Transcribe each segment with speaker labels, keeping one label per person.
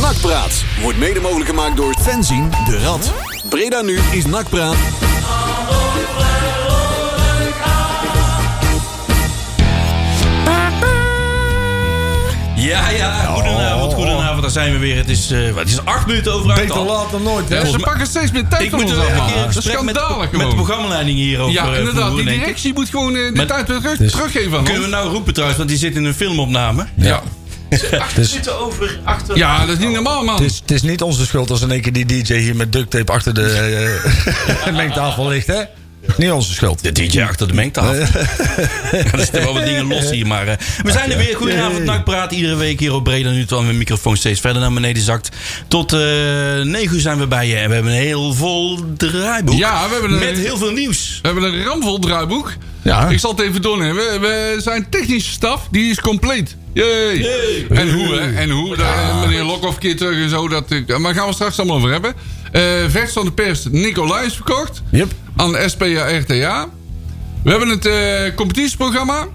Speaker 1: Nakpraat wordt mede mogelijk gemaakt door Fenzin de Rad. Breda nu is Nakpraat.
Speaker 2: Ja, ja, goedenavond,
Speaker 3: Oh.
Speaker 2: goedenavond, daar zijn we weer. Het is, eh, wat is het, acht minuten over acht
Speaker 4: Beter
Speaker 2: al.
Speaker 4: laat dan nooit, hè?
Speaker 3: Ja, ze pakken steeds meer tijd
Speaker 2: Ik
Speaker 3: van
Speaker 2: moet
Speaker 3: ons
Speaker 2: er
Speaker 3: af.
Speaker 2: een keer een
Speaker 3: man. Dat is
Speaker 2: gesprek met,
Speaker 3: schandalig
Speaker 2: met de
Speaker 3: gewoon.
Speaker 2: programmaleiding hierover
Speaker 3: Ja,
Speaker 2: eh,
Speaker 3: inderdaad.
Speaker 2: voeren,
Speaker 3: Die
Speaker 2: denk ik.
Speaker 3: directie moet gewoon eh, de
Speaker 2: Maar-
Speaker 3: tijd weer terug, teruggeven aan
Speaker 2: Kunnen we
Speaker 3: ons.
Speaker 2: nou roepen trouwens, want die zit in een filmopname.
Speaker 3: Ja. Dus-
Speaker 2: We zitten over achter.
Speaker 3: ja, dat is niet normaal, man.
Speaker 5: Het is, het is niet onze schuld als in één keer die DJ hier met duct tape achter de eh, mengtafel ligt, hè? Niet onze schuld.
Speaker 2: De DJ achter de mengtafel. Ja, er zitten wel wat dingen los hier, maar eh, we zijn er weer. Goedenavond, Nakpraat. Iedere week hier op Breda nu, terwijl mijn microfoon steeds verder naar beneden zakt. Tot eh 9 uur zijn we bij je en we hebben een heel vol draaiboek.
Speaker 3: Ja, we hebben een-
Speaker 2: Met heel veel nieuws.
Speaker 3: We hebben een ramvol draaiboek.
Speaker 5: Ja.
Speaker 3: Ik zal het even doen. hè. We, we zijn technische staf, die is compleet. Yay. En hoe, hè? En hoe? Daar, eh, meneer Lokhoff keer terug en zo. Dat, ik- maar daar gaan we straks allemaal over hebben. Eh vers van de pers, Nicolai is verkocht.
Speaker 5: Yep.
Speaker 3: Aan SPA-RTA. We hebben het eh, competitieprogramma.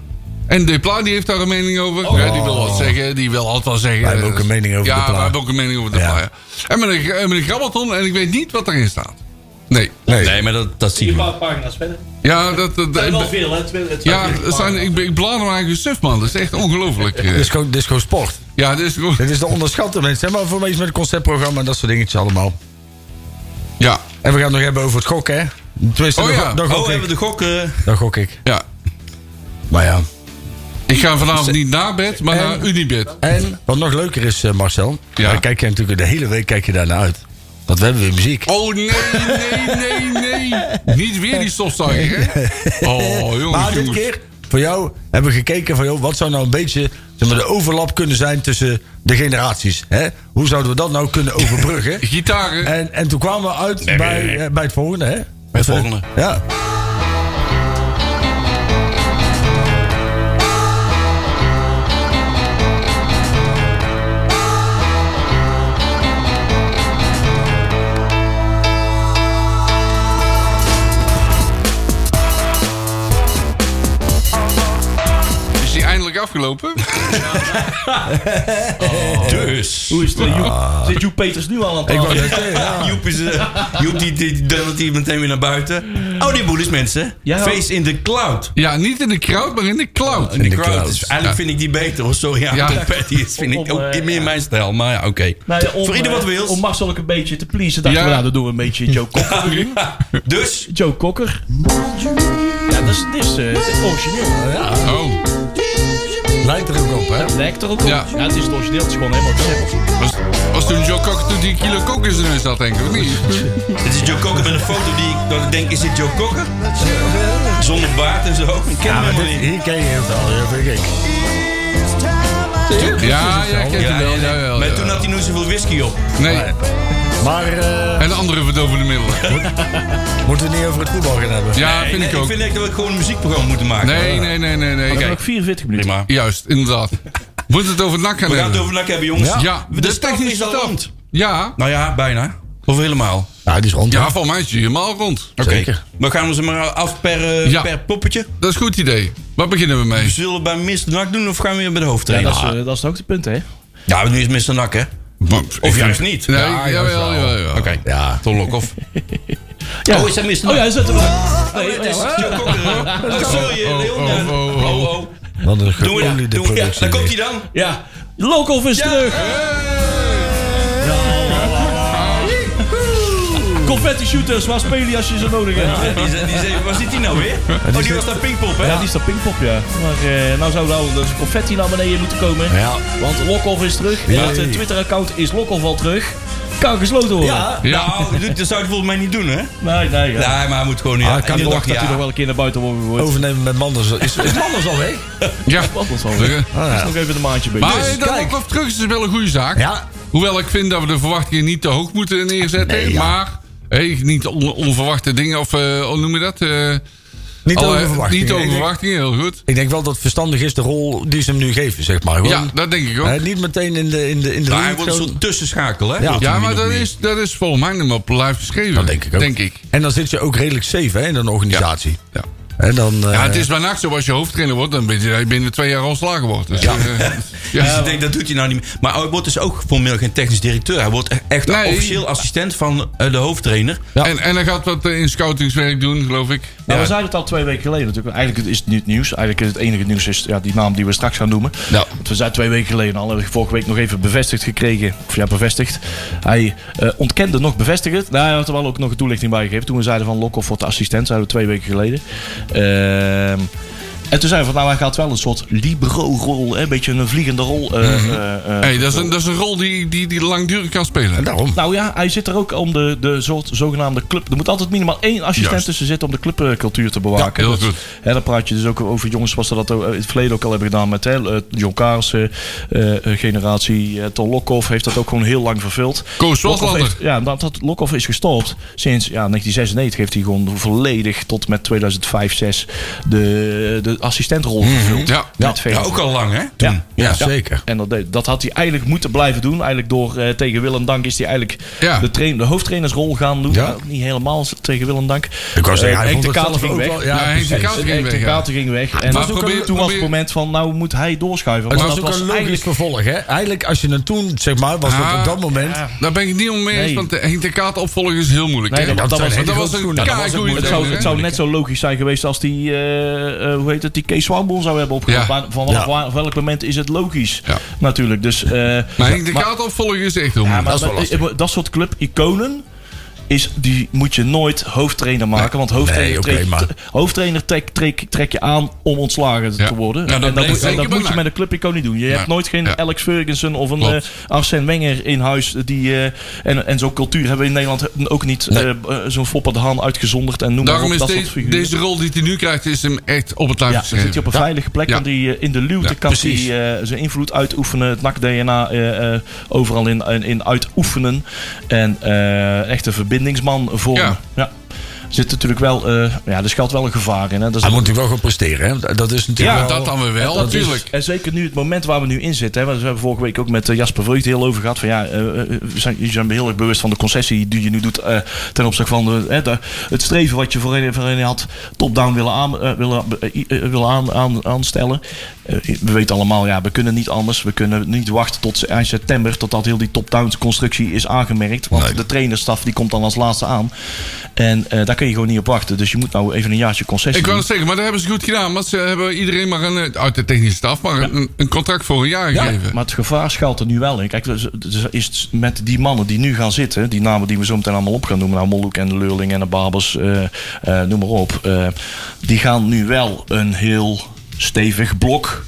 Speaker 3: En Depla die heeft daar een mening over. Ja, die wil wat zeggen. Die wil altijd wel zeggen.
Speaker 5: Oh. Wij hebben ook een mening over
Speaker 3: ja,
Speaker 5: Depla.
Speaker 3: wij hebben ook een mening over Depla. Ja. En meneer, eh, meneer Grabbelton. En ik weet niet wat erin staat. Nee.
Speaker 5: Nee.
Speaker 2: Nee, maar dat, dat zien we.
Speaker 6: paar pagina's verder.
Speaker 3: Ja, dat... dat,
Speaker 6: En wel
Speaker 3: dat
Speaker 6: veel, hè? Twee, twee,
Speaker 3: ja,
Speaker 6: drie
Speaker 3: het zijn,
Speaker 6: pagina's.
Speaker 3: ik, ben- ik blader mijn eigen suf, man. Dat is echt ongelooflijk. eh.
Speaker 5: Dit is gewoon, dit is gewoon sport.
Speaker 3: Ja, dit is gewoon...
Speaker 5: Dit is de onderschatte mensen. hè, Maar voor mensen met een conceptprogramma en dat soort dingetjes allemaal.
Speaker 3: Ja,
Speaker 5: En we gaan het nog hebben over het gokken, hè? Tenminste,
Speaker 3: Oh
Speaker 5: dan,
Speaker 3: ja.
Speaker 5: go- dan,
Speaker 2: Oh,
Speaker 5: gok
Speaker 2: we hebben
Speaker 5: ik.
Speaker 2: de gokken.
Speaker 5: dan gok ik.
Speaker 3: ja.
Speaker 5: Maar ja.
Speaker 3: Ik ga vanavond niet naar bed, maar
Speaker 5: En-
Speaker 3: naar Unibed.
Speaker 5: En wat nog leuker is, eh, Marcel.
Speaker 3: Ja.
Speaker 5: daar Kijk je natuurlijk de hele week kijk je daarna uit. Want we hebben weer muziek.
Speaker 3: Oh, nee, nee, nee, nee. Niet weer die stofzuiger, hè? Oh, jongens,
Speaker 5: maar dit
Speaker 3: jongens.
Speaker 5: keer, voor jou, hebben we gekeken van... Joh, wat zou nou een beetje zeg maar, de overlap kunnen zijn tussen de generaties? Hè? Hoe zouden we dat nou kunnen overbruggen?
Speaker 3: Gitaren.
Speaker 5: en, en toen kwamen we uit bij,
Speaker 2: nee, nee.
Speaker 5: eh, bij het volgende, hè?
Speaker 2: Bij het volgende.
Speaker 5: Ja.
Speaker 3: Is die eindelijk afgelopen?
Speaker 2: Dus.
Speaker 6: Hoe is het? Joep- Zit Joep Peters nu al aan
Speaker 5: Ik
Speaker 6: het
Speaker 5: wou net zeggen, ja.
Speaker 2: Joep, is, eh, Joep die, die dondert hier meteen weer naar buiten. Oh, die boel is mensen.
Speaker 6: Ja.
Speaker 2: Face in the cloud.
Speaker 3: Ja, niet in de crowd, maar in de cloud.
Speaker 2: In the
Speaker 5: de
Speaker 2: crowd.
Speaker 5: cloud.
Speaker 2: is- eigenlijk vind ik die beter. Hoor. Sorry, ja,
Speaker 3: Ja.
Speaker 2: de Patty is vind ik
Speaker 6: Om,
Speaker 2: ook
Speaker 6: eh,
Speaker 2: niet meer
Speaker 6: ja.
Speaker 2: mijn stijl. Maar ja, oké.
Speaker 6: Nou ja, om,
Speaker 2: Voor ieder wat
Speaker 6: eh,
Speaker 2: wil.
Speaker 6: Om Marcel ook een beetje te pleasen. Dachten
Speaker 3: Ja.
Speaker 6: we, nou, dan doen we een beetje Joe Cocker. voor jullie.
Speaker 2: Dus,
Speaker 6: Joe Cocker. Ja, dat is, dit is, eh, het is origineel.
Speaker 3: Oh,
Speaker 5: Lijkt er ook op, hè?
Speaker 6: Lijkt er ook op.
Speaker 3: Ja.
Speaker 6: Ja, het is het origineel. Het is gewoon helemaal simpel.
Speaker 3: was, was toen Joe Cocker toen die een kilo kook in zijn neus had, denk ik, of niet?
Speaker 2: dit is Joe Cocker met een foto die ik, dat ik denk, is dit Joe Cocker? Zonder baard en zo. Ik ken
Speaker 5: Ja,
Speaker 2: hem
Speaker 5: maar
Speaker 2: helemaal
Speaker 5: dit,
Speaker 2: niet.
Speaker 5: hier ken je het al, ja, vind ik.
Speaker 3: Ja, ja, ik ken
Speaker 2: Ja,
Speaker 3: die wel,
Speaker 2: ja,
Speaker 3: ja,
Speaker 2: ja.
Speaker 3: wel.
Speaker 2: maar
Speaker 3: ja.
Speaker 2: toen had hij nooit zoveel whisky op.
Speaker 3: Nee,
Speaker 5: Maar eh,
Speaker 3: en andere verdovende middelen.
Speaker 5: moeten we het niet over het voetbal gaan hebben?
Speaker 3: Ja,
Speaker 2: Nee,
Speaker 3: vind
Speaker 2: nee,
Speaker 3: ik ook.
Speaker 2: vind echt dat we gewoon een muziekprogramma moeten maken.
Speaker 3: Nee, nee, nee, nee, nee.
Speaker 6: We hebben
Speaker 3: Kijk,
Speaker 6: nog 44 minuten.
Speaker 2: Prima.
Speaker 3: juist, inderdaad. Moet het over nak gaan
Speaker 2: We gaan het
Speaker 3: hebben?
Speaker 2: over nak hebben, jongens.
Speaker 5: Ja.
Speaker 3: Ja,
Speaker 2: De staf is al
Speaker 3: staf.
Speaker 2: rond.
Speaker 3: Ja,
Speaker 2: Nou ja, bijna. Of helemaal.
Speaker 5: Ja, die is rond.
Speaker 3: ja,
Speaker 5: hè?
Speaker 3: van mij is hij helemaal rond.
Speaker 2: Oké.
Speaker 5: Zeker.
Speaker 2: We gaan we ze maar af per, eh,
Speaker 3: Ja.
Speaker 2: per poppetje.
Speaker 3: Dat is een goed idee. Waar beginnen we mee?
Speaker 2: Zullen we bij Mr. Nak doen of gaan we weer bij de
Speaker 6: Ja,
Speaker 2: hoofdtrainer?
Speaker 6: dat is, eh, dat is het hoogtepunt, hè?
Speaker 2: Ja, maar nu is Mr. Nak, hè? Of juist niet.
Speaker 3: Nee,
Speaker 2: Ja,
Speaker 3: jawel, jawel, jawel.
Speaker 2: Oké.
Speaker 5: Ja.
Speaker 2: Tom Lokhoff.
Speaker 6: Ja.
Speaker 2: is dat Mr.
Speaker 6: Oh
Speaker 2: Nak?
Speaker 6: ja, is dat hem?
Speaker 2: Oh,
Speaker 6: Nee,
Speaker 2: dit
Speaker 6: nee,
Speaker 2: is
Speaker 6: hoor.
Speaker 2: Joe Cocker, hè? Oh, sorry,
Speaker 3: Oh,
Speaker 2: Leon.
Speaker 3: oh, oh,
Speaker 2: Oh,
Speaker 3: oh.
Speaker 2: oh.
Speaker 5: Wat een
Speaker 2: Doen we dat?
Speaker 5: geoliede
Speaker 2: Doen we dat?
Speaker 5: productie.
Speaker 2: Daar komt
Speaker 5: dit.
Speaker 2: hij dan.
Speaker 6: Ja. Lokhoff is terug. Confetti shooters, waar spelen je als je ze nodig hebt?
Speaker 2: Ja, die is- die is even- Waar zit hij nou weer? Oh, die was daar Pinkpop, hè?
Speaker 6: Ja, die is dat Pinkpop, ja. Maar eh, nou zou nou dus confetti naar beneden moeten komen.
Speaker 5: Ja.
Speaker 6: Want Lokhoff is terug. En het eh, Twitter-account is Lokhoff al terug. Kan gesloten worden.
Speaker 2: Ja. Nou, dat zou hij volgens mij niet doen, hè? Nee,
Speaker 6: Nee, nee, ja.
Speaker 2: maar hij moet gewoon...
Speaker 5: Ah,
Speaker 2: Ja,
Speaker 5: ik kan Oh.
Speaker 6: Ik
Speaker 2: iedere
Speaker 6: dacht
Speaker 2: dag,
Speaker 6: dat hij nog
Speaker 2: ja.
Speaker 6: wel een keer naar buiten worden wordt.
Speaker 5: Overnemen met Manders. Is, is Manders al weg?
Speaker 3: Ja.
Speaker 6: Wat ons alweer.
Speaker 3: Ja.
Speaker 5: Ah,
Speaker 6: Is
Speaker 5: ja.
Speaker 6: nog even een maandje bezig.
Speaker 3: Maar
Speaker 5: Dus,
Speaker 3: dat
Speaker 5: kijk.
Speaker 3: Lokhoff terug is wel een goede zaak.
Speaker 5: Ja.
Speaker 3: Hoewel ik vind dat we de verwachtingen niet te hoog moeten neerzetten.
Speaker 5: Nee, ja.
Speaker 3: Maar hey, niet on- onverwachte dingen, of eh, hoe noem je dat? Eh,
Speaker 5: Niet
Speaker 3: alle-
Speaker 5: over verwachting.
Speaker 3: eh, Niet over
Speaker 5: Ik denk-
Speaker 3: verwachtingen, heel goed.
Speaker 5: Ik denk wel dat het verstandig is de rol die ze hem nu geven, zeg maar.
Speaker 3: Ja,
Speaker 5: Gewoon,
Speaker 3: dat denk ik ook.
Speaker 5: hè, niet meteen in de in de in de.
Speaker 2: Nou, hij
Speaker 5: lead
Speaker 2: wordt een
Speaker 5: gewoon-
Speaker 2: soort tussenschakel, hè?
Speaker 5: Ja.
Speaker 2: Wordt hij
Speaker 3: ja,
Speaker 2: min
Speaker 3: maar
Speaker 2: of
Speaker 3: dat
Speaker 2: meer.
Speaker 3: is, dat is volgens mij hem op live geschreven.
Speaker 5: Dat denk ik ook.
Speaker 3: Denk ik.
Speaker 5: En dan zit je ook redelijk safe hè, in een organisatie.
Speaker 3: Ja.
Speaker 5: En dan, eh,
Speaker 3: Ja, het is bij nacht zo. Als je hoofdtrainer wordt, dan ben je dat je binnen twee jaar ontslagen wordt. Dus, ja. ja.
Speaker 2: Dus ik denk, dat doet hij nou niet meer. Maar hij wordt dus ook formeel geen technisch directeur. Hij wordt e-, echt
Speaker 3: Nee.
Speaker 2: officieel assistent van eh, de hoofdtrainer.
Speaker 3: En, en hij gaat wat eh, in scoutingswerk doen, geloof ik.
Speaker 6: Nou, we zeiden het al twee weken geleden natuurlijk. Eigenlijk is het niet het nieuws. Eigenlijk is het enige nieuws is ja, die naam die we straks gaan noemen.
Speaker 3: Ja.
Speaker 6: Want we zeiden twee weken geleden al. Hebben we vorige week nog even bevestigd gekregen. Of ja, bevestigd. Hij eh, ontkende nog bevestigd. het. Nou, hij had er wel ook nog een toelichting bij gegeven. Toen we zeiden van Lokhoff wordt de assistent. Zeiden we twee weken geleden. Ehm, en toen zeiden we van nou, hij gaat wel een soort libero-rol. hè, Een beetje een vliegende rol. eh, eh, eh,
Speaker 3: Hey, dat, is een, dat is een rol die, die, die langdurig kan spelen.
Speaker 5: daarom.
Speaker 6: nou ja, hij zit er ook om de, de soort zogenaamde club. Er moet altijd minimaal één assistent
Speaker 3: Juist.
Speaker 6: tussen zitten om de clubcultuur te bewaken.
Speaker 3: Ja, heel
Speaker 6: Dat-
Speaker 3: goed.
Speaker 6: hè, dan praat je dus ook over jongens zoals ze dat ook, eh, in het verleden ook al hebben gedaan met hè, eh, John Kaarsen, eh, eh, generatie. eh Ton Lokhoff heeft dat ook gewoon heel lang vervuld.
Speaker 3: Koos Waslander.
Speaker 6: Lokhoff heeft- Ja, dat, dat Lokhoff is gestopt sinds ja, 1996. Heeft hij gewoon volledig tot met 2005, 2006 de, de assistentrol vervuld.
Speaker 3: Mhm, Ja.
Speaker 6: Met
Speaker 2: Ja,
Speaker 6: Veen.
Speaker 2: ook al lang, hè?
Speaker 6: Ja.
Speaker 5: Ja, zeker.
Speaker 6: En dat, deed- dat had hij eigenlijk moeten blijven doen. Eigenlijk door eh, tegen Willem Dank is hij eigenlijk
Speaker 3: Ja.
Speaker 6: de, train- de hoofdtrainersrol gaan doen.
Speaker 5: Ja.
Speaker 6: Maar Ook niet helemaal tegen Willem Dank.
Speaker 5: Ik wou zeggen, hij
Speaker 6: Henk de
Speaker 5: vond het zelf
Speaker 6: Kater ging
Speaker 5: ook
Speaker 6: weg.
Speaker 5: wel- ja,
Speaker 3: Ja, Henk de
Speaker 5: precies.
Speaker 3: Kater ging
Speaker 6: Henk de
Speaker 3: weg, ja.
Speaker 6: Kater ging weg. En
Speaker 3: Maar
Speaker 6: toen-
Speaker 3: probeer-
Speaker 6: toen was
Speaker 3: probeer-
Speaker 6: het moment van, nou moet hij doorschuiven.
Speaker 5: Het
Speaker 6: Maar
Speaker 5: was ook een logisch
Speaker 6: eigenlijk-
Speaker 5: vervolg, hè? Eigenlijk, als je het toen, zeg maar, was dat
Speaker 3: Ah,
Speaker 5: op dat moment...
Speaker 3: Daar ben ik het niet om mee eens,
Speaker 6: Nee.
Speaker 3: want de Henk de Kaat opvolgen is heel moeilijk.
Speaker 6: Nee,
Speaker 3: hè?
Speaker 6: dat- dat was-
Speaker 3: dat
Speaker 6: dat
Speaker 3: was
Speaker 5: was
Speaker 3: een
Speaker 5: ook moeilijk.
Speaker 3: keigoeie
Speaker 6: Het zou,
Speaker 3: trainer,
Speaker 6: het
Speaker 3: hè?
Speaker 6: zou net zo logisch zijn geweest als die, eh, eh, hoe heet het, die Kees Swanboel zou hebben opgehaald.
Speaker 3: Ja.
Speaker 6: Maar Van vanaf
Speaker 5: Ja.
Speaker 6: waar- welk moment is het logisch?
Speaker 3: Ja.
Speaker 6: Natuurlijk. Dus, eh,
Speaker 3: Maar Henk de Kaat opvolgen is echt heel
Speaker 6: Ja,
Speaker 3: moeilijk.
Speaker 6: maar dat, dat soort club-iconen. Is, die moet je nooit hoofdtrainer maken. Want hoofdtrainer,
Speaker 5: Nee, oké,
Speaker 6: trek,
Speaker 5: maar-
Speaker 6: t- hoofdtrainer trek, trek, trek je aan om ontslagen
Speaker 3: Ja.
Speaker 6: te worden.
Speaker 3: Ja, dat
Speaker 6: en dat,
Speaker 3: blijkt
Speaker 6: moet, en
Speaker 3: zeker
Speaker 6: dat moet
Speaker 3: belangrijk.
Speaker 6: je met een clubicoon niet doen. Je hebt nooit geen
Speaker 3: Ja.
Speaker 6: Alex Ferguson of een eh
Speaker 3: Klopt.
Speaker 6: Arsène Wenger in huis. Die, eh, en, en zo'n cultuur hebben we in Nederland ook niet. eh, b- eh, zo'n Fopper de Haan uitgezonderd en noem maar
Speaker 3: Daarom
Speaker 6: op.
Speaker 3: is
Speaker 6: Dat soort
Speaker 3: deze,
Speaker 6: figuren.
Speaker 3: deze rol die hij nu krijgt, is hem echt op het
Speaker 6: Ja,
Speaker 3: lijf
Speaker 6: dan zit hij op een veilige plek.
Speaker 3: Ja.
Speaker 6: Want die, eh, in de luwte
Speaker 3: Ja,
Speaker 6: kan hij
Speaker 2: precies.
Speaker 6: eh, zijn invloed uitoefenen. Het NAC-DNA eh, eh, overal in, in, in uitoefenen. En eh, echt een verbindingsman vormen.
Speaker 3: Ja.
Speaker 6: Ja. Zit natuurlijk wel, eh, ja, er schuilt wel een gevaar in. Hè. Dat
Speaker 3: Ah,
Speaker 6: is
Speaker 5: Hij moet natuurlijk wel gaan presteren, hè? Dat is natuurlijk
Speaker 6: Ja,
Speaker 5: wel...
Speaker 3: Dat dan weer wel,
Speaker 6: dat is-
Speaker 3: natuurlijk.
Speaker 6: en zeker nu het moment waar we nu in zitten. Hè, want we hebben vorige week ook met eh, Jasper Vreugde heel over gehad. Van ja, eh, eh, we zijn, jullie zijn heel erg bewust van de concessie die je nu doet. eh, ten opzichte van de, hè, de- het streven wat je voorheen, voorheen had. Top-down willen, aan, eh, willen, eh, eh, willen aan, aan, aanstellen. Eh, we weten allemaal, ja, we kunnen niet anders. We kunnen niet wachten tot ze- eind september. Totdat heel die top-down constructie is aangemerkt. Want de trainerstaf die komt dan als laatste aan. En eh, daar kun je gewoon niet op wachten. Dus je moet nou even een jaartje concessie
Speaker 3: Ik
Speaker 6: doen.
Speaker 3: wou het zeggen, maar dat hebben ze goed gedaan. Want ze hebben iedereen maar een, eh, uit de technische staf, maar een, een contract voor een jaar gegeven.
Speaker 6: Maar het gevaar schuilt er nu wel in. Kijk, dus- dus is het met die mannen die nu gaan zitten, die namen die we zo meteen allemaal op gaan noemen, nou Molloek en de Leurling en de Babers, eh, eh, noem maar op, eh, die gaan nu wel een heel stevig blok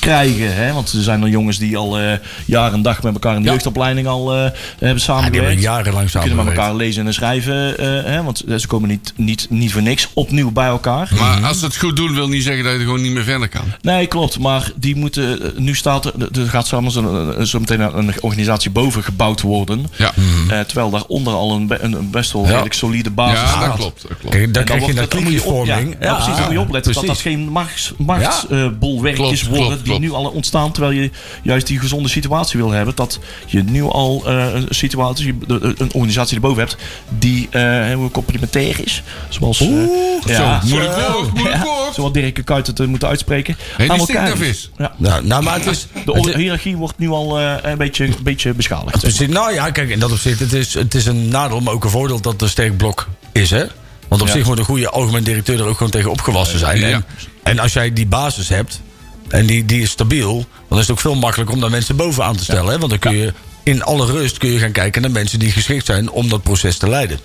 Speaker 6: krijgen. Hè? Want er zijn er jongens die al eh jaar en dag met elkaar in de jeugdopleiding al eh, hebben
Speaker 5: die hebben
Speaker 6: samengewerkt.
Speaker 5: jarenlang
Speaker 6: Die kunnen met
Speaker 5: samengewerkt.
Speaker 6: elkaar lezen en schrijven, eh, hè? want ze komen niet, niet, niet voor niks opnieuw bij elkaar.
Speaker 3: Maar als ze het goed doen, wil niet zeggen dat je er gewoon niet meer verder kan.
Speaker 6: Nee, klopt. Maar die moeten. eh, Nu staat er. Er gaat samen zo, eh, zo meteen een organisatie boven gebouwd worden.
Speaker 3: Ja,
Speaker 6: Eh, terwijl daaronder al een, be- een- een best wel redelijk solide basis
Speaker 3: ja
Speaker 6: staat.
Speaker 3: dat klopt. Dat
Speaker 5: Kijk,
Speaker 3: klopt.
Speaker 5: dan
Speaker 6: En dan
Speaker 5: krijg je
Speaker 6: wordt
Speaker 5: dat
Speaker 6: het- dan moet je op- ja,
Speaker 5: klikjesvorming.
Speaker 6: nou, precies, dan moet je opletten dat
Speaker 5: precies.
Speaker 6: dat geen machtsbolwerkjes
Speaker 3: Ja.
Speaker 6: worden
Speaker 3: Klopt, klopt,
Speaker 6: die
Speaker 3: klopt.
Speaker 6: nu al ontstaan. Terwijl je juist die gezonde situatie wil hebben. Dat je nu al eh, een situatie, de- de- een organisatie erboven hebt die eh, heel complementair is. Zoals. eh, ja,
Speaker 3: Zo, moeilijk
Speaker 2: eh,
Speaker 3: woord, moeilijk woord.
Speaker 6: Zoals Dirk de Kuyt het eh, moeten uitspreken.
Speaker 3: die
Speaker 6: Aan
Speaker 3: stinkt
Speaker 6: elkaar
Speaker 3: naar
Speaker 6: is.
Speaker 3: vis.
Speaker 6: Ja.
Speaker 5: Nou, nou, maar het is...
Speaker 6: De
Speaker 5: het
Speaker 6: or-
Speaker 5: is-
Speaker 6: hiërarchie wordt nu al eh, een, beetje, een beetje beschadigd.
Speaker 5: Precies. nou ja, kijk, in dat opzicht, het is, het is een nadeel, maar ook een voordeel dat er een sterk blok is, hè? Want op zich moet een goede algemeen directeur er ook gewoon tegen opgewassen zijn.
Speaker 3: Ja.
Speaker 5: En, en als jij die basis hebt, en die, die is stabiel, dan is het ook veel makkelijker om daar mensen bovenaan te stellen. Hè? Want dan kun je in alle rust kun je gaan kijken naar mensen die geschikt zijn om dat proces te leiden.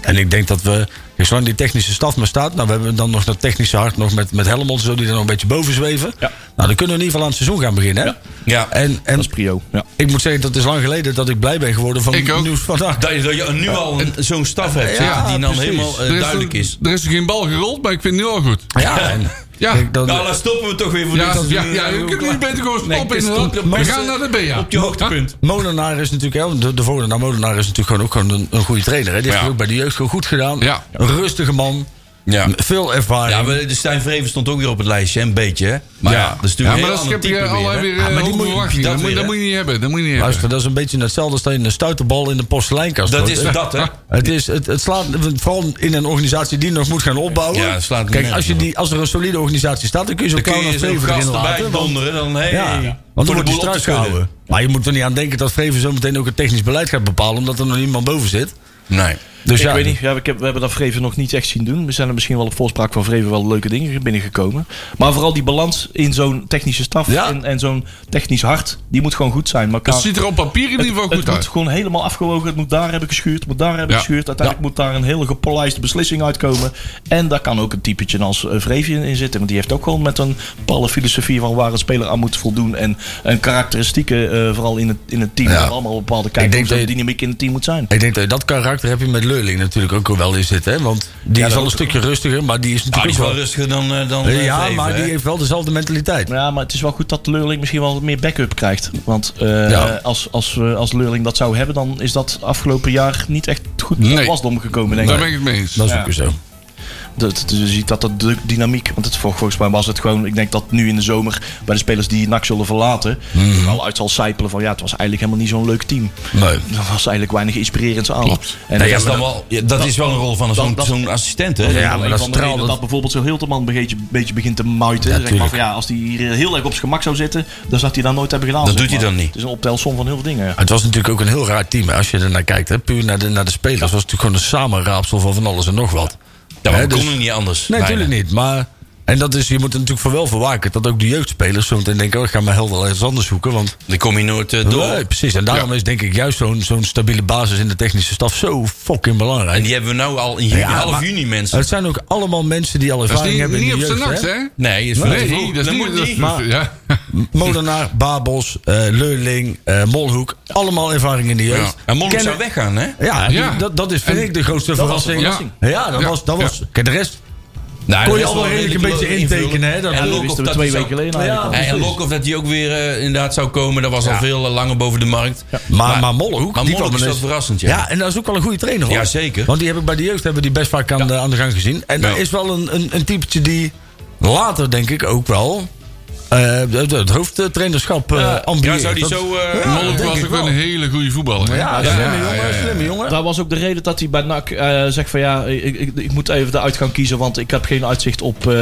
Speaker 5: En ik denk dat we, kijk, zolang die technische staf maar staat, nou we hebben dan nog dat technische hart nog met, met Helmond, en zo die er nog een beetje boven zweven.
Speaker 6: Ja.
Speaker 5: Nou, dan kunnen we in ieder geval aan het seizoen gaan beginnen. Hè?
Speaker 2: Ja.
Speaker 5: En, en
Speaker 6: Dat is prio. Ja.
Speaker 5: ik moet zeggen, dat is lang geleden dat ik blij ben geworden van
Speaker 3: Ik ook.
Speaker 5: het nieuws vandaag.
Speaker 2: Dat je, dat je nu al een- zo'n staf hebt
Speaker 5: Ja,
Speaker 2: ja, die dan
Speaker 5: precies.
Speaker 2: helemaal eh,
Speaker 3: Er is,
Speaker 2: duidelijk
Speaker 3: een-
Speaker 2: is.
Speaker 3: er is geen bal gerold, maar ik vind het nu al goed.
Speaker 5: Ja, en
Speaker 3: Ja.
Speaker 5: Kijk, dan- eh,
Speaker 2: Nou, dan stoppen we toch weer voor
Speaker 3: Ja,
Speaker 2: dit.
Speaker 3: ja, ja, je kunt niet beter gewoon
Speaker 2: Nee, het
Speaker 3: stoppen.
Speaker 2: is
Speaker 3: inderdaad.
Speaker 2: goed.
Speaker 3: We
Speaker 2: Maar
Speaker 3: gaan
Speaker 2: ze-
Speaker 3: naar de BA.
Speaker 2: Op je hoogtepunt.
Speaker 5: Molenaar is natuurlijk, hè, de, de volgende naar Molenaar is natuurlijk gewoon ook gewoon een, een goede trainer. Hè. Die heeft
Speaker 3: Ja.
Speaker 5: het ook bij de jeugd gewoon goed gedaan.
Speaker 3: Ja.
Speaker 5: Een rustige man.
Speaker 2: Ja.
Speaker 5: Veel ervaring.
Speaker 2: Ja, maar de Stijn Vreven stond ook weer op het lijstje, hè, een beetje. Hè? Maar ja, dat is
Speaker 3: Ja,
Speaker 2: natuurlijk
Speaker 3: maar
Speaker 2: een
Speaker 3: dat
Speaker 2: heel ander
Speaker 3: schep
Speaker 2: type
Speaker 3: je
Speaker 2: weer, hè.
Speaker 3: allerlei
Speaker 2: Ah,
Speaker 3: weer eh,
Speaker 2: maar die
Speaker 3: hoge
Speaker 2: moet-
Speaker 3: verwachtingen.
Speaker 2: dat
Speaker 3: Dat, moet-
Speaker 2: weer,
Speaker 3: dat
Speaker 2: hè?
Speaker 3: moet je niet hebben. Dat moet je niet hebben.
Speaker 5: Luister, dat is een beetje hetzelfde als dat je een stuiterbal in een porseleinkast
Speaker 2: Dat
Speaker 5: gooit,
Speaker 2: is
Speaker 5: hè?
Speaker 2: dat, hè?
Speaker 5: Het, is, het, het slaat vooral in een organisatie die nog moet gaan opbouwen.
Speaker 2: Ja, het slaat
Speaker 5: Kijk,
Speaker 2: nergens
Speaker 5: als, je
Speaker 2: op.
Speaker 5: die, als er een solide organisatie staat, dan kun je zo'n
Speaker 2: Dan kun
Speaker 5: clown
Speaker 2: je
Speaker 5: als
Speaker 2: zo'n
Speaker 5: Vreven erin
Speaker 2: gast erbij
Speaker 5: laten. want-
Speaker 2: donderen. Dan, hey,
Speaker 5: ja, want dan wordt die straks gehouden. Maar je moet er niet aan denken dat Vreven zo meteen ook het technisch beleid gaat bepalen, omdat er nog niemand boven zit.
Speaker 2: Nee.
Speaker 5: Dus
Speaker 6: ik
Speaker 5: ja,
Speaker 6: weet niet, ja, ik heb, we hebben dat Vreven nog niet echt zien doen. We zijn er misschien wel op voorspraak van Vreven wel leuke dingen binnengekomen. Maar vooral die balans in zo'n technische staf
Speaker 5: Ja.
Speaker 6: en, en zo'n technisch hart, die moet gewoon goed zijn. Maar
Speaker 3: Dat
Speaker 6: qua-
Speaker 3: ziet er op papier in ieder geval
Speaker 6: het
Speaker 3: goed
Speaker 6: moet
Speaker 3: uit.
Speaker 6: gewoon helemaal afgewogen. Het moet daar hebben geschuurd, het moet daar hebben
Speaker 3: Ja.
Speaker 6: geschuurd. Uiteindelijk moet daar een hele gepolijste beslissing uitkomen. En daar kan ook een typetje als eh, Vreven in, in zitten. Want die heeft ook gewoon met een bepaalde filosofie van waar een speler aan moet voldoen. En, en karakteristieken, eh, vooral in het, in het team,
Speaker 5: Ja.
Speaker 6: waar allemaal bepaalde
Speaker 5: Ik
Speaker 6: kijken
Speaker 5: denk
Speaker 6: hoe zo'n
Speaker 5: dat je-
Speaker 6: dynamiek in het team moet zijn.
Speaker 5: ik denk dat je dat karakter heb je met Leuling natuurlijk ook wel in zitten. Hè? Want die is al een stukje rustiger, maar die is
Speaker 2: Ah, die
Speaker 5: natuurlijk
Speaker 2: is
Speaker 5: ook
Speaker 2: wel rustiger dan, eh, dan eh,
Speaker 5: Ja,
Speaker 2: Vreven,
Speaker 5: maar
Speaker 2: hè.
Speaker 5: die heeft wel dezelfde mentaliteit.
Speaker 6: Ja, maar het is wel goed dat Leurling misschien wel wat meer backup krijgt. Want eh,
Speaker 5: Ja.
Speaker 6: als, als, we- als Leurling dat zou hebben, dan is dat afgelopen jaar niet echt goed
Speaker 3: Nee.
Speaker 6: op wasdom gekomen, denk
Speaker 3: Daar
Speaker 6: ik.
Speaker 3: ben ik het mee eens.
Speaker 5: Dat is
Speaker 6: Ja.
Speaker 5: ook weer zo.
Speaker 6: Dat, dus je ziet dat dat de dynamiek. Want het, vol- volgens mij was het gewoon. Ik denk dat nu in de zomer bij de spelers die NAC zullen verlaten. er wel uit zal sijpelen van ja, het was eigenlijk helemaal niet zo'n leuk team.
Speaker 5: Nee.
Speaker 6: Er was eigenlijk weinig inspirerends aan.
Speaker 3: Klopt.
Speaker 2: Nee,
Speaker 6: En dat
Speaker 2: dat,
Speaker 6: is
Speaker 2: is dan
Speaker 6: wel.
Speaker 2: wel, ja, dat, is wel een rol van zo'n
Speaker 6: dat-
Speaker 2: zo'n assistent, hè?
Speaker 6: Ja, maar dat is
Speaker 5: straalt
Speaker 6: dat
Speaker 5: het-
Speaker 6: bijvoorbeeld zo'n Hilterman een beetje, een beetje begint te muiten.
Speaker 5: Ja,
Speaker 6: zeg maar van,
Speaker 5: tuurlijk.
Speaker 6: ja, als hij hier heel erg op zijn gemak zou zitten, dan zou hij dat nooit hebben gedaan.
Speaker 2: Dat
Speaker 6: zeg
Speaker 2: doet hij
Speaker 6: maar.
Speaker 2: dan niet.
Speaker 6: Het is een optelsom van heel veel dingen. ja.
Speaker 5: Het was natuurlijk ook een heel raar team. hè, Als je er naar kijkt, hè, puur naar de, naar de spelers. was het natuurlijk gewoon een samenraapsel van van alles en nog wat.
Speaker 2: Ja, maar
Speaker 5: Hè,
Speaker 2: we
Speaker 5: dus-
Speaker 2: konden niet anders.
Speaker 5: Nee, natuurlijk niet. Maar, en dat is, je moet er natuurlijk voor wel voor waken. Dat ook de jeugdspelers zo meteen denken... Oh, ik ga mijn helder ergens anders zoeken. Want,
Speaker 2: Dan kom je nooit eh, door.
Speaker 5: nee, precies. En daarom is denk ik juist zo'n zo'n stabiele basis in de technische staf zo fucking belangrijk.
Speaker 2: En die hebben we nou al in juni,
Speaker 5: Ja,
Speaker 2: half
Speaker 5: maar-
Speaker 2: juni, mensen.
Speaker 5: Het zijn ook allemaal mensen die al
Speaker 3: Dat is
Speaker 5: ervaring
Speaker 3: niet,
Speaker 5: hebben
Speaker 3: niet
Speaker 5: in
Speaker 3: op
Speaker 5: de
Speaker 3: zijn
Speaker 5: jeugd.
Speaker 3: nacht,
Speaker 5: hè?
Speaker 3: hè?
Speaker 2: Nee, is veel te vroeg.
Speaker 3: Nee, dat is
Speaker 2: moet
Speaker 3: niet...
Speaker 2: niet.
Speaker 3: dat is- ja.
Speaker 5: Molenaar, Babels, eh Leuling, eh, Molhoek. Allemaal ervaring in de jeugd.
Speaker 2: En Molly
Speaker 5: Kennen-
Speaker 2: zou weggaan, hè?
Speaker 5: Ja,
Speaker 3: Ja.
Speaker 5: die- Dat, dat is vind
Speaker 3: En
Speaker 5: ik de grootste
Speaker 6: dat was een
Speaker 5: verrassing.
Speaker 3: verrassing.
Speaker 5: Ja, ja, dat
Speaker 3: Ja.
Speaker 5: was. Dat
Speaker 3: Ja.
Speaker 5: was Kijk, de rest.
Speaker 2: Nou,
Speaker 5: Kon je
Speaker 2: dat is
Speaker 5: al wel redelijk een beetje
Speaker 2: invulling.
Speaker 5: intekenen, hè, dat-
Speaker 2: En
Speaker 5: Ja,
Speaker 6: Dat
Speaker 2: Lokhoff
Speaker 6: wisten we
Speaker 2: dat
Speaker 6: twee
Speaker 2: hij
Speaker 6: weken
Speaker 2: zou-
Speaker 6: geleden.
Speaker 5: Ja.
Speaker 6: eigenlijk.
Speaker 2: En Lokhoff dat hij ook weer eh, inderdaad zou komen. Dat was al veel eh, langer boven de markt.
Speaker 5: Maar, maar, Mollehoek.
Speaker 2: Maar
Speaker 5: die
Speaker 2: Mollehoek
Speaker 5: kwam
Speaker 2: is wel
Speaker 5: ineens-
Speaker 2: verrassend, ja.
Speaker 5: ja. en dat is ook wel een goede trainer hoor.
Speaker 2: Ja, zeker.
Speaker 5: Want die heb ik bij de jeugd hebben we die best vaak aan, de, aan de gang gezien. En
Speaker 2: Ja.
Speaker 5: dat is wel een, een, een typetje die later denk ik ook wel. eh, het, het hoofdtrainerschap eh ambieert.
Speaker 2: Ja, zou die
Speaker 5: Dat-
Speaker 2: zo... eh,
Speaker 5: Ja,
Speaker 3: Molk
Speaker 5: denk
Speaker 3: was
Speaker 5: ik
Speaker 3: ook wel
Speaker 5: wel.
Speaker 3: een hele goede voetballer. hè?
Speaker 5: Ja, slimme jongen,
Speaker 3: ja, ja.
Speaker 5: slimme jongen.
Speaker 6: Dat was ook de reden dat hij bij NAC eh, zegt van ja, ik, ik, ik moet even de uitgang kiezen, want ik heb geen uitzicht op... eh,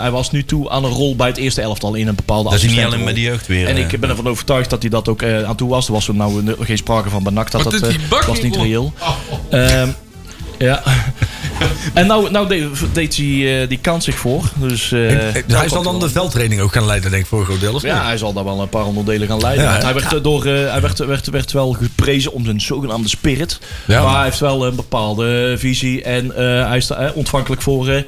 Speaker 6: hij was nu toe aan een rol bij het eerste elftal in een bepaalde
Speaker 2: Dat is niet
Speaker 6: assistentenrol.
Speaker 2: alleen met de jeugd weer.
Speaker 6: En
Speaker 2: eh.
Speaker 6: ik ben ervan overtuigd dat hij dat ook eh, aan toe was. Er was er nou eh, geen sprake van bij NAC, dat
Speaker 3: Wat
Speaker 6: dat
Speaker 3: doet
Speaker 6: eh,
Speaker 3: die bak
Speaker 6: was
Speaker 3: hier,
Speaker 6: niet
Speaker 3: jongen?
Speaker 6: reëel.
Speaker 3: Oh, oh.
Speaker 6: Ehm, ja. en nou, nou deed, deed hij eh, die kans zich voor. Dus, eh,
Speaker 5: Ik- Hij zal dan de veldtraining ook gaan leiden, denk ik, voor een groot deel. Of niet?
Speaker 6: Ja, hij zal daar wel een paar onderdelen gaan leiden.
Speaker 5: Ja,
Speaker 6: Want
Speaker 5: hè?
Speaker 6: hij werd, eh, door, eh, hij werd, werd, werd wel geprezen om zijn zogenaamde spirit.
Speaker 5: Ja.
Speaker 6: Maar hij heeft wel een bepaalde eh, visie. En eh, hij is daar, eh, ontvankelijk voor eh,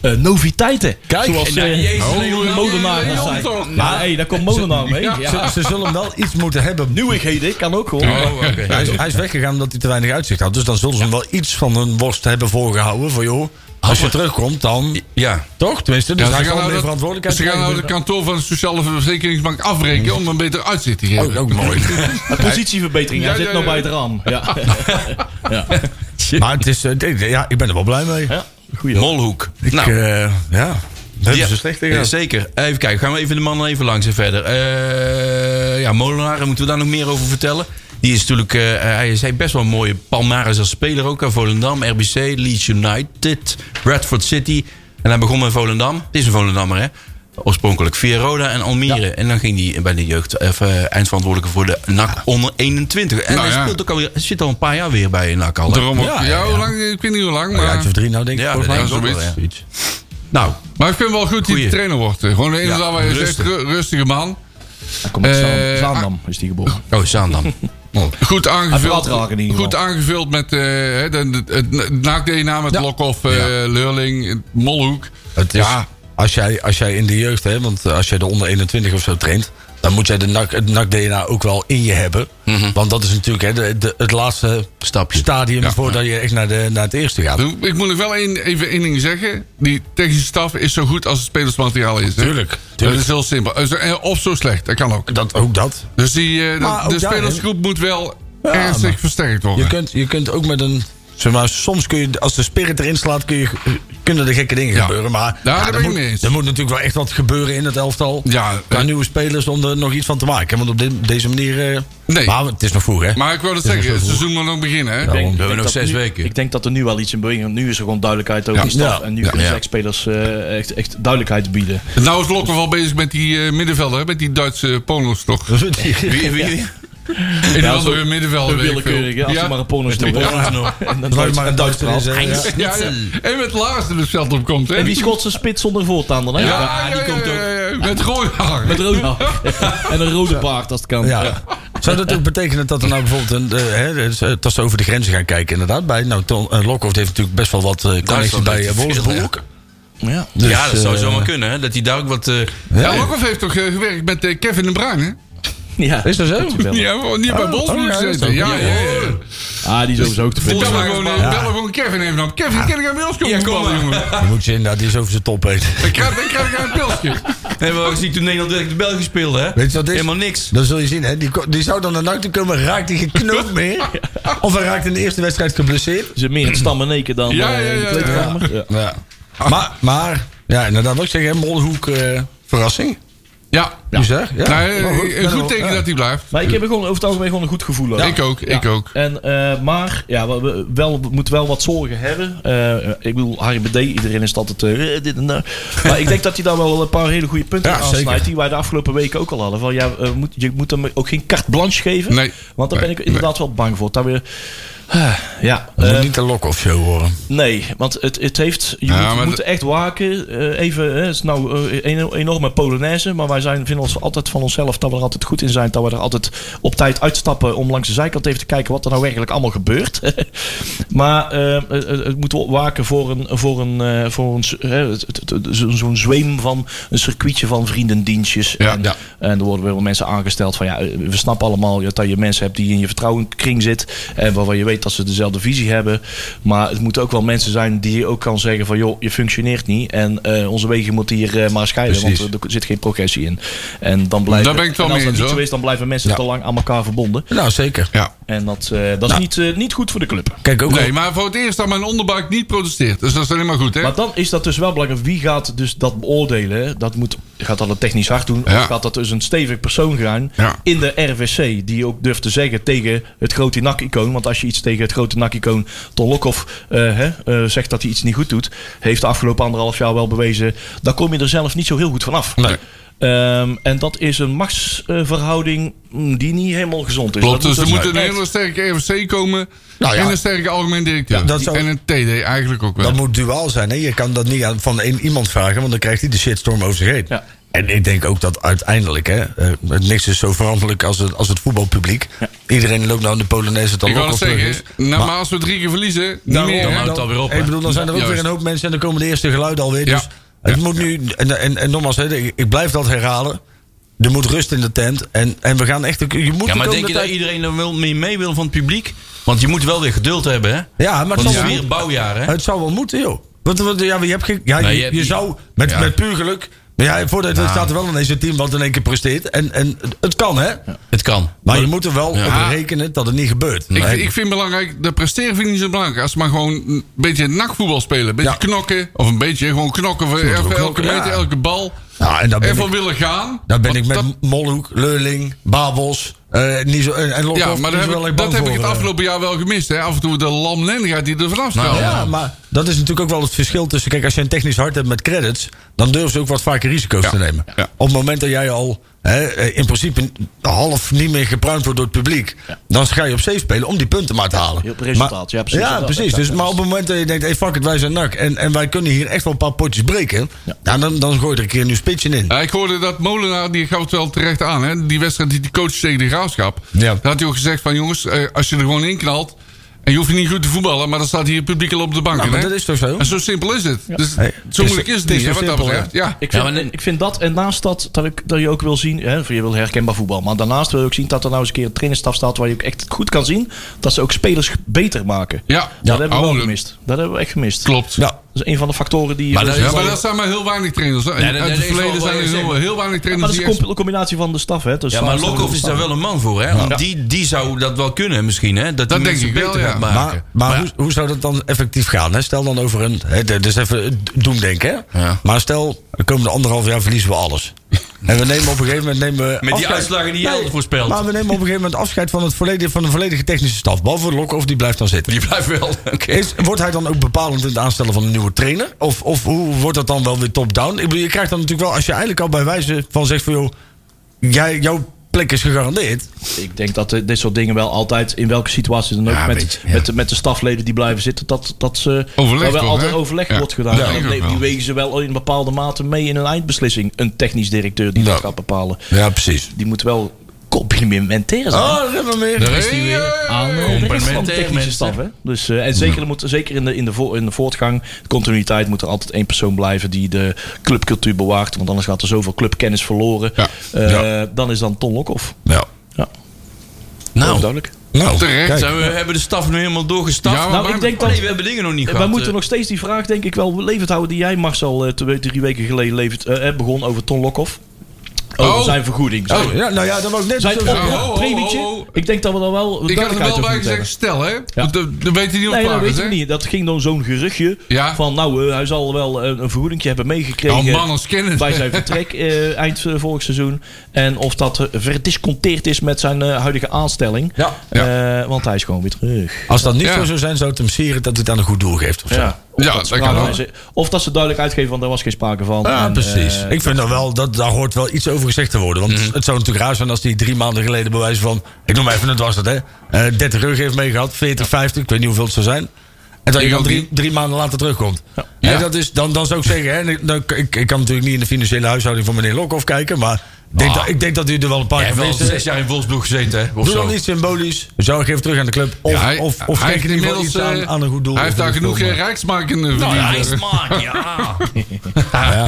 Speaker 6: eh, noviteiten.
Speaker 5: Kijk,
Speaker 6: Zoals
Speaker 5: nou,
Speaker 6: eh,
Speaker 2: jezus,
Speaker 6: oh,
Speaker 3: Leon,
Speaker 6: Molenaar
Speaker 3: Leon
Speaker 6: dat zei.
Speaker 3: toch?
Speaker 6: Maar hey, daar komt Molenaar mee. Ja.
Speaker 5: Ze, ze zullen hem wel iets moeten hebben.
Speaker 6: Nieuwigheden kan ook gewoon.
Speaker 3: Oh, oké.
Speaker 5: Hij is, hij is weggegaan omdat hij te weinig uitzicht had. Dus dan zullen ze hem wel iets van hun worst hebben voorgehouden. Van joh, als je terugkomt dan...
Speaker 2: Ja.
Speaker 5: Toch? Tenminste, dus
Speaker 3: Ja,
Speaker 5: hij
Speaker 3: ze gaan
Speaker 5: zal meer
Speaker 3: nou dat-
Speaker 5: verantwoordelijkheid
Speaker 3: Ze gaan nou
Speaker 5: krijgen.
Speaker 3: het kantoor van de Sociale Verzekeringsbank afrekenen om een beter uitzicht te geven.
Speaker 5: Oh, ook mooi.
Speaker 6: Een Positieverbetering, hij
Speaker 3: Ja,
Speaker 6: zit
Speaker 3: ja,
Speaker 6: nog
Speaker 3: ja.
Speaker 6: bij het raam. Ja.
Speaker 5: maar het is, eh, dit- ja, ik ben er wel blij mee.
Speaker 6: ja. Goeie.
Speaker 2: Molhoek.
Speaker 5: Ik,
Speaker 2: Nou,
Speaker 5: eh, ja, we hebben
Speaker 2: Ja,
Speaker 5: ze slecht
Speaker 2: eh,
Speaker 5: tegen.
Speaker 2: Zeker. Even kijken, gaan we even de mannen even langs en verder. Eh, ja, Molenaar, moeten we daar nog meer over vertellen? Die is natuurlijk, eh, hij is hij heeft best wel een mooie palmares als speler ook. Aan Volendam, RBC, Leeds United, Bradford City. En hij begon met Volendam. Het is een Volendammer, hè? Oorspronkelijk Roda en Almere. En dan ging hij bij de jeugd even eh, eindverantwoordelijke voor de NAC onder 21. En
Speaker 3: Nou
Speaker 2: hij
Speaker 3: ja.
Speaker 2: speelt ook alweer, zit al een paar jaar weer bij NAC al. hè?
Speaker 3: Daarom ook.
Speaker 5: Ja,
Speaker 3: Ja,
Speaker 5: ja, ja.
Speaker 3: hoe lang, ik weet niet hoe lang,
Speaker 5: Een jaartje
Speaker 3: maar...
Speaker 5: of drie nou denk ik.
Speaker 2: Ja,
Speaker 5: volgens mij.
Speaker 2: dat is
Speaker 3: ja,
Speaker 2: ook wel,
Speaker 3: zoiets.
Speaker 2: ja. Nou,
Speaker 3: Maar ik vind wel goed dat hij
Speaker 2: Goeie.
Speaker 3: trainer wordt. eh. Gewoon inderdaad
Speaker 2: Ja,
Speaker 3: waar je zegt,
Speaker 2: rustig.
Speaker 3: ru- rustige man.
Speaker 6: Hij komt uit Zaan-
Speaker 3: Eh,
Speaker 6: Zaandam, is die geboren.
Speaker 2: oh, Zaandam.
Speaker 3: Goed aangevuld,
Speaker 6: verlaat raken in ieder
Speaker 3: goed
Speaker 6: geval.
Speaker 3: aangevuld met eh, hè, de- de- het naakdna met Lokhoff, eh, Leurling, Molhoek.
Speaker 5: Het is,
Speaker 3: Ja,
Speaker 5: als, jij, als jij in de jeugd, hè, want eh, als jij de onder 21 of zo traint... dan moet jij de NAC, het NAC-DNA ook wel in je hebben.
Speaker 3: Mhm.
Speaker 5: Want dat is natuurlijk hè, de, de- het laatste
Speaker 2: Stapje.
Speaker 5: stadium... voordat je echt naar, de, naar het eerste gaat.
Speaker 3: ik moet nog wel één- even één ding zeggen. Die technische staf is zo goed als het spelersmateriaal is. hè.
Speaker 5: Tuurlijk, tuurlijk.
Speaker 3: Dat is heel simpel. Dus, eh, Of zo slecht, dat kan ook.
Speaker 5: Dat, ook dat.
Speaker 3: Dus die, eh, de-
Speaker 5: Maar ook
Speaker 3: de
Speaker 5: daarin-
Speaker 3: spelersgroep moet wel
Speaker 5: Ja,
Speaker 3: ernstig
Speaker 5: maar-
Speaker 3: versterkt
Speaker 5: Je
Speaker 3: worden.
Speaker 5: kunt, je kunt ook met een... Zeg maar, soms kun je, als de spirit erin slaat, kun je, kun kunnen er gekke dingen
Speaker 3: Ja.
Speaker 5: gebeuren. Maar
Speaker 3: daar
Speaker 5: ja,
Speaker 3: ben
Speaker 5: er,
Speaker 3: ik
Speaker 5: moet,
Speaker 3: mee eens.
Speaker 5: er moet natuurlijk wel echt wat gebeuren in het elftal.
Speaker 3: Ja,
Speaker 5: qua
Speaker 3: eh.
Speaker 5: nieuwe spelers om er nog iets van te maken. Want op dit- deze manier... eh,
Speaker 3: Nee.
Speaker 5: Maar het is nog vroeg, hè?
Speaker 3: Maar ik wou dat
Speaker 5: is
Speaker 3: zeggen,
Speaker 5: nog
Speaker 3: het
Speaker 5: zo vroeg.
Speaker 3: seizoen moet nog beginnen. Hè?
Speaker 5: Ja.
Speaker 6: Ik denk-
Speaker 5: We
Speaker 6: ik
Speaker 3: hebben
Speaker 6: denk
Speaker 3: nog
Speaker 6: dat
Speaker 3: zes
Speaker 6: nu-
Speaker 3: weken.
Speaker 6: Ik denk dat er nu wel iets in beweging is. Nu is er gewoon duidelijkheid over
Speaker 3: Ja.
Speaker 6: die staf.
Speaker 5: Ja.
Speaker 6: En nu
Speaker 5: Ja.
Speaker 6: kunnen
Speaker 2: Ja.
Speaker 6: zes spelers eh, echt, echt duidelijkheid bieden.
Speaker 3: Nou is Lokhoff al bezig met die eh, middenvelder, hè? met die Duitse polos toch?
Speaker 2: Wie, wie, wie?
Speaker 3: In
Speaker 6: Ja,
Speaker 3: ja, andere
Speaker 6: zo-
Speaker 3: middenvelder.
Speaker 6: Een
Speaker 3: weet ik veel.
Speaker 6: willekeurige, als je
Speaker 3: Ja.
Speaker 6: maar een porno
Speaker 2: Met een porno nog.
Speaker 6: En dan
Speaker 5: Dat
Speaker 6: Duits-
Speaker 5: maar een
Speaker 6: en Duits
Speaker 5: Duitser is,
Speaker 6: verhaal.
Speaker 5: eh, ja.
Speaker 3: Ja, ja. En met Laars er dus zelf op komt, hè?
Speaker 6: En die Schotse spits zonder voortaan dan, hè?
Speaker 3: ja, ja, die komt ook. Met rode haar.
Speaker 6: Met rood haar. En een rode baard als het kan.
Speaker 5: Ja. Zou dat ook betekenen dat er nou bijvoorbeeld een, eh, hè, dus, eh, dat ze over de grenzen gaan kijken inderdaad? Bij, nou, Ton, eh, Lokhoff heeft natuurlijk best wel wat eh connecties
Speaker 2: Duitsland
Speaker 5: bij
Speaker 2: heeft
Speaker 5: eh,
Speaker 2: veel, ja.
Speaker 5: Wolfsburg.
Speaker 6: Ja.
Speaker 5: Dus,
Speaker 2: ja, dat zou
Speaker 5: eh,
Speaker 2: zomaar kunnen. Hè? Dat hij daar ook wat... eh,
Speaker 3: Ja, Lokhoff heeft toch eh, gewerkt met eh, Kevin de Bruin, hè?
Speaker 6: Ja.
Speaker 5: Is dat zo?
Speaker 6: Dankjewel.
Speaker 3: Ja, want die heeft bij
Speaker 5: oh,
Speaker 3: Bolsburg
Speaker 5: ja, dat is
Speaker 3: gezeten.
Speaker 5: ook-
Speaker 3: Ja, ja, ja.
Speaker 6: Ah, die is sowieso ook te
Speaker 3: Bel
Speaker 6: vinden.
Speaker 3: maar gewoon, eh, bel maar gewoon Kevin even op. Kevin, kan ik aan Wils komen voetballen, jongen?
Speaker 5: Dan moet je inderdaad eens over zijn top heen.
Speaker 3: Dan krijg dan krijg ik een pilsje.
Speaker 2: hebben we ook gezien toen Nederland tegen de België speelde. Hè?
Speaker 5: Weet je wat het is?
Speaker 2: Helemaal niks.
Speaker 5: Dan zul je zien, hè? Die, ko- die zou dan naar NAC toe komen, raakt hij geknoopt meer. Of hij raakt in de eerste wedstrijd geblesseerd.
Speaker 6: Ze meer in het stammen neken dan
Speaker 3: Ja,
Speaker 6: eh,
Speaker 3: ja,
Speaker 6: in de
Speaker 3: ja,
Speaker 6: kleedkamer. Ja.
Speaker 5: Ja. Maar, maar, ja, inderdaad, wat ik zeg, hè, Molhoek, eh, verrassing.
Speaker 3: Ja.
Speaker 5: Dus hè? Ja.
Speaker 3: Nee,
Speaker 5: Maar goed,
Speaker 3: een goed teken
Speaker 5: ja.
Speaker 3: dat hij blijft.
Speaker 6: Maar ik heb er gewoon over het algemeen gewoon een goed gevoel over.
Speaker 3: Ik ook, ik
Speaker 6: Ja.
Speaker 3: ook.
Speaker 6: En, eh, maar, ja, we, we- wel, we moeten wel wat zorgen hebben. Eh, ik bedoel, Harry BD, iedereen is altijd eh, eh, dit en dat. Maar ik denk dat hij daar wel een paar hele goede punten
Speaker 5: Ja,
Speaker 6: aan snijdt.
Speaker 5: zeker.
Speaker 6: Die wij de afgelopen weken ook al hadden. Van, ja, eh, moet, je moet hem ook geen carte blanche geven.
Speaker 3: Nee.
Speaker 6: Want daar
Speaker 3: Nee,
Speaker 6: ben ik inderdaad wel bang voor. Daar weer, Ah, ja,
Speaker 5: Het
Speaker 6: eh,
Speaker 5: moet niet een lock-off show worden.
Speaker 6: Nee, want het, het heeft. Je
Speaker 3: Ja,
Speaker 6: moet,
Speaker 3: maar
Speaker 6: we
Speaker 3: dat-
Speaker 6: moeten echt waken. Eh, even, hè, het is nou eh, een enorme Polonaise. Maar wij zijn, vinden ons altijd van onszelf dat we er altijd goed in zijn. Dat we er altijd op tijd uitstappen om langs de zijkant even te kijken wat er nou werkelijk allemaal gebeurt. maar eh, eh, het moet waken voor een. Voor een, eh, voor een eh, het- het- het- zo- zo'n zweem van een circuitje van vriendendienstjes.
Speaker 3: Ja,
Speaker 6: en,
Speaker 3: ja.
Speaker 6: en er worden wel mensen aangesteld van ja, eh, we snappen allemaal dat je mensen hebt die in je vertrouwenkring zit. En waarvan je weet dat ze dezelfde visie hebben. Maar het moeten ook wel mensen zijn die je ook kan zeggen van joh, je functioneert niet. En eh, onze wegen moeten hier eh, maar scheiden.
Speaker 5: Precies.
Speaker 6: Want er- er zit geen progressie in. En dan blijven
Speaker 3: Daar ben ik het wel
Speaker 6: en als
Speaker 3: mee eens,
Speaker 6: dat niet zo
Speaker 3: hoor.
Speaker 6: is, dan blijven mensen
Speaker 5: Ja.
Speaker 6: te lang aan elkaar verbonden.
Speaker 5: Nou, zeker.
Speaker 3: Ja.
Speaker 6: En dat, eh, dat is
Speaker 5: Nou.
Speaker 6: niet, eh, niet goed voor de club.
Speaker 5: Kijk, ook
Speaker 3: Nee,
Speaker 5: al-
Speaker 3: maar voor het eerst dat mijn onderbuik niet protesteert. Dus dat is alleen maar goed, hè?
Speaker 6: Maar dan is dat dus wel belangrijk. Wie gaat dus dat beoordelen? hè? Dat moet, gaat dat een technisch hart doen?
Speaker 3: Ja.
Speaker 6: Of gaat dat dus een stevig persoon gaan
Speaker 3: Ja.
Speaker 6: in de RVC? Die ook durft te zeggen tegen het grote NAC-icoon. Want als je iets tegen het grote NAC-icoon Ton Lokhoff eh, hè, eh, zegt dat hij iets niet goed doet... heeft de afgelopen anderhalf jaar wel bewezen... dan kom je er zelf niet zo heel goed vanaf.
Speaker 3: Nee.
Speaker 6: Ehm, en dat is een machtsverhouding mm, die niet helemaal gezond is.
Speaker 3: Klopt,
Speaker 6: Dat
Speaker 3: dus er moet
Speaker 6: dus
Speaker 3: een
Speaker 6: echt-
Speaker 3: hele sterke RFC komen.
Speaker 5: Nou ja.
Speaker 3: En een sterke algemeen directeur.
Speaker 5: Ja, dat zou-
Speaker 3: En een TD eigenlijk ook wel.
Speaker 5: Dat moet duaal zijn. Hè? Je kan dat niet aan van één iemand vragen, want dan krijgt hij de shitstorm over zich heen.
Speaker 6: Ja.
Speaker 5: En ik denk ook dat uiteindelijk, hè, eh, niks is zo veranderlijk als het, als het voetbalpubliek. Iedereen loopt nou in de Polonaise dat
Speaker 3: ik
Speaker 5: dan
Speaker 3: wou
Speaker 5: ook
Speaker 3: het
Speaker 5: terug
Speaker 3: zeggen,
Speaker 5: is.
Speaker 3: nou, maar, als we drie keer verliezen, niet
Speaker 5: Daarom,
Speaker 3: meer.
Speaker 5: dan
Speaker 3: hè?
Speaker 2: houdt het alweer op, hè?
Speaker 5: Ik bedoel, dan zijn er ook
Speaker 3: Juist.
Speaker 5: weer een hoop mensen en dan komen de eerste geluiden alweer.
Speaker 3: Ja.
Speaker 5: Dus het
Speaker 3: Ja.
Speaker 5: moet nu, en, en, en nogmaals, hè, ik, ik blijf dat herhalen. Er moet rust in de tent. En, en we gaan echt. ook- Je moet
Speaker 2: Ja,
Speaker 5: de
Speaker 2: maar
Speaker 5: komende
Speaker 2: denk je dat
Speaker 5: tijd-
Speaker 2: iedereen er wel mee, mee wil van het publiek? Want je moet wel weer geduld hebben, hè?
Speaker 5: Ja, maar
Speaker 2: Want
Speaker 5: het
Speaker 2: het
Speaker 5: zal,
Speaker 2: is
Speaker 5: wel
Speaker 2: weer een
Speaker 5: moeten.
Speaker 2: bouwjaar, hè?
Speaker 5: het zal wel moeten, joh. Want, want, ja, maar je, hebt geen, ja,
Speaker 2: Nee,
Speaker 5: je,
Speaker 2: je hebt
Speaker 5: je
Speaker 2: niet-
Speaker 5: zou met,
Speaker 2: ja.
Speaker 5: met puur geluk. Maar ja, voordat het staat er wel ineens een team wat in één keer presteert. En, en het kan, hè?
Speaker 2: Het kan.
Speaker 5: Maar je moet er wel
Speaker 2: Ja.
Speaker 5: op rekenen dat het niet gebeurt.
Speaker 3: Ik,
Speaker 5: Nee.
Speaker 3: ik vind belangrijk, dat presteren vind ik niet zo belangrijk. Als ze maar gewoon een beetje nachtvoetbal spelen. Een beetje
Speaker 5: Ja.
Speaker 3: knokken. Of een beetje gewoon knokken voor
Speaker 5: moeten
Speaker 3: elke,
Speaker 5: wel
Speaker 3: elke
Speaker 5: knokken,
Speaker 3: meter,
Speaker 5: ja.
Speaker 3: elke bal.
Speaker 5: Ja, Nou, en daar ben
Speaker 3: en voor
Speaker 5: ik-
Speaker 3: willen gaan.
Speaker 5: Daar ben
Speaker 3: Want
Speaker 5: ik met
Speaker 3: dat-
Speaker 5: Molhoek, Leurling, Babels eh, niet zo, en, en Lokhoff
Speaker 3: ja, maar
Speaker 5: niet zo
Speaker 3: daar heb
Speaker 5: wel
Speaker 3: ik,
Speaker 5: erg
Speaker 3: dat
Speaker 5: bang
Speaker 3: heb ik het
Speaker 5: voor, eh. Nou,
Speaker 3: afgelopen jaar wel gemist. Hè? Af en toe de lamlendigheid die er vanaf straalt.
Speaker 5: Ja, maar dat is natuurlijk ook wel het verschil tussen... Kijk, als je een technisch hart hebt met credits... dan durven ze ook wat vaker risico's te nemen.
Speaker 3: ja.
Speaker 5: Op het moment dat jij al hè, eh, in principe half niet meer gepruimd wordt door het publiek... dan ga je op safe spelen om die punten maar te halen.
Speaker 6: Heel op resultaat, ja, precies.
Speaker 5: Ja,
Speaker 6: Dat-
Speaker 5: precies.
Speaker 6: dat-
Speaker 5: Dus,
Speaker 6: dat-
Speaker 5: maar op het moment dat je denkt, hey, fuck it, wij zijn nak... en, en wij kunnen hier echt wel een paar potjes breken... nou, dan, dan gooi je er een keer een nieuw spitje in.
Speaker 3: Ja, Eh, ik hoorde dat Molenaar, die gaf het wel terecht aan. Hè? Die wedstrijd die die coach tegen de graafschap.
Speaker 5: Ja.
Speaker 3: Daar had hij ook gezegd van jongens, eh, als je er gewoon in knalt... en je hoeft niet goed te voetballen, maar dan staat hier het publiek al op de bank.
Speaker 5: Nou, maar
Speaker 3: hè?
Speaker 5: dat is toch zo?
Speaker 3: En zo simpel is het. Dus,
Speaker 5: Hey, het
Speaker 3: zo
Speaker 5: is-
Speaker 3: moeilijk is het
Speaker 5: het
Speaker 3: niet,
Speaker 5: is
Speaker 3: hè,
Speaker 5: zo
Speaker 3: wat dat
Speaker 5: simpel,
Speaker 3: betreft. Ja.
Speaker 6: Ik vind,
Speaker 2: Ja, maar-
Speaker 6: ik vind dat, en naast dat, dat, ik, dat je ook wil zien, hè, voor je wil herkenbaar voetbal, maar daarnaast wil je ook zien dat er nou eens een keer een trainerstaf staat waar je ook echt goed kan zien dat ze ook spelers beter maken.
Speaker 3: Ja.
Speaker 6: Dat hebben we wel
Speaker 3: Oude-
Speaker 6: gemist. Dat hebben we echt gemist.
Speaker 3: Klopt.
Speaker 5: Ja.
Speaker 6: Dat is een van de factoren die...
Speaker 2: Maar dat
Speaker 3: Ja, maar dat zijn maar heel weinig trainers. En
Speaker 2: Nee, dat-
Speaker 3: uit
Speaker 2: dat
Speaker 3: het
Speaker 2: is wel
Speaker 3: verleden
Speaker 2: wat
Speaker 3: zijn er
Speaker 2: je
Speaker 3: heel,
Speaker 2: zegt.
Speaker 3: heel weinig
Speaker 6: Maar
Speaker 3: trainers
Speaker 6: dat is
Speaker 3: die
Speaker 6: een
Speaker 3: echt...
Speaker 6: comp- combinatie van de staf, hè? Dus
Speaker 2: Ja, maar Lokhoff is daar wel een man voor, hè? Want
Speaker 6: Ja.
Speaker 2: die, die zou dat wel kunnen misschien, hè? Dat, die
Speaker 3: denk
Speaker 2: mensen
Speaker 3: ik wel,
Speaker 2: beter
Speaker 3: ja.
Speaker 2: gaat
Speaker 3: Maar-
Speaker 2: maken.
Speaker 5: Maar, maar hoe, hoe zou dat dan effectief gaan? Hè? Stel dan over een. Hè, d- dus even doemdenken. Hè?
Speaker 2: Ja.
Speaker 5: Maar stel, de komende anderhalf jaar verliezen we alles. En we nemen op een gegeven moment. Nemen we
Speaker 2: die uitslagen die jij had voorspeld.
Speaker 5: Maar we nemen op een gegeven moment afscheid van, het volledige, van de volledige technische staf. Behalve Lokhoff, die blijft dan zitten.
Speaker 2: Die blijft wel. Oké.
Speaker 5: Is, wordt hij dan ook bepalend in het aanstellen van een nieuwe trainer? Of, of hoe wordt dat dan wel weer top-down? Ik bedoel, je krijgt dan natuurlijk wel, als je eigenlijk al bij wijze van zegt van joh, jij, jouw plek is gegarandeerd.
Speaker 6: Ik denk dat eh, dit soort dingen wel altijd, in welke situatie dan ook,
Speaker 2: Ja,
Speaker 6: met,
Speaker 2: weet je, ja.
Speaker 6: met, de- met de stafleden die blijven zitten, dat, dat ze
Speaker 3: Overleg
Speaker 6: dat wel
Speaker 3: wordt,
Speaker 6: altijd
Speaker 3: hè?
Speaker 6: overleg
Speaker 3: Ja.
Speaker 6: wordt gedaan.
Speaker 3: Ja,
Speaker 6: En
Speaker 3: ik
Speaker 6: dat
Speaker 3: ook
Speaker 6: neemt- die
Speaker 3: wel.
Speaker 6: wegen ze wel in bepaalde mate mee in een eindbeslissing. Een technisch directeur die dat gaat bepalen.
Speaker 5: Ja, precies.
Speaker 6: Die moet wel complimenteren zijn.
Speaker 5: Oh, dat hebben we meer.
Speaker 2: Daar is die weer.
Speaker 6: Aan de rest van de
Speaker 2: Complimenteren,
Speaker 6: technische
Speaker 2: mensen.
Speaker 6: staf. Hè? Dus, eh, en zeker, er moet, zeker in, de, in, de voor- in de voortgang, de continuïteit, moet er altijd één persoon blijven die de clubcultuur bewaakt. Want anders gaat er zoveel clubkennis verloren.
Speaker 3: Ja.
Speaker 6: Eh, Dan is dan Ton Lokhoff.
Speaker 5: Ja.
Speaker 6: Ja,
Speaker 2: Nou,
Speaker 6: duidelijk.
Speaker 5: Nou,
Speaker 3: Terecht.
Speaker 5: kijk.
Speaker 2: zijn we hebben de staf nu helemaal doorgestapt.
Speaker 3: Ja, maar
Speaker 6: Nou,
Speaker 3: waar-
Speaker 6: ik denk dat...
Speaker 2: Oh, Nee, we hebben dingen nog niet gehad.
Speaker 6: Wij moeten
Speaker 2: eh.
Speaker 6: nog steeds die vraag, denk ik, wel levend houden die jij, Marcel, eh, twee, drie weken geleden levert, eh, eh, begon over Ton Lokhoff. Over
Speaker 3: Oh.
Speaker 6: zijn vergoeding.
Speaker 3: Oh,
Speaker 5: Ja, nou ja, dat was ik net
Speaker 6: Zijn
Speaker 5: zo
Speaker 3: oh,
Speaker 6: opgeroepen
Speaker 3: oh, oh.
Speaker 6: premietje. Ik denk dat we daar wel
Speaker 3: Ik had er
Speaker 6: duidelijkheid
Speaker 3: wel bij
Speaker 6: over moeten
Speaker 3: gezegd, stel
Speaker 6: hebben.
Speaker 3: hè.
Speaker 6: Ja.
Speaker 3: Want Dat, dat weet hij niet op
Speaker 6: Nee, dat
Speaker 3: paard,
Speaker 6: weet
Speaker 3: hè?
Speaker 6: ik niet. Dat ging dan zo'n geruchtje
Speaker 3: Ja.
Speaker 6: van, nou, eh, hij zal wel een, een vergoeding hebben meegekregen.
Speaker 3: Oh, man, als kennis.
Speaker 6: bij zijn vertrek eh, eind eh, vorig seizoen. En of dat eh, verdisconteerd is met zijn eh, huidige aanstelling.
Speaker 5: Ja.
Speaker 6: Eh, want hij is gewoon weer terug.
Speaker 5: Als dat niet
Speaker 3: Ja.
Speaker 5: zo zou zijn, zou het hem sieren dat hij het aan een goed doel geeft. Of zo.
Speaker 6: Ja, of,
Speaker 3: Ja,
Speaker 6: dat ze
Speaker 3: dat kan
Speaker 6: praten- of dat ze duidelijk uitgeven, want daar was geen sprake van.
Speaker 5: Ja,
Speaker 6: En,
Speaker 5: precies.
Speaker 6: eh,
Speaker 5: ik vind nou wel, dat, daar hoort wel iets over gezegd te worden. Want het zou natuurlijk raar zijn als die drie maanden geleden bij wijze van... Ik noem maar even, het was dat hè. eh, 30 euro heeft meegehad, 40, 50, ik weet niet hoeveel het zou zijn. En dat je
Speaker 3: Ik
Speaker 5: dan
Speaker 3: ook
Speaker 5: drie,
Speaker 3: niet.
Speaker 5: drie maanden later terugkomt. Ja.
Speaker 3: Ja.
Speaker 5: dat is, dan, dan zou ik zeggen, hè, en ik- nou, ik, ik kan natuurlijk niet in de financiële huishouding van meneer Lokhoff kijken. Maar ik denk,
Speaker 2: Ah.
Speaker 5: dat, ik denk dat u er wel een paar
Speaker 2: Hij heeft
Speaker 5: keer
Speaker 2: wel
Speaker 5: heeft.
Speaker 2: zes jaar in Wolfsburg gezeten, hè? Of
Speaker 5: Doe
Speaker 2: zo.
Speaker 5: dan iets symbolisch. Zou ik even terug aan de club. Of,
Speaker 3: Ja, hij-
Speaker 5: of, of
Speaker 3: hij
Speaker 5: kijk in
Speaker 3: heeft
Speaker 5: ieder geval iets
Speaker 3: inmiddels,
Speaker 5: aan,
Speaker 3: eh,
Speaker 5: aan een goed doel.
Speaker 3: Hij heeft
Speaker 5: Of
Speaker 3: daar
Speaker 5: een
Speaker 3: genoeg
Speaker 5: voorkomen.
Speaker 3: eh, rijksmarken eh,
Speaker 2: Nou, ja,
Speaker 3: verdiend.
Speaker 2: hij is smaak, ja.